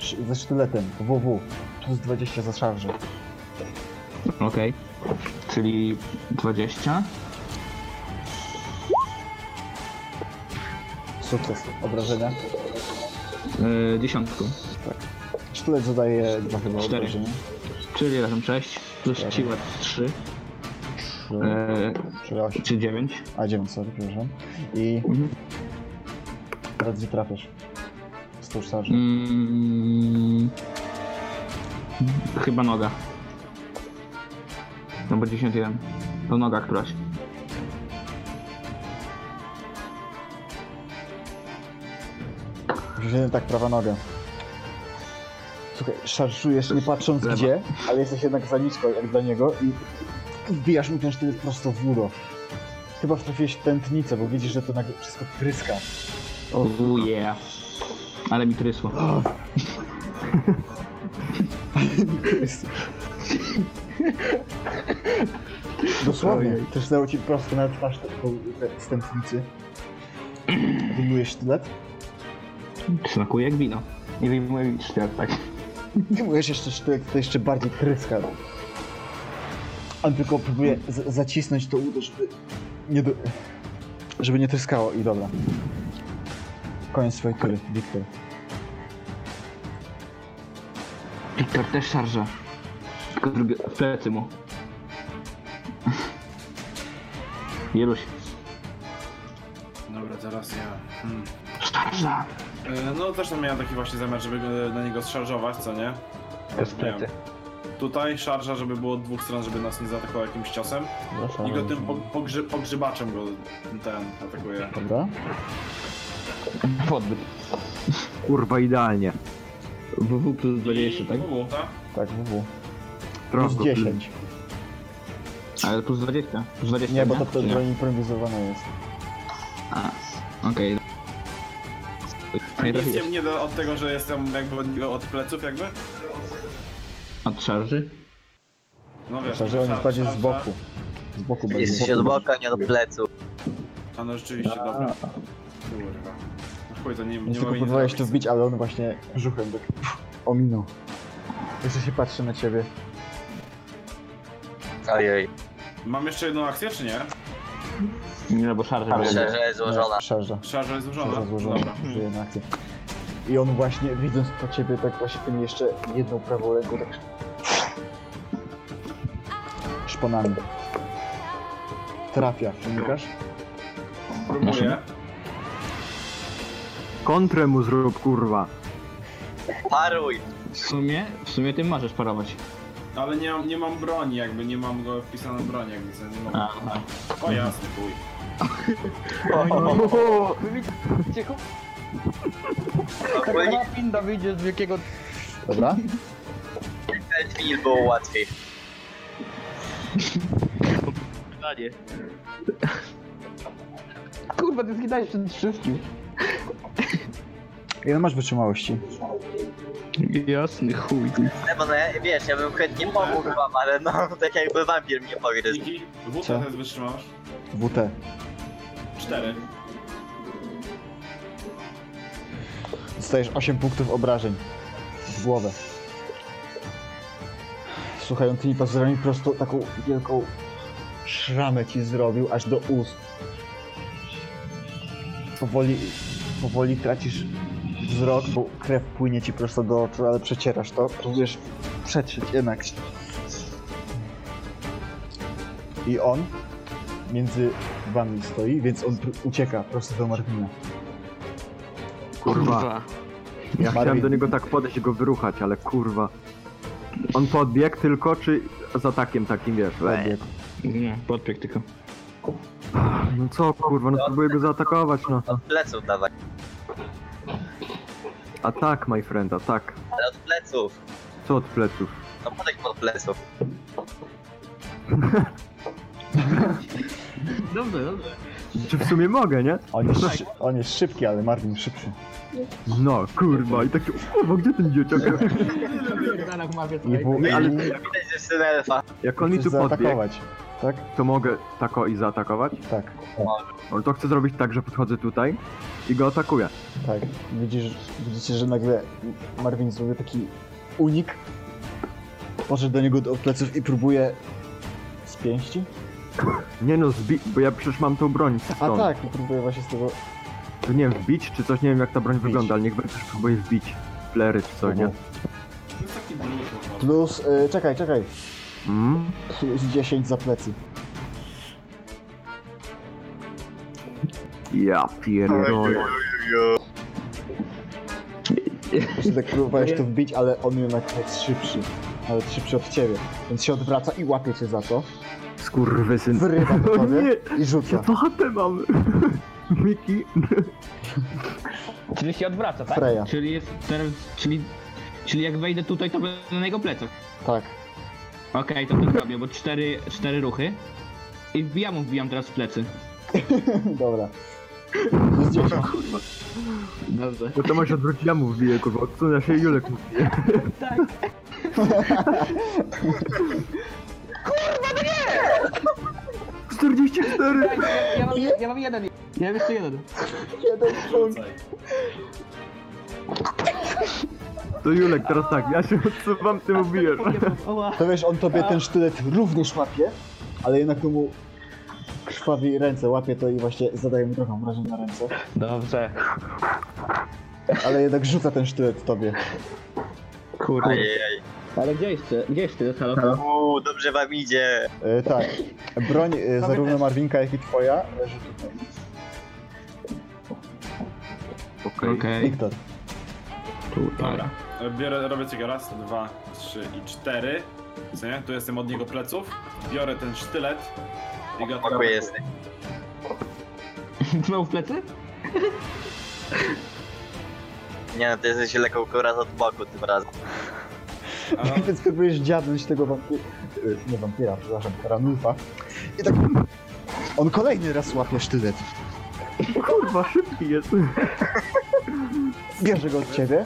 Sz- ze sztyletem WW plus 20 za szarży.
Okej. Czyli 20.
Sukces, obrażenia.
Yy,
e,
dziesiątką.
Sztylet zadaje dwa chyba
Cztery.
obrażenia.
Czyli razem 6. Plus
Dobra.
siła 3.
Trzy,
e,
Yy,
Czyli 8.
czy 9.
A 9, sorry, przepraszam. I
Mhm.
teraz gdzie trafiasz? Stóż szarży.
Mm, chyba noga. No bo 91. To noga któraś.
Wziąłem tak prawa nogę. Słuchaj, szarżujesz nie patrząc
Lewa.
gdzie, ale jesteś jednak za nisko jak dla niego i wbijasz mu ten sztylet prosto w udo. Chyba trafiłeś w tętnicę, bo widzisz, że to nagle wszystko pryska.
Oh yeah. Ale mi trysło.
Dosłownie, przysnęło ci prosto na twarz taką z tętnicy. Wyjmujesz sztylet,
Smakuje jak wino.
I wyjmuję świat, tak.
wyjmujesz jeszcze sztylet, to jeszcze bardziej pryska. On tylko próbuje z- zacisnąć to udo, żeby nie do... żeby nie tryskało i dobra. Koniec swojej tury, Wiktor.
Wiktor też szarże. Tylko drugi w plecy mu. Jeluś.
Dobra, teraz ja. Hmm.
Szarża!
E, No też tam miałem taki właśnie zamiar, żeby go- na niego szarżować, co nie?
To jest
Nie.
plecy.
Tutaj szarża, żeby było od dwóch stron, żeby nas nie zaatakował jakimś ciosem. I go tym po, pogrzy, pogrzybaczem go ten atakuje.
Dobra.
Podbyt.
Kurwa, idealnie.
WW plus 20, tak?
Uuu, tak?
Tak, WW. Plus
Trąbko,
10.
Ale plus 20. Plus 20
Nie, bo to, to broń improwizowana jest.
A, okej.
A
Nie
nic
trafiłeś.
nie mnie da od tego, że jestem jakby od niego od pleców jakby?
Od szarży?
No wiesz,
Szarże on
szar-
jest bardziej z
szarża.
boku.
tak?
Z boku bardziej.
Jest się od boka, nie od pleców.
A no rzeczywiście, dobra. Kurwa. No chuj, to nie, nie
Nie tylko
mogę nic
próbowałeś to
zrobić.
wbić, ale on właśnie brzuchem tak ominął. Jeszcze się patrzy na ciebie.
Ojej.
Mam jeszcze jedną akcję, czy nie?
Nie, no bo szarża.
Myślę, że jest złożona.
Szarża.
Szarża jest złożona.
Szarża złożona.
Dobra.
Użyje na akcję. I on właśnie, widząc po ciebie, tak właśnie tym jeszcze jedną prawą ręką tak... Szponami. Trafia, przenikasz?
Próbuję.
Kontrę mu zrób, kurwa.
Paruj!
W sumie, w sumie ty możesz parować.
Ale nie, mam- nie mam broni jakby, nie mam go wpisaną broń jakby, co nie mam.
Aha.
O jasny chuj.
Ogólnie
Grafin Dawidzie z wielkiego...
Dobra?
ten film było łatwiej.
Kurwa, ty zginąłeś przed wszystkim.
Ile masz wytrzymałości?
Jasny chuj.
No, no ja, wiesz, ja bym chętnie pomógł wam, ale no, <laughs> tak jakby wampir mnie pogryzł.
Niki, WT
Co?
teraz wytrzymasz?
WT.
Cztery.
Dostajesz 8 punktów obrażeń w głowę. Słuchaj, on tymi pazurami prosto taką wielką szramę ci zrobił, aż do ust. Powoli, powoli tracisz wzrok, bo krew płynie ci prosto do oczu, ale przecierasz to. Próbujesz przetrzeć jednak. I on między wami stoi, więc on pr- ucieka prosto do Martina.
Kurwa. Ja chciałem do niego tak podejść i go wyruchać, ale kurwa. On podbiegł tylko, czy z atakiem takim, wiesz?
Podbiegł.
Nie, podpiek tylko.
No co, kurwa, no próbuję go zaatakować, no.
Od pleców dawaj,
Atak, my friend, atak.
ale od pleców.
Co od pleców?
No podejdź pod pleców.
Dobrze, dobrze.
Czy w sumie mogę, nie?
On jest, szy- on jest szybki, ale Marvin szybszy.
No, kurwa, i taki, kurwa, gdzie ten dzieciak?
I w,
Nie, ale
Widać, że syn elfa.
jak on mi tu podbiegł,
zaatakować. Tak?
to mogę tako i zaatakować.
Tak,
No to chcę zrobić tak, że podchodzę tutaj i go atakuję.
tak. Widzisz, widzicie, że nagle Marvin zrobił taki unik. Poszedł do niego do pleców i próbuje z pięści.
Nie no, zbi- bo ja przecież mam tą broń.
A
stąd.
tak, i próbuje właśnie z tego
To nie wiem, wbić czy coś, nie wiem jak ta broń wygląda, ale niech będzie też próbuje wbić flery czy coś,
Mhm.
nie?
To jest taki blues po prostu.
Plus, y, czekaj, czekaj.
Mm?
Plus 10 za plecy.
Ja pierdolę.
Właśnie tak próbowałeś to wbić, ale on jednak jest szybszy. Nawet szybszy od ciebie. Więc się odwraca i łapie cię za to.
Skurwysyn. <laughs>
Wyrywa po
O
tobie
nie!
i
Ja
rzuca.
to chatę mam. <laughs> Miki.
Czyli się odwraca, tak?
Freya.
Czyli jest teraz, czyli, czyli jak wejdę tutaj, to będę na jego plecach.
Tak. <laughs>
Okej, to tak robię, bo cztery, cztery ruchy. I wbijam, mu wbijam teraz w plecy.
Dobra. Plus 10.
Dobrze.
Bo No to masz odwrócić, ja mu wbiję, kurwa. Odsunę się i Julek mu wbije.
no
Tak. Kurwa, nie! 44!
Ja mam, ja mam jeden. Ja mam jeszcze jeden.
Jeden punkt.
To Julek, teraz tak, ja się odsuwam, ty mu bijesz.
Oła.
To wiesz, on tobie ten sztylet również łapie, ale jednak mu krwawi ręce, łapie to i właśnie zadaje mu trochę obrażeń na ręce.
Dobrze.
Ale jednak rzuca ten sztylet tobie.
Kurde.
Ajajaj.
Ale gdzie jeszcze? Gdzie jeszcze? Halo?
Uuu, dobrze wam idzie.
E, tak. Broń e, zarówno Marwinka, jak i twoja leży tutaj.
Okej.
Okej,
Wiktor.
dobra. <laughs>
Biorę, robię tego raz, dwa, trzy i cztery. Co nie? Tu jestem od niego pleców. Biorę ten sztylet i go
Spoko jest.
Znowu w plecy?
Nie no, ty jesteś lekko kuraz od boku tym razem. <laughs>
A-
Więc próbujesz dziadnąć tego wampira. Nie wampira, przepraszam, Ranulfa. I tak. On kolejny raz łapie sztylet.
Kurwa, szybki jest.
Bierze go od ciebie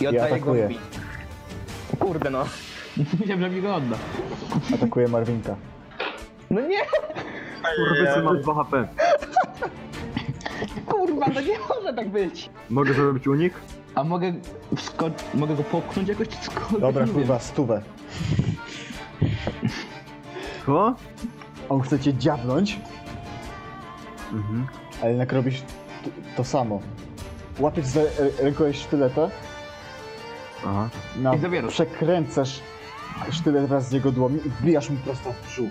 I
i
oddaję go.
atakuje.
Kurde no.
<laughs> Myślałem, że mi go odda.
Atakuje Marwinka.
No nie,
Kurwa, mam 2 HP.
kurwa, no nie może tak być.
Mogę zrobić unik?
A mogę wsko- mogę go popchnąć jakoś czy cokolwiek?
Dobra,
Nie wiem.
kurwa, stówę.
Co?
On chce cię dziabnąć,
Mhm.
ale jednak robisz t- to samo. Łapiesz za r- ręką sztyleta,
Aha.
na...
I zabierasz.
przekręcasz sztylet wraz z jego dłomi i wbijasz mu prosto w brzuch.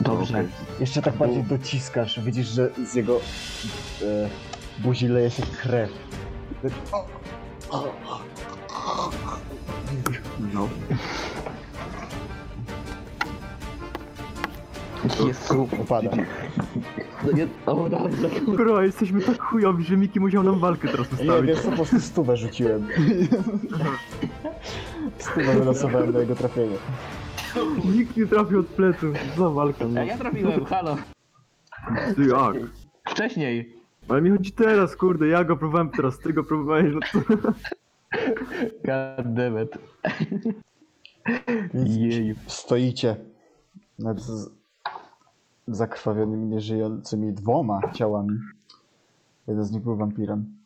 Dobrze.
Okej.
Jeszcze tak bardziej dociskasz, widzisz, że z jego e, buzi leje się krew.
No.
Jest
Upada.
To nie- O, dobrze.
Bro, jesteśmy tak chujowi, że Miki musiał nam walkę teraz
Nie,
ustawić.
wiesz co, po prostu stówę rzuciłem. stówę wylosowałem do jego trafienia.
Nikt nie trafił od pleców. Za walkę, no.
A
<laughs>
ja trafiłem, halo.
Ty jak?
Wcześniej.
Ale mi chodzi teraz, kurde, ja go próbowałem teraz, ty go próbowałeś, no co?
God damn it.
Więc
Jeju.
stoicie nad z- zakrwawionymi, nieżyjącymi dwoma ciałami. Jeden z nich był wampirem.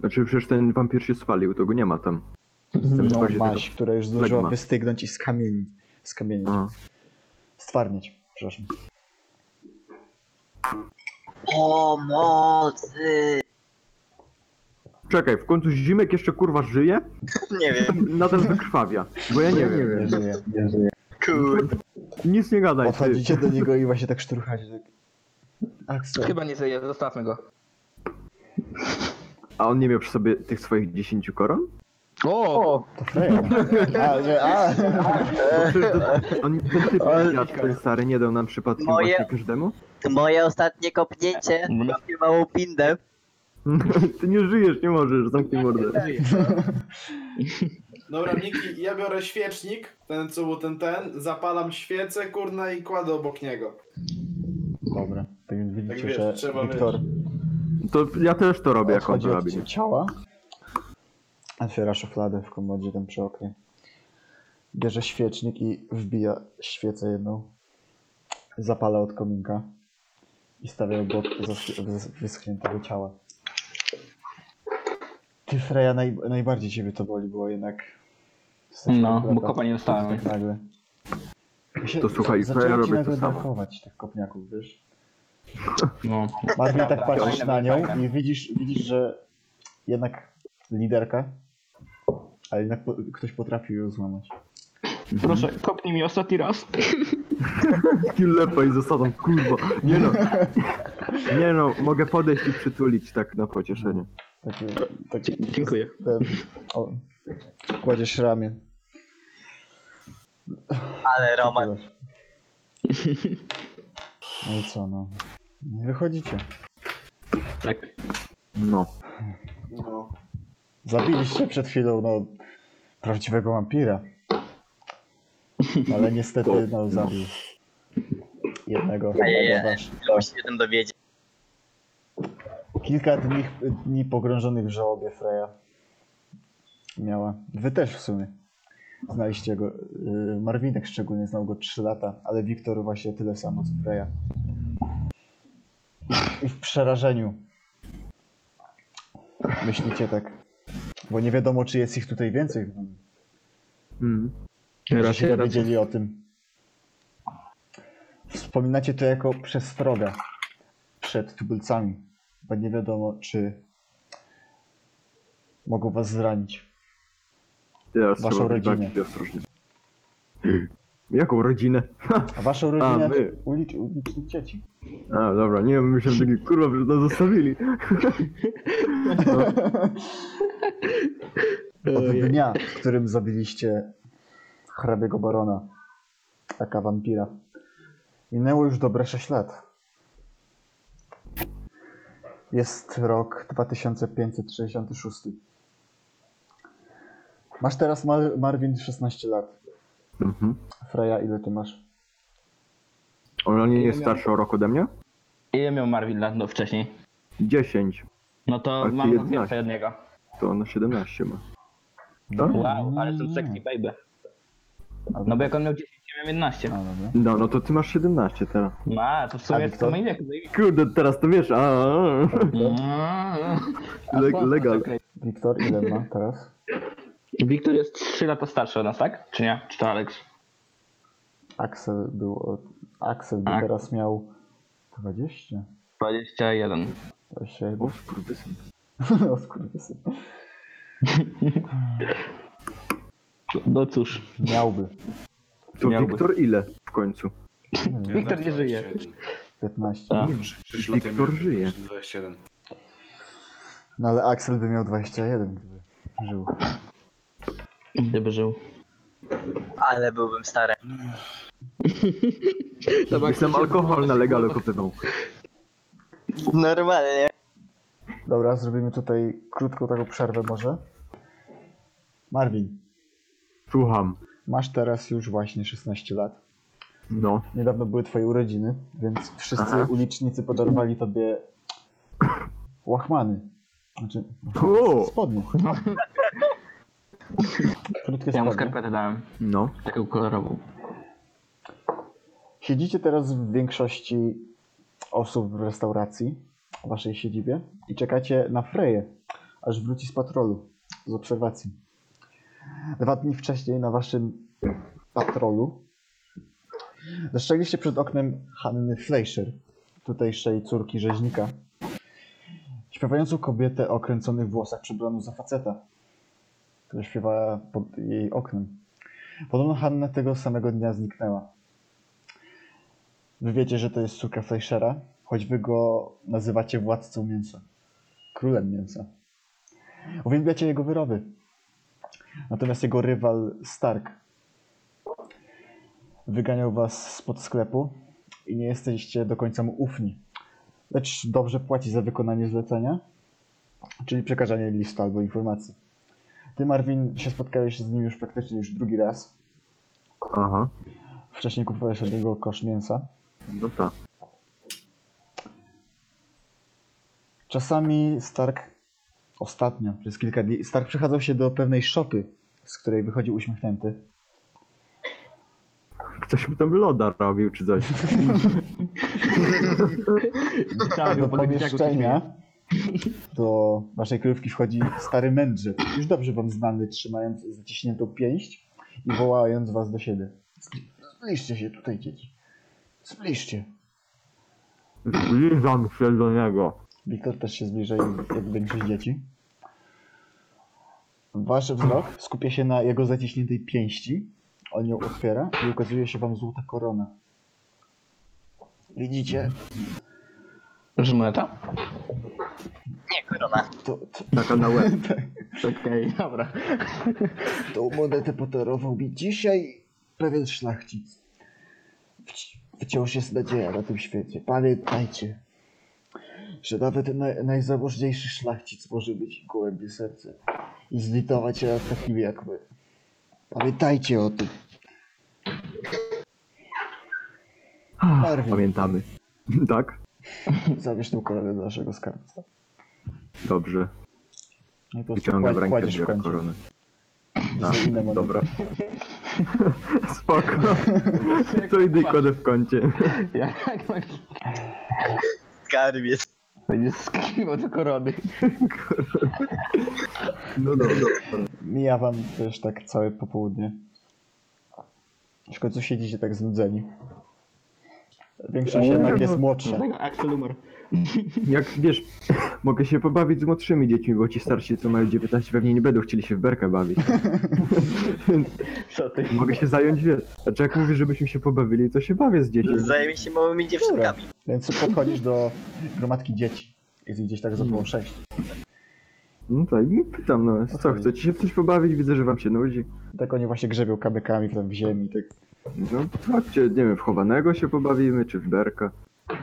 Znaczy, przecież ten wampir się spalił, to go nie ma tam.
No,
bardziej
maś, która już zdążyła
Flegma.
wystygnąć i skamienić. Skamienić.
A.
Stwarnieć, przepraszam.
Pomocy!
Czekaj, w końcu Zimek jeszcze kurwa żyje? <laughs>
Nie wiem,
Nadal wykrwawia, bo ja nie wiem.
Nie żyje.
kurde.
Nic nie gadaj, ty.
Podchodzicie do niego i właśnie tak szturchacie. Tak. Axel.
Chyba nie żyje, zostawmy go.
A on nie miał przy sobie tych swoich 10 koron?
O!
To Freya. A, nie, a.
On, ten typ ja, ten stary nie dał nam przypadkiem
Moje-
właśnie każdemu? <laughs>
Moje ostatnie kopnięcie trafił małą pindę.
Ty nie żyjesz, nie możesz, zamknij mordę.
Dobra, Miki, ja biorę świecznik, ten co był ten ten, zapalam świecę, kurna i kładę obok niego.
Dobra, tak więc widzicie,
wiesz,
że
trzeba
Wiktor
To ja też to robię, jak on
odchodzi
to robi.
od ciała. Otwiera szufladę w komodzie tam przy oknie. Bierze świecznik i wbija świecę jedną. Zapala od kominka. I stawia obok zasch- wys- wyschniętego ciała. Ty, Freja, naj, najbardziej ciebie to boli było jednak. Jesteś
No,
akurat
bo kopa nie dostałem.
Tak nagle. Mi się-
To słuchaj,
zaczęło
Freja
ci
robi to
nagle
samo.
brakować tych kopniaków, wiesz?
No.
Marnie tak
Fajne,
patrzysz na nią
fajne.
i widzisz, widzisz że jednak liderka, ale jednak po, ktoś potrafił ją złamać.
Proszę, kopnij mi ostatni raz.
Taki lepa i zasadą, kurwa. Nie no. Nie no, mogę podejść i przytulić tak na pocieszenie.
Taki, taki
Dzie- Dziękuję.
ten, o, kładziesz ramię.
Ale Roman,
No i co no. Nie Wychodzicie.
Tak.
No.
No.
Zabiliście przed chwilą, no, prawdziwego wampira. Ale niestety,
<laughs>
no, zabił. Jednego.
Ajajaj.
jednego wasz-
miło się tym dowiedzieć.
Kilka dni, dni pogrążonych w żałobie Freja miała. Wy też w sumie. Znaliście go. Yy, Marwinek szczególnie znał go 3 lata, ale Wiktor właśnie tyle samo co Freja. I w przerażeniu. Myślicie tak. Bo nie wiadomo, czy jest ich tutaj więcej.
Mm.
Raz się dowiedzieli o tym. Wspominacie to jako przestroga przed tubylcami, bo nie wiadomo, czy mogą was zranić.
Teraz
Waszą
trzeba być
rodzinę.
bardziej ostrożny. <gasps> Jaką rodzinę?
A waszą rodzinę
my.
ulic- ulicznych dzieci.
A, dobra, nie wiem, myślałem taki, kurwa, że nas zostawili.
Od dnia, w którym zabiliście hrabiego barona, taka wampira, minęło już dobre 6 lat. Jest rok 2566. Masz teraz, Mar- Marvin, 16 lat.
Mhm.
Freja, ile ty masz?
Ona nie jest starsza o rok ode mnie?
Ile miał Marvin lat no, wcześniej?
10,
No to
A ty
mam
jedenaście.
więcej od niego.
to ona 17 ma. Tak?
Wow, ale jestem sexy baby. No bo jak on miał 10, ja miałem 11.
A, dobra.
No, no to ty masz 17 teraz.
No, a, to w sumie
A
jest
Wiktor?
to moim wieku.
Kurde, teraz to wiesz, a, a, a.
A
Le-
po-
legal.
czekaj,
Wiktor, ile ma teraz?
Wiktor jest 3 lata starszy od nas, tak? Czy nie? Czy to Alex?
Axel był od... Axel by
Ak-
teraz miał 20?
21.
21.
O, skurwysyn.
<laughs> O skurwysyn.
No cóż.
Miałby.
To
Miałby.
Wiktor ile w końcu?
Wiktor nie żyje.
15.
A.
6 lat
Wiktor żyje.
27.
No ale Axel by miał 21, gdyby żył.
Gdyby żył.
Ale byłbym stary.
Jestem alkohol na legalu kupywał.
Normalnie.
Dobra, zrobimy tutaj krótką taką przerwę może. Marvin,
Słucham.
masz teraz już właśnie 16 lat.
No.
Niedawno były twoje urodziny, więc wszyscy
Aha.
ulicznicy podarowali tobie łachmany. Znaczy,
O!
spodnie. Krótkie
Ja mu
spodnie.
skarpetę dałem.
No.
Taką kolorową.
Siedzicie teraz w większości osób w restauracji, w waszej siedzibie i czekacie na Freję, aż wróci z patrolu, z obserwacji. Dwa dni wcześniej na waszym patrolu zastrzegliście przed oknem Hanny Fleischer, tutejszej córki rzeźnika, śpiewającą kobietę o kręconych włosach przebraną za faceta, która śpiewała pod jej oknem. Podobno Hanna tego samego dnia zniknęła. Wy wiecie, że to jest córka Fleischera, choć wy go nazywacie władcą mięsa. Królem mięsa. Uwielbiacie jego wyroby. Natomiast jego rywal Stark wyganiał was spod sklepu i nie jesteście do końca mu ufni. Lecz dobrze płaci za wykonanie zlecenia, czyli przekażenie listu albo informacji. Ty, Marvin, się spotkałeś z nim już praktycznie już drugi raz.
Aha.
Wcześniej kupowałeś od niego kosz mięsa.
No tak.
Czasami Stark Ostatnio, przez kilka dni. Stark przechadzał się do pewnej szopy, z której wychodził uśmiechnięty.
Ktoś mu tam loda robił czy coś.
Tak,
Cały
do
po Gliwiciaku coś
pomieszczenia do waszej królówki wchodzi stary mędrzyk, już dobrze wam znany, trzymając zaciśniętą pięść i wołając was do siebie. Zbliżcie się tutaj, dzieci. Zbliżcie.
Zbliżam się do niego.
Wiktor też się zbliża jak jak większość dzieci. Wasz wzrok skupia się na jego zaciśniętej pięści. On ją otwiera i ukazuje się wam złota korona. Widzicie?
Że moneta?
Nie, korona.
To, to,
Taka na łeb.
Okej, dobra.
Tą monetę podarował mi dzisiaj pewien szlachcic. Wci- Wciąż jest nadzieja na tym świecie. Pamiętajcie, że nawet naj, najzamożniejszy szlachcic może mieć gołębie serce i zlitować się nad takimi jak my. Pamiętajcie o tym. Marvin,
Pamiętamy. Tak?
zabierz tą koronę do naszego skarbca.
Dobrze.
No i po prostu
Wyciągam w
kła-
rękę
kładziesz w
dwie
kącie.
korony. Tak,
To są inne monety.
Dobra. Spoko. To idę i kładę w kącie.
Jak masz-
Skarbiec.
będziesz skrywał do korony?
No dobra.
Mija wam też tak całe popołudnie. W końcu siedzicie tak znudzeni. Większość jednak jest młodsza.
Dlatego Axel Lumor.
Jak wiesz, mogę się pobawić z młodszymi dziećmi, bo ci starsi, co mają 19, pewnie nie będą chcieli się w berkę bawić.
Co ty?
Mogę się zająć, wiesz. Znaczy jak mówisz, żebyśmy się pobawili, to się bawię z dziećmi.
Zajmie się małymi dziewczynkami.
Więc podchodzisz do gromadki dzieci. Jest ich gdzieś tak za
Mm.
około sześć.
No tak, i pytam, no co, chcecie się w coś pobawić? Widzę, że wam się nudzi.
Tak oni właśnie grzebią kamykami tam w ziemi. Tak.
No chodźcie, nie wiem, w chowanego się pobawimy, czy w berka.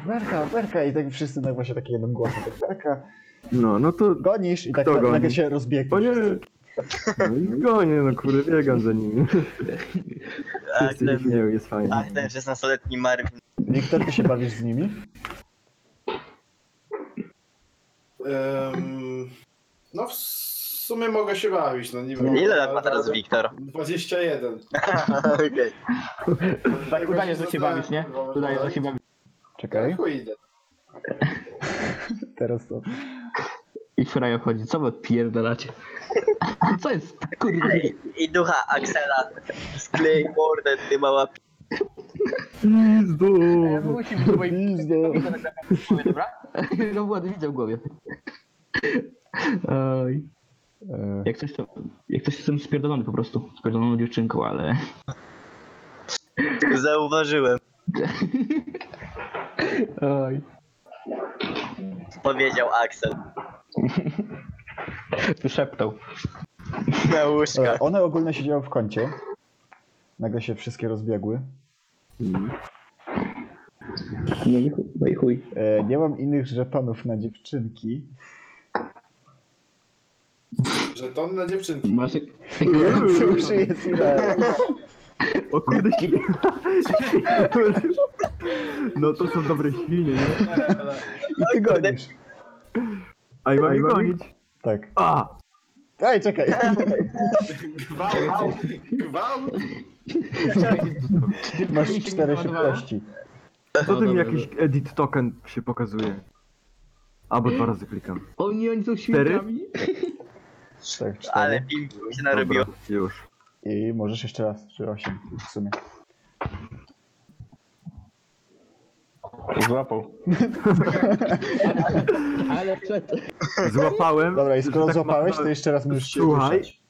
Werka, werka! I tak wszyscy tak właśnie takim jednym głosem. Tak, werka!
No, no to...
Gonisz i tak
Kto
na-
goni?
nagle się
O
rozbiegniesz.
nie! No i gonię, no kurde, biegam za nimi.
Tak,
Wszyscy ich nie,
ten,
jest fajnie.
tak, ten 16-letni Marvin.
Wiktor, ty się bawisz z nimi?
Em, no w sumie mogę się bawić, no nie wiem.
Ile lat ma teraz Wiktor?
21.
<laughs> Okej.
Tak, udaje, że się bawisz, nie? Udaje, że się bawisz.
Czekaj,
no, Chuj idę.
teraz to.
I fraja wchodzi, co wy odpierdalacie? <laughs> Co jest, kurde?
I ducha Axela. Sklej mordę, ty mała p...
Pizdu!
Musi być moim
Pizdo.
głowie, dobra? No ładnie widział w głowie. Oj.
E,
Jak coś to, jak coś jestem spierdolony po prostu. Spierdoloną dziewczynką, ale...
Zauważyłem.
Oj.
Powiedział Axel.
Szeptał.
Na łóżkach.
e, One ogólnie siedziały w kącie. Nagle się wszystkie rozbiegły.
No i chuj. No i chuj.
E, nie mam innych żetonów na dziewczynki.
Że to na dziewczynki.
Masz...
<laughs> Cóż jest ile?
O kurde, świnie. No to są dobre świnie, nie?
I ty gonisz.
A i mam ich gonić.
Tak.
A!
Ej, czekaj.
Gwałt! Gwałt!
Masz cztery szybkości.
No,
Co tym jakiś edit token się pokazuje? Albo dwa razy klikam.
Oni, oni są świnkami.
Tak, cztery.
Ale ping mi się narobiło.
Dobra, już.
I możesz jeszcze raz, czy osiem w sumie.
Złapał.
Ale przed...
Złapałem.
Dobra, i
że
skoro
tak
złapałeś, to
naprawdę-
jeszcze raz musisz się
Słuchaj.
ruszać.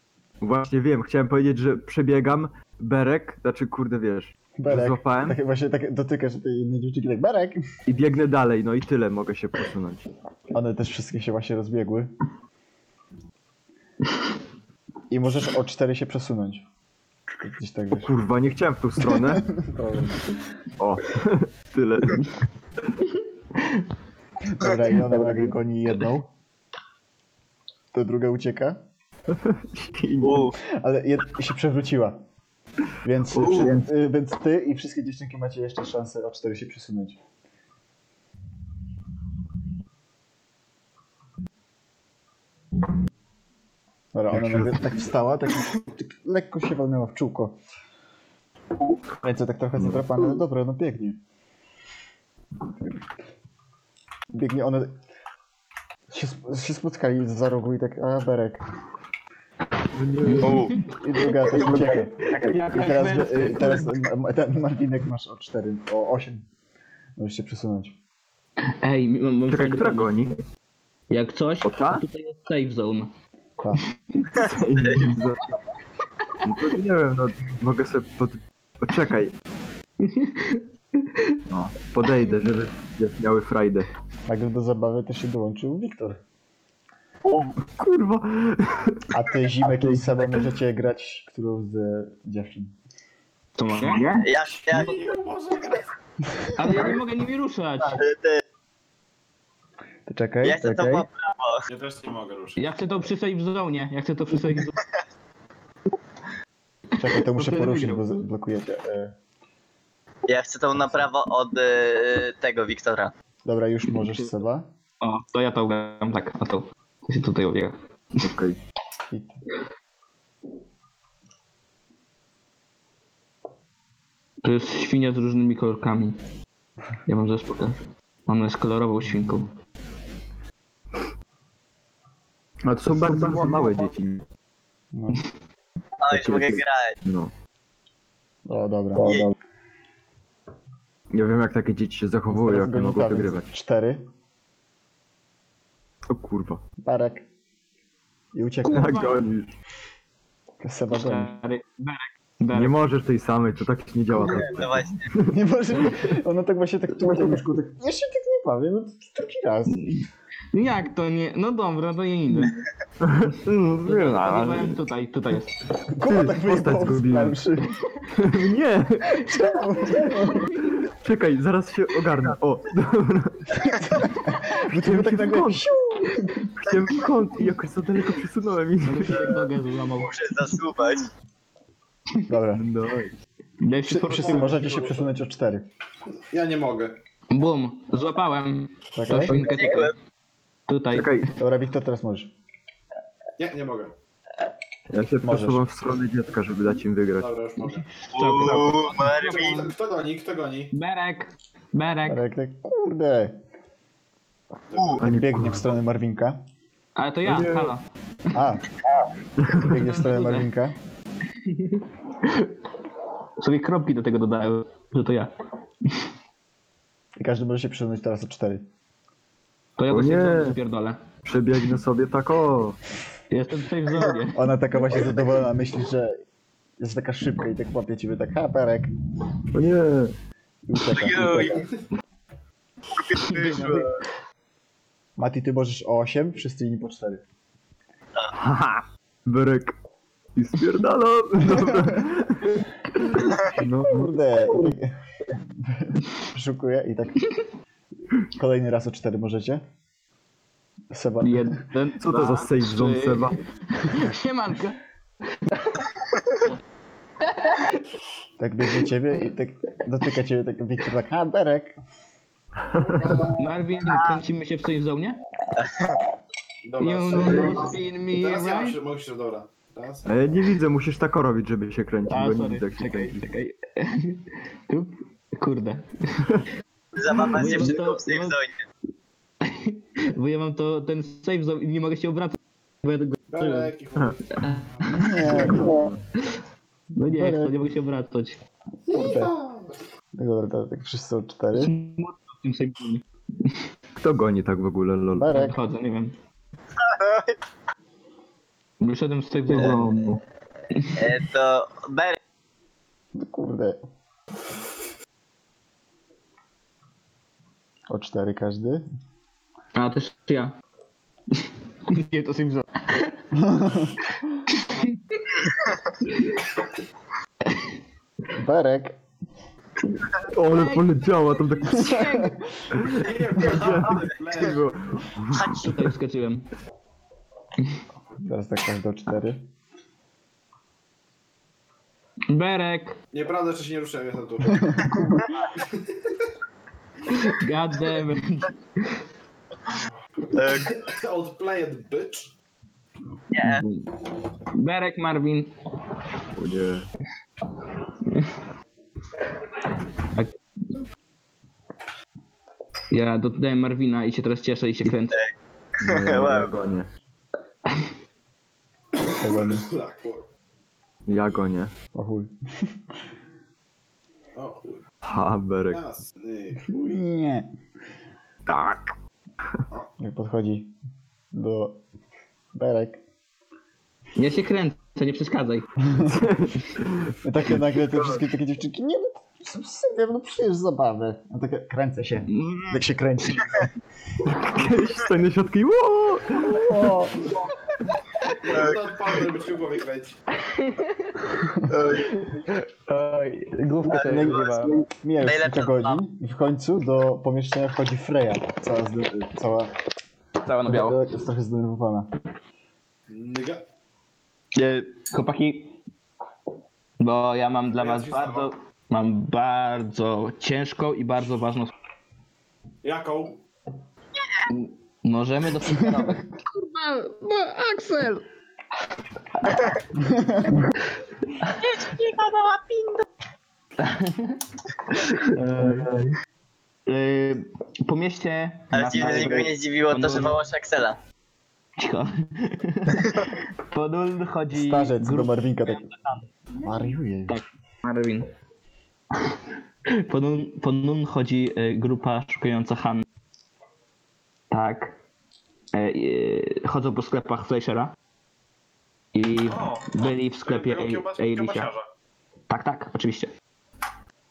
Właśnie wiem, chciałem powiedzieć, że przebiegam berek, znaczy kurde wiesz,
Berek.
Złapałem?
Tak właśnie tak dotykasz tej jednej dziewczynki, tak Berek.
i biegnę dalej, no i tyle mogę się posunąć.
One też wszystkie się właśnie rozbiegły. I możesz o cztery się przesunąć. Gdzieś tak
O
wiesz.
kurwa, nie chciałem w tą <laughs> stronę. O, <laughs> tyle.
Dobra, i ona nagle goni jedną. To druga ucieka.
Wow.
Ale jed- się przewróciła. Więc,
Uuu.
więc, y, więc ty i wszystkie dziewczynki macie jeszcze szansę o 4 się przesunąć. Sara, ona nagle tak wstała, tak, tak lekko się walnęła w czółko. Ręce tak trochę zadrapane, no dobra, no biegnie. Biegnie, one się, sp- się spotkali za rogu i tak, a Berek. I druga też ucieka. I teraz, y, teraz y, ten Martinek masz o 4, o 8. Możesz się przesunąć.
Ej, mam, mam
Czekaj,
fajny
która
pomysł.
goni?
Jak coś,
O, ta?
to tutaj jest safe zone.
Tak.
No to nie wiem, no mogę sobie pod... Poczekaj. No, podejdę, żeby żeby miały frajdę.
Nagle do zabawy też się dołączył Wiktor.
Kurwa!
A ty zimę kiedyś sama możecie grać którą z e, dziewczyn.
To mam.
Ja, ja,
Ale ja nie mogę nimi ruszać.
Ty czekaj,
e, ja chcę to
czekaj.
po
Ja też nie mogę ruszyć.
Ja chcę to przy safe zone. Ja chcę to przy safe zone.
Czekaj,
<laughs>
to muszę
wtedy
poruszyć,
wygrał.
bo z- blokujecie. e.
Ja chcę tą na prawo od y, tego Wiktora.
Dobra, już możesz Seba.
O, to ja to ugram tak, na to. Ja się tutaj ubiegam.
Okej.
I...
To jest świnia z różnymi kolorkami. Ja mam zaraz pokażę. Ona jest kolorową świnką.
A to są bardzo małe dzieci.
No.
No już mogę grać.
No.
O, dobra.
Jej.
Nie wiem jak takie dzieci się zachowują, jak
Teraz
nie
Gonika,
mogą
więc
wygrywać.
Cztery.
O kurwa.
Barek. I uciekł.
Jak gonisz.
Seba goni.
Stary, Berek,
Nie
Berek.
możesz tej samej, to tak nie działa.
No właśnie.
Nie może. Ona tak właśnie tak tu na łóżku. Tak, ja się tak nie bawię, no to drugi raz.
Jak to nie? No dobra, to nie idę.
No,
Zobacz, Tutaj, tutaj jest.
Kurwa, tak
postać
wyjebało z
zgubiłem.
planszy.
Nie!
Czemu? Czemu?
Czekaj, zaraz się ogarnę. O, dobra.
Bo to by tak
się
nagle...
wkąt. Chciałem w kąt i jakoś za daleko przesunąłem i...
Będę się jak nogę złamał.
Muszę zasuwać.
Dobra.
No.
Daj się
Wszy- Wszyscy
poruszyć.
możecie się przesunąć o cztery.
Ja nie mogę.
Bum, złapałem. To
Czekaj.
świnkę tutaj. Tutaj.
Czekaj,
Dobra, Wiktor, teraz możesz.
Nie, nie mogę.
ja się
Możesz.
przesuwam w stronę dziecka, żeby dać im wygrać.
Dobra, już mogę.
Uuu, Marvin.
Kto, kto goni? Kto goni?
Berek, Berek.
Marek, tak, kurde.
Ani
Biegnie w stronę Marwinka.
Ale to ja, halo.
A. Biegnie w stronę Marwinka.
Sobie kropki do tego dodałem, że to ja.
I każdy może się przesunąć teraz o cztery.
To ja
O
do
nie.
safe zone spierdolę.
Przebiegnę sobie tak o.
Jestem w safe zone.
Ona taka właśnie zadowolona myśli, że jest taka szybka i tak łapie ciebie tak, ha, Berek.
O nie.
I ucieka,
Joj.
ucieka. Mati, ty możesz o 8, wszyscy inni po 4.
Haha. Bryk. I spierdalam. Dobra. No,
Kurde. Szukuję i tak. Kolejny raz o 4 możecie. Seba.
Jeden, <laughs>
co to za
dwa,
safe zone,
trzy.
Seba?
Siemanko.
Tak biegnie ciebie i tak dotyka ciebie tak Wiktor tak, ha, Berek.
Marvin, kręcimy się w safe zone?
Dobra,
You
sorry.
know spin me
Teraz ja
right?
muszę, muszę, dobra. Teraz?
E, nie widzę, musisz tak o robić, żeby się kręcić,
A,
bo nie
sorry,
widzę jak się
czekaj,
kręci.
czekaj. <laughs> Tu? Kurde.
Zabawa z
Nie,
dziewczyną
to-
w safe
to-
zone.
Bo ja mam to, ten safe zone i nie mogę się obracać. Bo ja tego...
Berek i chłopak.
Nie, no.
No nie, jak to nie mogę się obracać.
Dobra, to tak wszyscy o 4.
Smutno w tym safe zone.
Kto goni tak w ogóle, lol?
Berek.
Chodzę, nie wiem. Wyszedłem z safe zone.
E, to Berek.
No Kurde. O 4 każdy.
A, też ja. <laughs> Nie, to safe zone.
Berek.
O, ale poleciała, tam tak było.
Tutaj wskoczyłem.
Teraz tak każdy o 4.
Berek,
Nieprawda, jeszcze się nie ruszyłem, jestem <laughs> tu.
goddammit.
Outplayed bitch.
Nie.
Berek, Marvin.
O nie.
Tak. Ja dodaję Marvina i się teraz cieszę i się kręcę.
Ja gonię.
Tak,
Ja gonię.
O chuj.
O chuj,
Ha, Berek.
jasny.
Nie.
Tak.
Jak podchodzi do Berek.
Ja się kręcę, nie przeszkadzaj.
I takie <laughs> nagle te wszystkie takie dziewczynki, nie no, to sobie, no przecież zabawę. A takie, tak kręcę się. Jak się kręci. Tak
Kiedyś stajne środki. Ło!
O,
Ja to odpadłem, żeby się w głowie kręcić.
Oj, główkę
tak,
sobie zjebałem.
mija już
Najlepsza
kilka godzin i w końcu do pomieszczenia wchodzi Freya. Cała, zde, cała
Cała na biało.
Taka jest trochę zdenerwowana.
Nyga.
E,
Chłopaki, bo ja mam dla
Ja
was
ci
bardzo, mam bardzo ciężką i bardzo ważną sprawę.
Jaką?
Możemy do superowych. <laughs> Yy, po mieście... na-
Ale ci
na-
nigdy nie zdziwiło to, że wołasz Axela.
<laughs> Cicho. Po dul chodzi...
Starzec do
grupa-
Marwinka taki. Mariuje.
Tak. Marvin. Po nun, po nun chodzi e, grupa szukająca Hanny. Tak. E, e, chodzą po sklepach Fleischera. I
O,
byli w sklepie
Tego kiełbas-
Ej- Eilisia.
kiełbasiarza.
Tak, tak, oczywiście.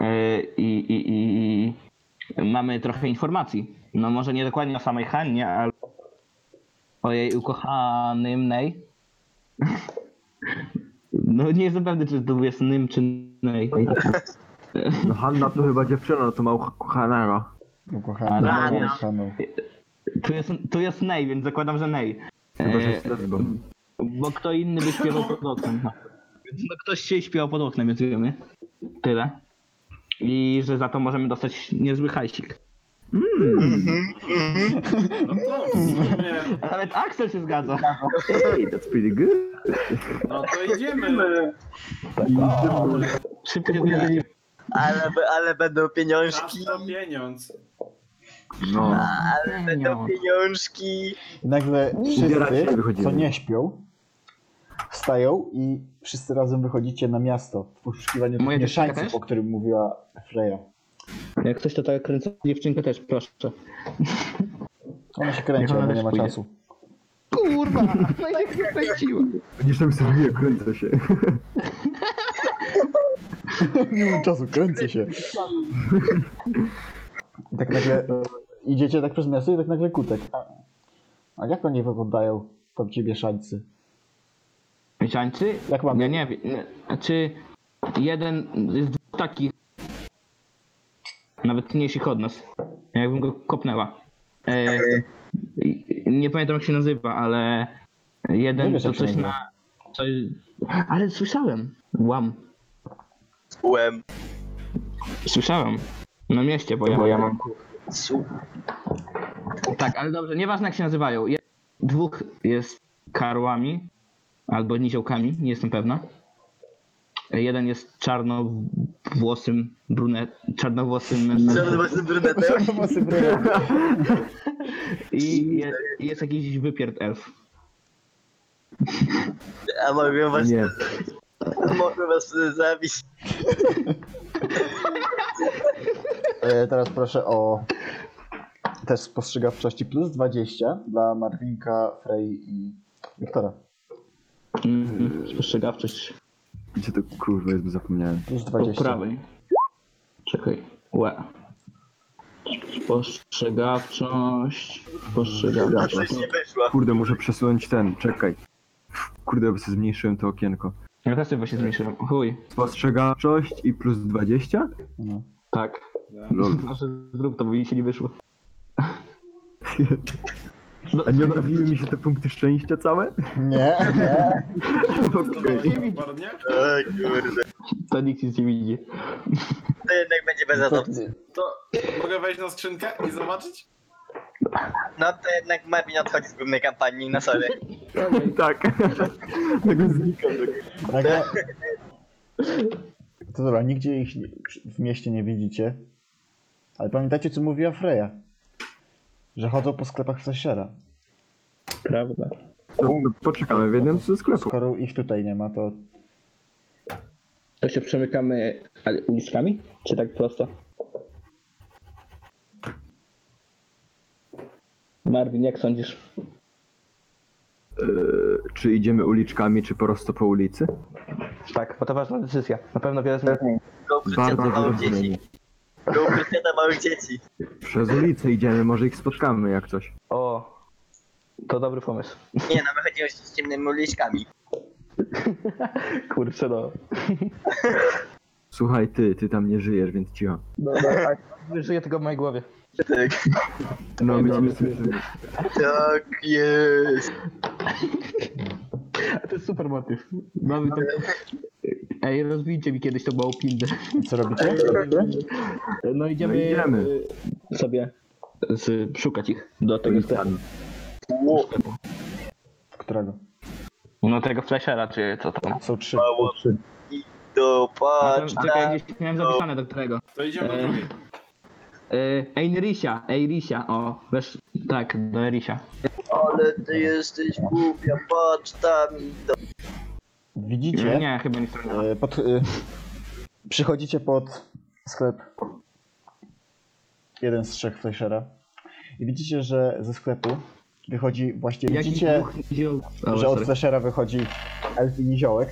E, I, i, i, I mamy trochę informacji. No może nie dokładnie o samej Hannie, ale o jej ukochanym Nej. No nie jestem pewny, czy to jest Nym czy Nej.
No Hanna to chyba dziewczyna, no to ma ukochanego.
Ukochana,
Rano.
ukochaną.
Tu jest, tu jest Nej, więc zakładam, że Nej.
Chyba, że
E,
jest lesbą.
Bo kto inny by śpiewał pod oknem. No, no ktoś się śpiewał pod oknem, więc wiemy. Tyle. I że za to możemy dostać niezły hajsik.
Hmm.
No to w sumie,
Nawet Axel się zgadza.
Hey, that's pretty good.
no to idziemy.
Szybko się zgadza.
Ale, b- ale będą
Aż
pieniążki.
na pieniądz.
No.
Ale będą pieniążki.
I nagle
Ubieracie
wszyscy,
się, wychodzimy.
co nie śpią, wstają i wszyscy razem wychodzicie na miasto w poszukiwaniu tych
Moja dziewczynka
mieszańców,
też?
o którym mówiła Freya.
Jak ktoś to tak kręca dziewczynkę też, proszę.
Ona się kręci,
Niech ona
ale nie
też
ma
pójdzie.
czasu.
Kurwa, no i tak się kręciło.
Niż tam sobie nie kręcę się.
Nie mam czasu, kręcę się. I tak nagle idziecie tak przez miasto i tak nagle kutek. A, a jak oni wyglądają, tam ci mieszańcy?
Mieszańcy?
Jak mam?
Ja nie wiem. nie. Znaczy, jeden jest dwóch takich. Nawet mniejszych od nas. Jakbym go kopnęła. E, i- nie pamiętam jak się nazywa, ale
Nie
jeden
wiesz,
to
jak się
coś
nazywa.
na. Coś... Ale słyszałem. Łam.
Łem.
Słyszałem. Na mieście, bo ja, bo ja mam.
Su. <laughs>
Tak, ale dobrze, nieważne jak się nazywają. Je- Dwóch jest karłami albo niziołkami, nie jestem pewna. Jeden jest czarnowłosym brunet, czarnowłosym
Żeby
mężczyzną
właśnie brunetę.
i jest, jest jakiś wypierd elf.
A mogę was,
Nie.
mogę was y, zabić.
E, teraz proszę o też spostrzegawczości plus 20 dla Marwinka, Frey i Wiktora.
Mhm, Spostrzegawczość
Gdzie to kurwa jest, bo zapomniałem.
Plus
po
20.
prawej. Czekaj, łe. Spostrzegawczość,
A coś
spostrzegawczość.
nie weszło.
Kurde, muszę przesunąć ten, czekaj. Kurde, bo sobie zmniejszyłem to okienko.
Ja też sobie właśnie zmniejszyłem, chuj.
Spostrzegawczość i plus 20?
No.
Tak.
Lol.
Może zrób to, bo mi się nie wyszło.
A nie odrobiły mi się te punkty szczęścia całe? <laughs>
Nie, <laughs> nie.
To do niego parę dni?
Oj, kurde.
To nikt nic nie widzi. No
To jednak będzie bez
To,
adopcji.
To mogę wejść na skrzynkę i zobaczyć?
No to jednak Marvin odchodzi z głównej kampanii na sobie.
Tak. <laughs> Nagle znika.
Nagle... To dobra, nigdzie ich w mieście nie widzicie. Ale pamiętajcie, co mówiła Freya. Że chodzą po sklepach w Sasiera.
Prawda.
To, to poczekamy w jednym ze sklepów.
Skoro ich tutaj nie ma, to
To się przemykamy ale uliczkami? Czy tak prosto? Marvin, jak sądzisz?
Eee, Czy idziemy uliczkami, czy prosto po ulicy?
Tak, bo to ważna decyzja. Na pewno wiele zmieni.
Go ukrycia
Bardzo
dla małych
dobrze.
dzieci. Go ukrycia dla małych dzieci.
Przez ulicę idziemy, może ich spotkamy jak coś.
O, to dobry pomysł.
Nie no, my chodzimy z ciemnymi uliczkami.
Kurczę, no.
Słuchaj, ty, ty tam nie żyjesz, więc cicho.
no, <laughs> no tak. Żyję tego w mojej głowie. Tak.
No, my
Dobra.
cię słyszymy.
Tak jest.
To jest super motyw. Mamy tak... Ej, rozbijcie mi kiedyś tą małą pindę.
co robicie?
No idziemy,
No idziemy.
y, sobie z, szukać ich do tego sklepu.
Którego?
No tego flashera, czy co tam.
Są trzy.
Dopatrz na...
Czekaj, gdzieś miałem zapisane do którego.
To idziemy do
Eee.
drugiej.
Y, Einrisia, Einrisia, o, wiesz, tak, do Einrisia.
Ale ty jesteś głupia, patrz tam i do...
Widzicie?
Nie, chyba nie strona.
e, Pod, e, przychodzicie pod sklep. Jeden z trzech Flashera. I widzicie, że ze sklepu wychodzi właśnie. Widzicie, że od Flashera wychodzi elf i niziołek.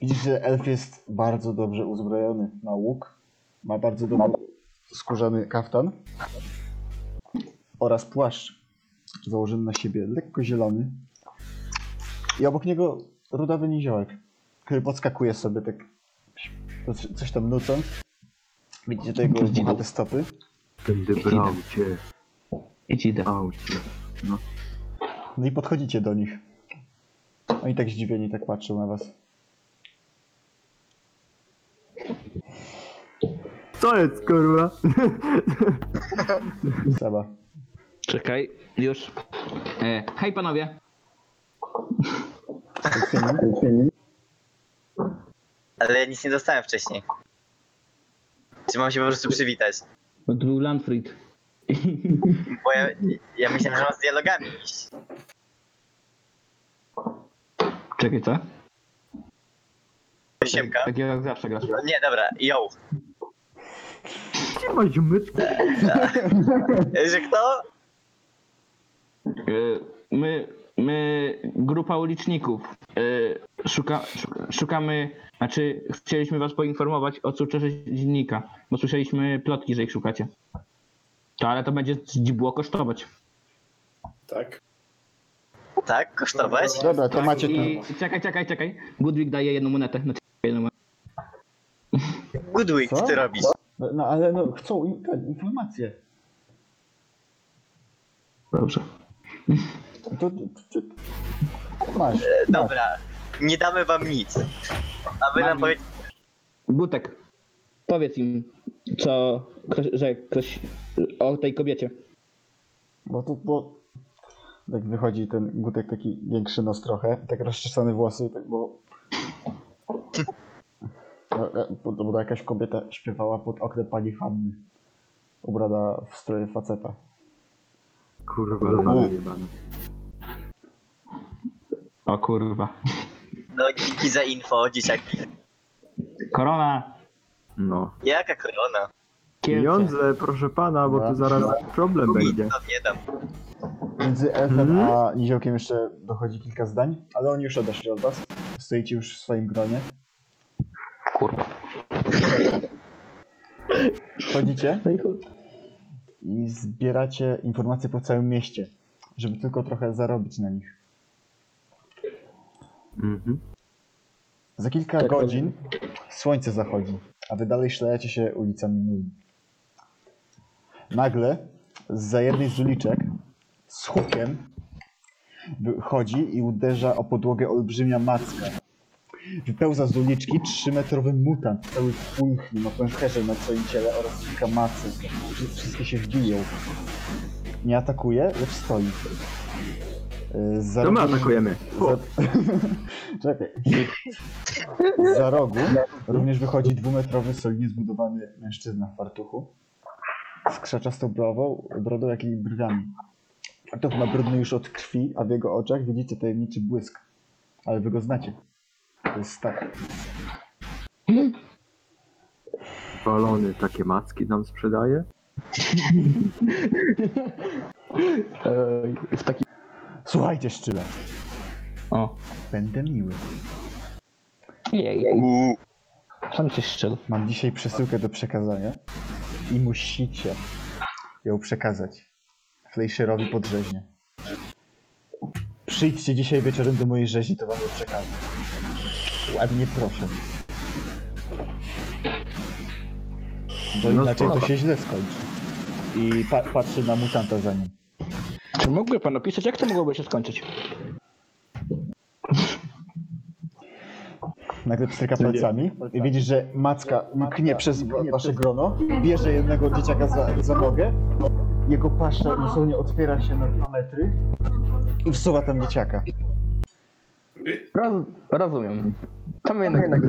Widzisz, że elf jest bardzo dobrze uzbrojony. Ma łuk, ma bardzo dobry skórzany kaftan oraz płaszcz założony na siebie, lekko zielony. I obok niego rudawy niziołek, który podskakuje sobie tak coś- coś tam nucąc. Widzicie te jego te stopy.
Będę brał cię,
Idź, idę.
brał cię.
No i podchodzicie do nich. Oni tak zdziwieni tak patrzą na was.
Co jest, kurwa? <laughs>
Seba.
Czekaj, już. E, hej panowie,
Ale ja nic nie dostałem wcześniej. Czy mam się po prostu przywitać?
to był Landfried.
Bo ja, ja myślałem, że mam z dialogami iść.
Czekaj, co?
Siemka.
Tak jak zawsze grasz.
No Nie, dobra, yo.
Gdzie masz mytkę?
Że kto?
E, my, my, grupa uliczników, e, szuka, szuka, szukamy, znaczy chcieliśmy was poinformować o sukcesie dziennika, bo słyszeliśmy plotki, że ich szukacie. To ale to będzie dzibło kosztować.
Tak.
Tak, kosztować?
Dobra, to macie to.
I, czekaj, czekaj, czekaj. Budwig daje jedną monetę. Znaczy, jedną monetę.
Good week,
Co?
ty robisz.
No, no ale no, chcą im, ten, informacje.
Dobrze.
To, to, to, to masz.
Dobra, nie damy wam nic. A wy nam
Mam-
powiecie,
Butek, powiedz im, co, ktoś- że ktoś o tej kobiecie.
Bo tu, bo tak wychodzi ten gutek taki większy nos trochę, tak rozczesane włosy, tak bo... No, e, Bo, bo jakaś kobieta śpiewała pod oknem pani Hanny, ubrana w stroje faceta.
Kurwa, ale jebane.
O kurwa.
no dzięki za info, dzieciaki.
Korona,
No.
Jaka korona?
Kielce.
Pieniądze, proszę pana, bo tu zaraz problem będzie.
Nic wam nie dam.
Między elfem
Mhm.
a niziołkiem jeszcze dochodzi kilka zdań, ale oni już odeszli od was. Stoicie już w swoim gronie.
Kurwa.
Chodzicie
No i kurwa.
i zbieracie informacje po całym mieście, żeby tylko trochę zarobić na nich.
Mhm.
Za kilka
Tak,
godzin słońce zachodzi, a wy dalej szlejecie się ulicami Nui. Nagle za jednej z uliczek z hukiem wychodzi i uderza o podłogę olbrzymia macka. Wypełza z uliczki 3-metrowy mutant, cały w pulchni, ma pęcherze na swoim ciele oraz kilka macy. Wszystkie się wbiją. Nie atakuje, lecz stoi. y, za
To my
rogiem-
atakujemy.
Za... Czekaj. <laughs> Za rogu również wychodzi dwumetrowy, solidnie zbudowany mężczyzna w fartuchu. Z krzaczastą brową, brodą, jak i brwiami. Fartuch ma brudny już od krwi, a w jego oczach widzicie tajemniczy błysk. Ale wy go znacie. To jest tak.
Balony takie macki nam sprzedaje.
E, w taki...
Słuchajcie, szczyle.
O.
Będę miły.
Sam coś szczel.
Mam dzisiaj przesyłkę do przekazania i musicie ją przekazać Fleischerowi pod rzeźnię. Przyjdźcie dzisiaj wieczorem do mojej rzezi, to wam ją przekażę. Ładnie proszę. Bo
No
inaczej to
spoko.
się źle skończy. I pa patrzy na mutanta za nim.
Czy mógłby pan opisać, jak to mogłoby się skończyć?
Nagle pstryka palcami i widzisz, tak. że macka mknie przez wa- wasze grono, bierze jednego dzieciaka za, za nogę, jego pasza zupełnie otwiera się na dwa metry i wsuwa tam dzieciaka.
Roz... Rozumiem. To my jednak...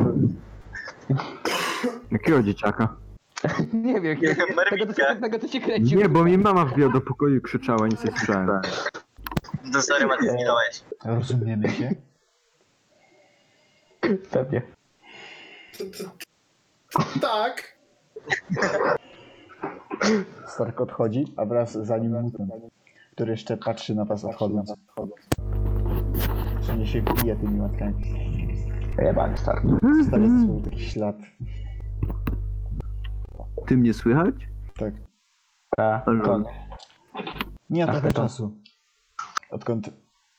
Jakiego dzieciaka?
Nie wiem,
Nie,
tego, co-
Merwinka.
tego co się kręci.
Nie, bo mi mama wbiła do pokoju i krzyczała, nic nie słyszałem.
No sorry, Mati, zginąłeś.
Rozumiemy się?
Pewnie.
Tak!
Stark odchodzi, a wraz za nim mutant, który jeszcze patrzy na was odchodząc. Wszędzie się bije tymi matkami.
Jebany stary.
Zostawia ze sobą taki ślad.
Ty mnie słychać?
Tak.
Ta,
Lol.
to-
Nie ma trochę
to-
czasu. Odkąd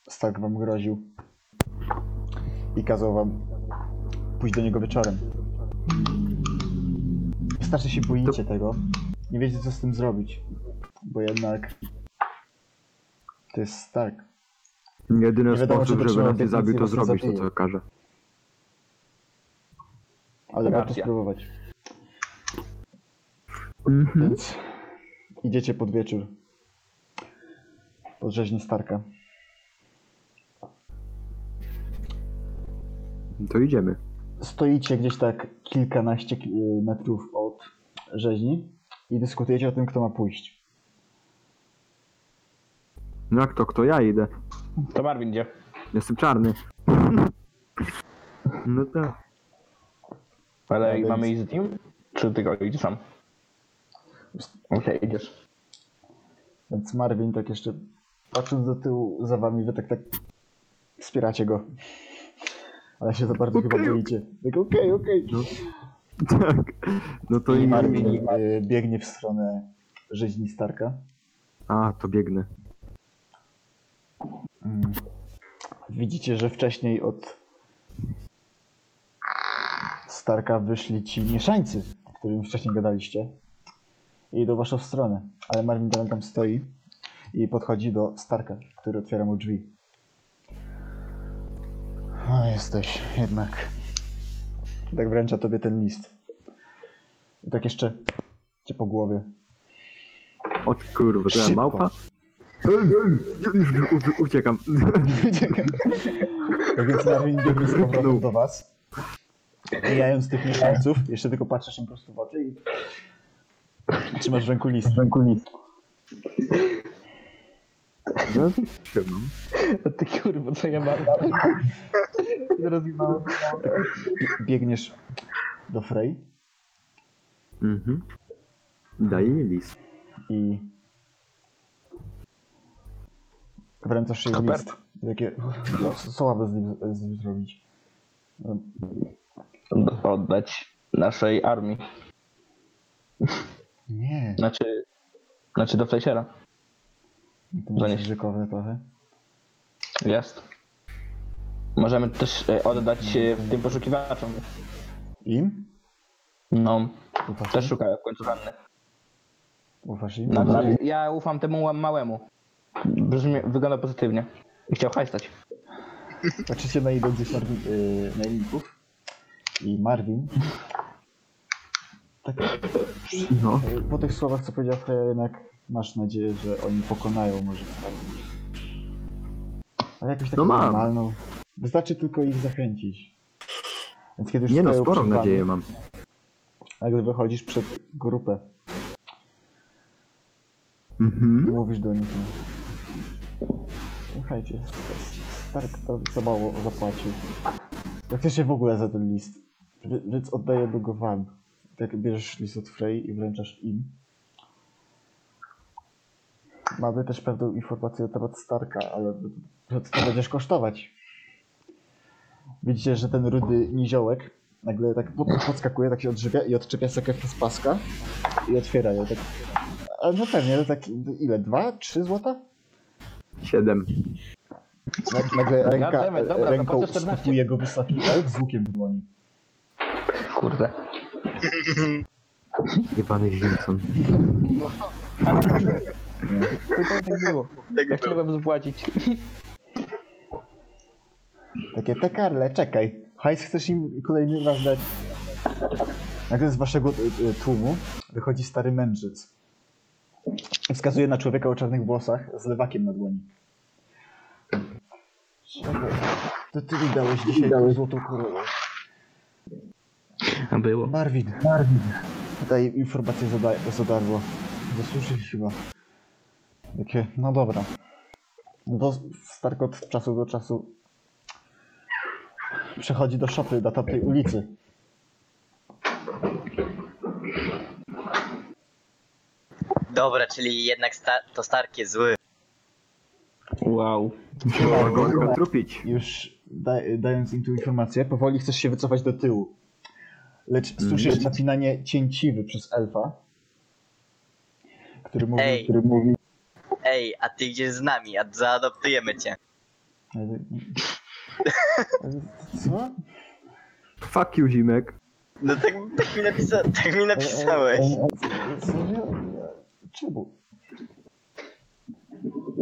Stark wam groził i kazał wam pójść do niego wieczorem. Wystarczy się boicie tego. Nie wiecie co z tym zrobić. Bo jednak to jest Stark.
Jedyny
Nie wiadomo,
sposób,
czy
żeby
dotrzymał
nas nie zabił, to
obietnicy, was nie
zrobić to, co
zabije.
każe.
Ale warto
Racja.
spróbować.
Mhm.
Więc idziecie pod wieczór. Pod rzeźnię Starka.
To idziemy.
Stoicie gdzieś tak kilkanaście ki- y, metrów od rzeźni i dyskutujecie o tym, kto ma pójść.
No jak to, kto ja idę?
To Marvin gdzie?
Jestem czarny. No tak.
Ale
Dobra,
No mamy iść z nim? Czy ty go idziesz sam? Okej, idziesz.
Więc Marvin tak jeszcze patrząc do tyłu za wami, wy tak tak wspieracie go. Ale się za bardzo
Okej,
chyba boicie. Tak okej, okej.
No. Tak. No to
I
i...
Marvin y, biegnie w stronę rzeźni Starka.
A, to biegnę.
Mm. Widzicie, że wcześniej od Starka wyszli ci mieszańcy, o którym wcześniej gadaliście. I idą w waszą stronę. Ale Marvin dalej tam stoi i podchodzi do Starka, który otwiera mu drzwi. No jesteś jednak. I Tak wręcza tobie ten list. I tak jeszcze cię po głowie.
O kurwa, to ja
Szybko.
małpa? Już u- uciekam.
Tak więc Marvin biegnie z
Ryknął.
powrotem do was. Mijając tych mieszkańców, jeszcze tylko patrzysz im prosto w oczy i trzymasz w ręku list. W ręku list.
Trzymam.
Ty kurwa, co ja mam? Zrozumiałem.
Biegniesz do Frey
Mhm. Daj mi list.
i wręcasz jej
Super.
list. Jakie... No, co mamy z nim, z nim zrobić?
Oddać naszej armii.
Nie,
Znaczy, znaczy do Fleischera.
to jest
zanieś.
ryzykowne trochę.
Jest. Możemy też e, oddać e, tym poszukiwaczom.
Im?
No,
Ufasz
też
im?
szukają w końcu ranny.
Ufasz im?
Znaczy, ja ufam temu łam- małemu. Brzmi, wygląda pozytywnie. I chciał hajstać.
Patrzycie na idących Marvin, yy, najemników i Marvin. Tak,
No.
yy, po tych słowach, co powiedział Freya, jednak masz nadzieję, że oni pokonają może. Ale jakąś
No
taką
mam.
normalną. Wystarczy tylko ich zachęcić. Więc kiedy już
Nie no,
stoją
sporą
przed wami,
nadzieję mam.
Nagle wychodzisz przed grupę i
Mhm.
mówisz do nich. no, Słuchajcie, stary kto za mało zapłacił. Jak się w ogóle za ten list? Wie- Więc oddaję do go wam. Tak bierzesz list od Frey i wręczasz im. Mamy też pewną informację na temat Starka, ale że to będziesz kosztować. Widzicie, że ten rudy niziołek nagle tak pod- podskakuje, tak się odżywia i odczepia sokiewkę z paska i otwiera ją. Tak. A no pewnie, no tak ile? Dwa? Trzy złota?
Siedem.
Nag- Nagle ręka,
dawaj, dobra,
ręką
zapłacę 14.
skupuje jego wysoki elf z łukiem w dłoni.
Kurde.
Jebany Wilson.
Tylko tak było. Ja chciałem zapłacić.
Takie, te Karle, czekaj. Hajs chcesz im kolejny raz dać. Nagle z waszego y, y, tłumu wychodzi stary mędrzec. I Wskazuje na człowieka o czarnych włosach z lewakiem na dłoni. Czekaj, To ty mi dałeś dzisiaj tą złotą korolę.
A było.
Marvin. Marvin. Daje informację za, da- za darmo. Zasłużył chyba. Takie, no dobra. Bo Stark od czasu do czasu przechodzi do szopy na tamtej ulicy.
Dobra, czyli jednak sta- to Stark jest zły.
Wow.
Trzeba go trupić.
Już da- dając im tu informację, powoli chcesz się wycofać do tyłu. Lecz słyszysz napinanie cięciwy przez elfa, który mówi,
Ej.
który mówi
Ej, a ty idziesz z nami, a zaadoptujemy cię.
co?
Fuck you, Zimek.
No tak, tak, mi, napisa- tak mi
e,
napisałeś.
Serio? Czemu?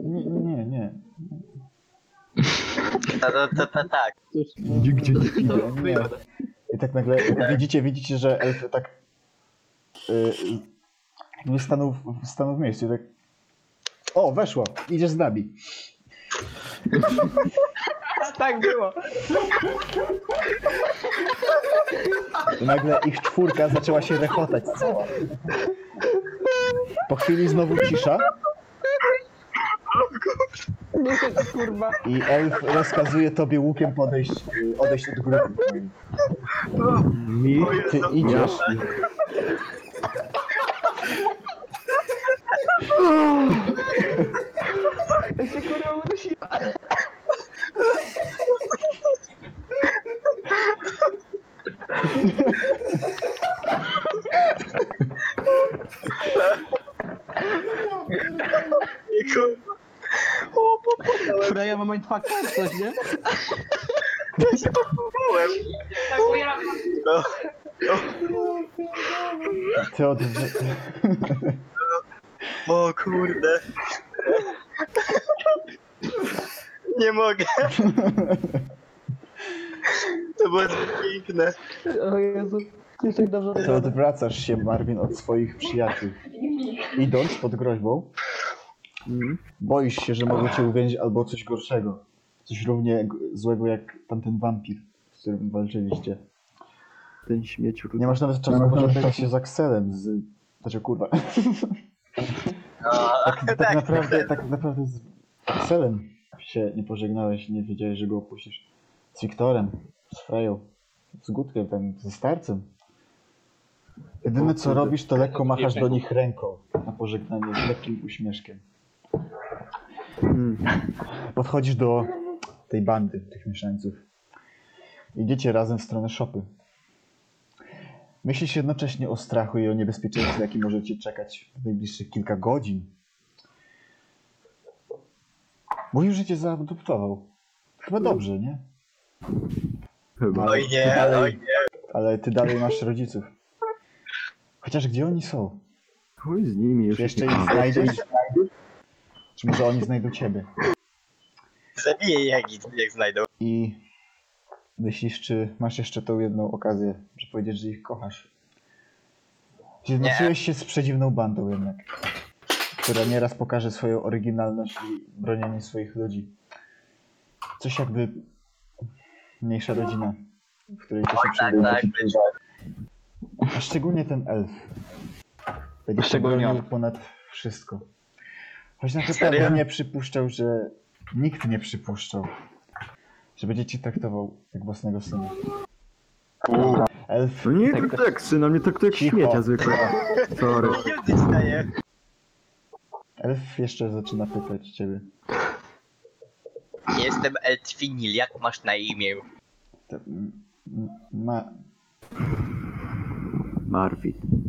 Nie, nie, nie.
Ta, ta, ta, ta, tak.
Gdzie
nie. I tak nagle widzicie, widzicie, że elf tak y, jakby stanął, w- stanął w miejscu i tak o, weszło, idziesz z nami.
Tak było.
I nagle ich czwórka zaczęła się rechotać cała. Po chwili znowu cisza
Kurwa.
i elf rozkazuje tobie łukiem podejść, y, odejść od grupy.
Mi?
Ty idziesz.
Ja się kurwa udusiłem. Freja ma mindfucka czy coś, nie?
Tak,
Ty odwr-
<laughs> O kurde. Nie mogę. To było zbyt piękne.
O Jezu. Jeszcze tak dobrze
Ty odwracasz się, Marvin, od swoich przyjaciół. Idąc pod groźbą, boisz się, że mogą cię uwięzić albo coś gorszego. Coś równie g- złego jak tamten wampir, z którym walczyliście.
Ten śmieć
Nie masz nawet czasu pożegnać się z Akselem, z... Znaczy, kurwa.
No,
Tak, tak naprawdę, tak naprawdę z Akselem się nie pożegnałeś, nie wiedziałeś, że go opuścisz. Z Wiktorem, z Freją, z Gutkiem, tam, ze Starcem. Jedyne co robisz, to lekko machasz do nich ręką na pożegnanie z lekkim uśmieszkiem. Podchodzisz do tej bandy, tych mieszańców. Idziecie razem w stronę szopy. Myślisz jednocześnie o strachu i o niebezpieczeństwie, jakie możecie czekać w najbliższych kilka godzin. Mówił, że cię zaadoptował. Chyba dobrze, nie?
Chyba.
Ale
Oj
ty
nie,
dalej-
oj nie.
Ale ty dalej masz rodziców. Chociaż gdzie oni są?
Chuj z nimi już.
Czy jeszcze
nie-
ich znajdziesz? Czy może oni znajdą ciebie?
Zabiję jak, jak znajdą.
I myślisz, czy masz jeszcze tą jedną okazję, że powiedzieć, że ich kochasz? Zjednoczyłeś się z przedziwną bandą jednak, która nieraz pokaże swoją oryginalność i bronienie swoich ludzi. coś jakby mniejsza rodzina, w której to się
Tak,
przyjdzie.
tak,
A szczególnie ten elf. Będzie
Szczególnie
szczególnie
on.
ponad wszystko. Choć na
Serio?
pewno nie przypuszczał, że nikt nie przypuszczał, że będzie cię traktował jak własnego syna. Elf.
No nie tak, tak, syna, mnie traktuje jak
Cicho.
śmiecia zwykłego. Sorry.
Nie staje.
Elf jeszcze zaczyna pytać ciebie.
Jestem Eltwinil, jak masz na imię?
To, m- m- ma,
Marvin.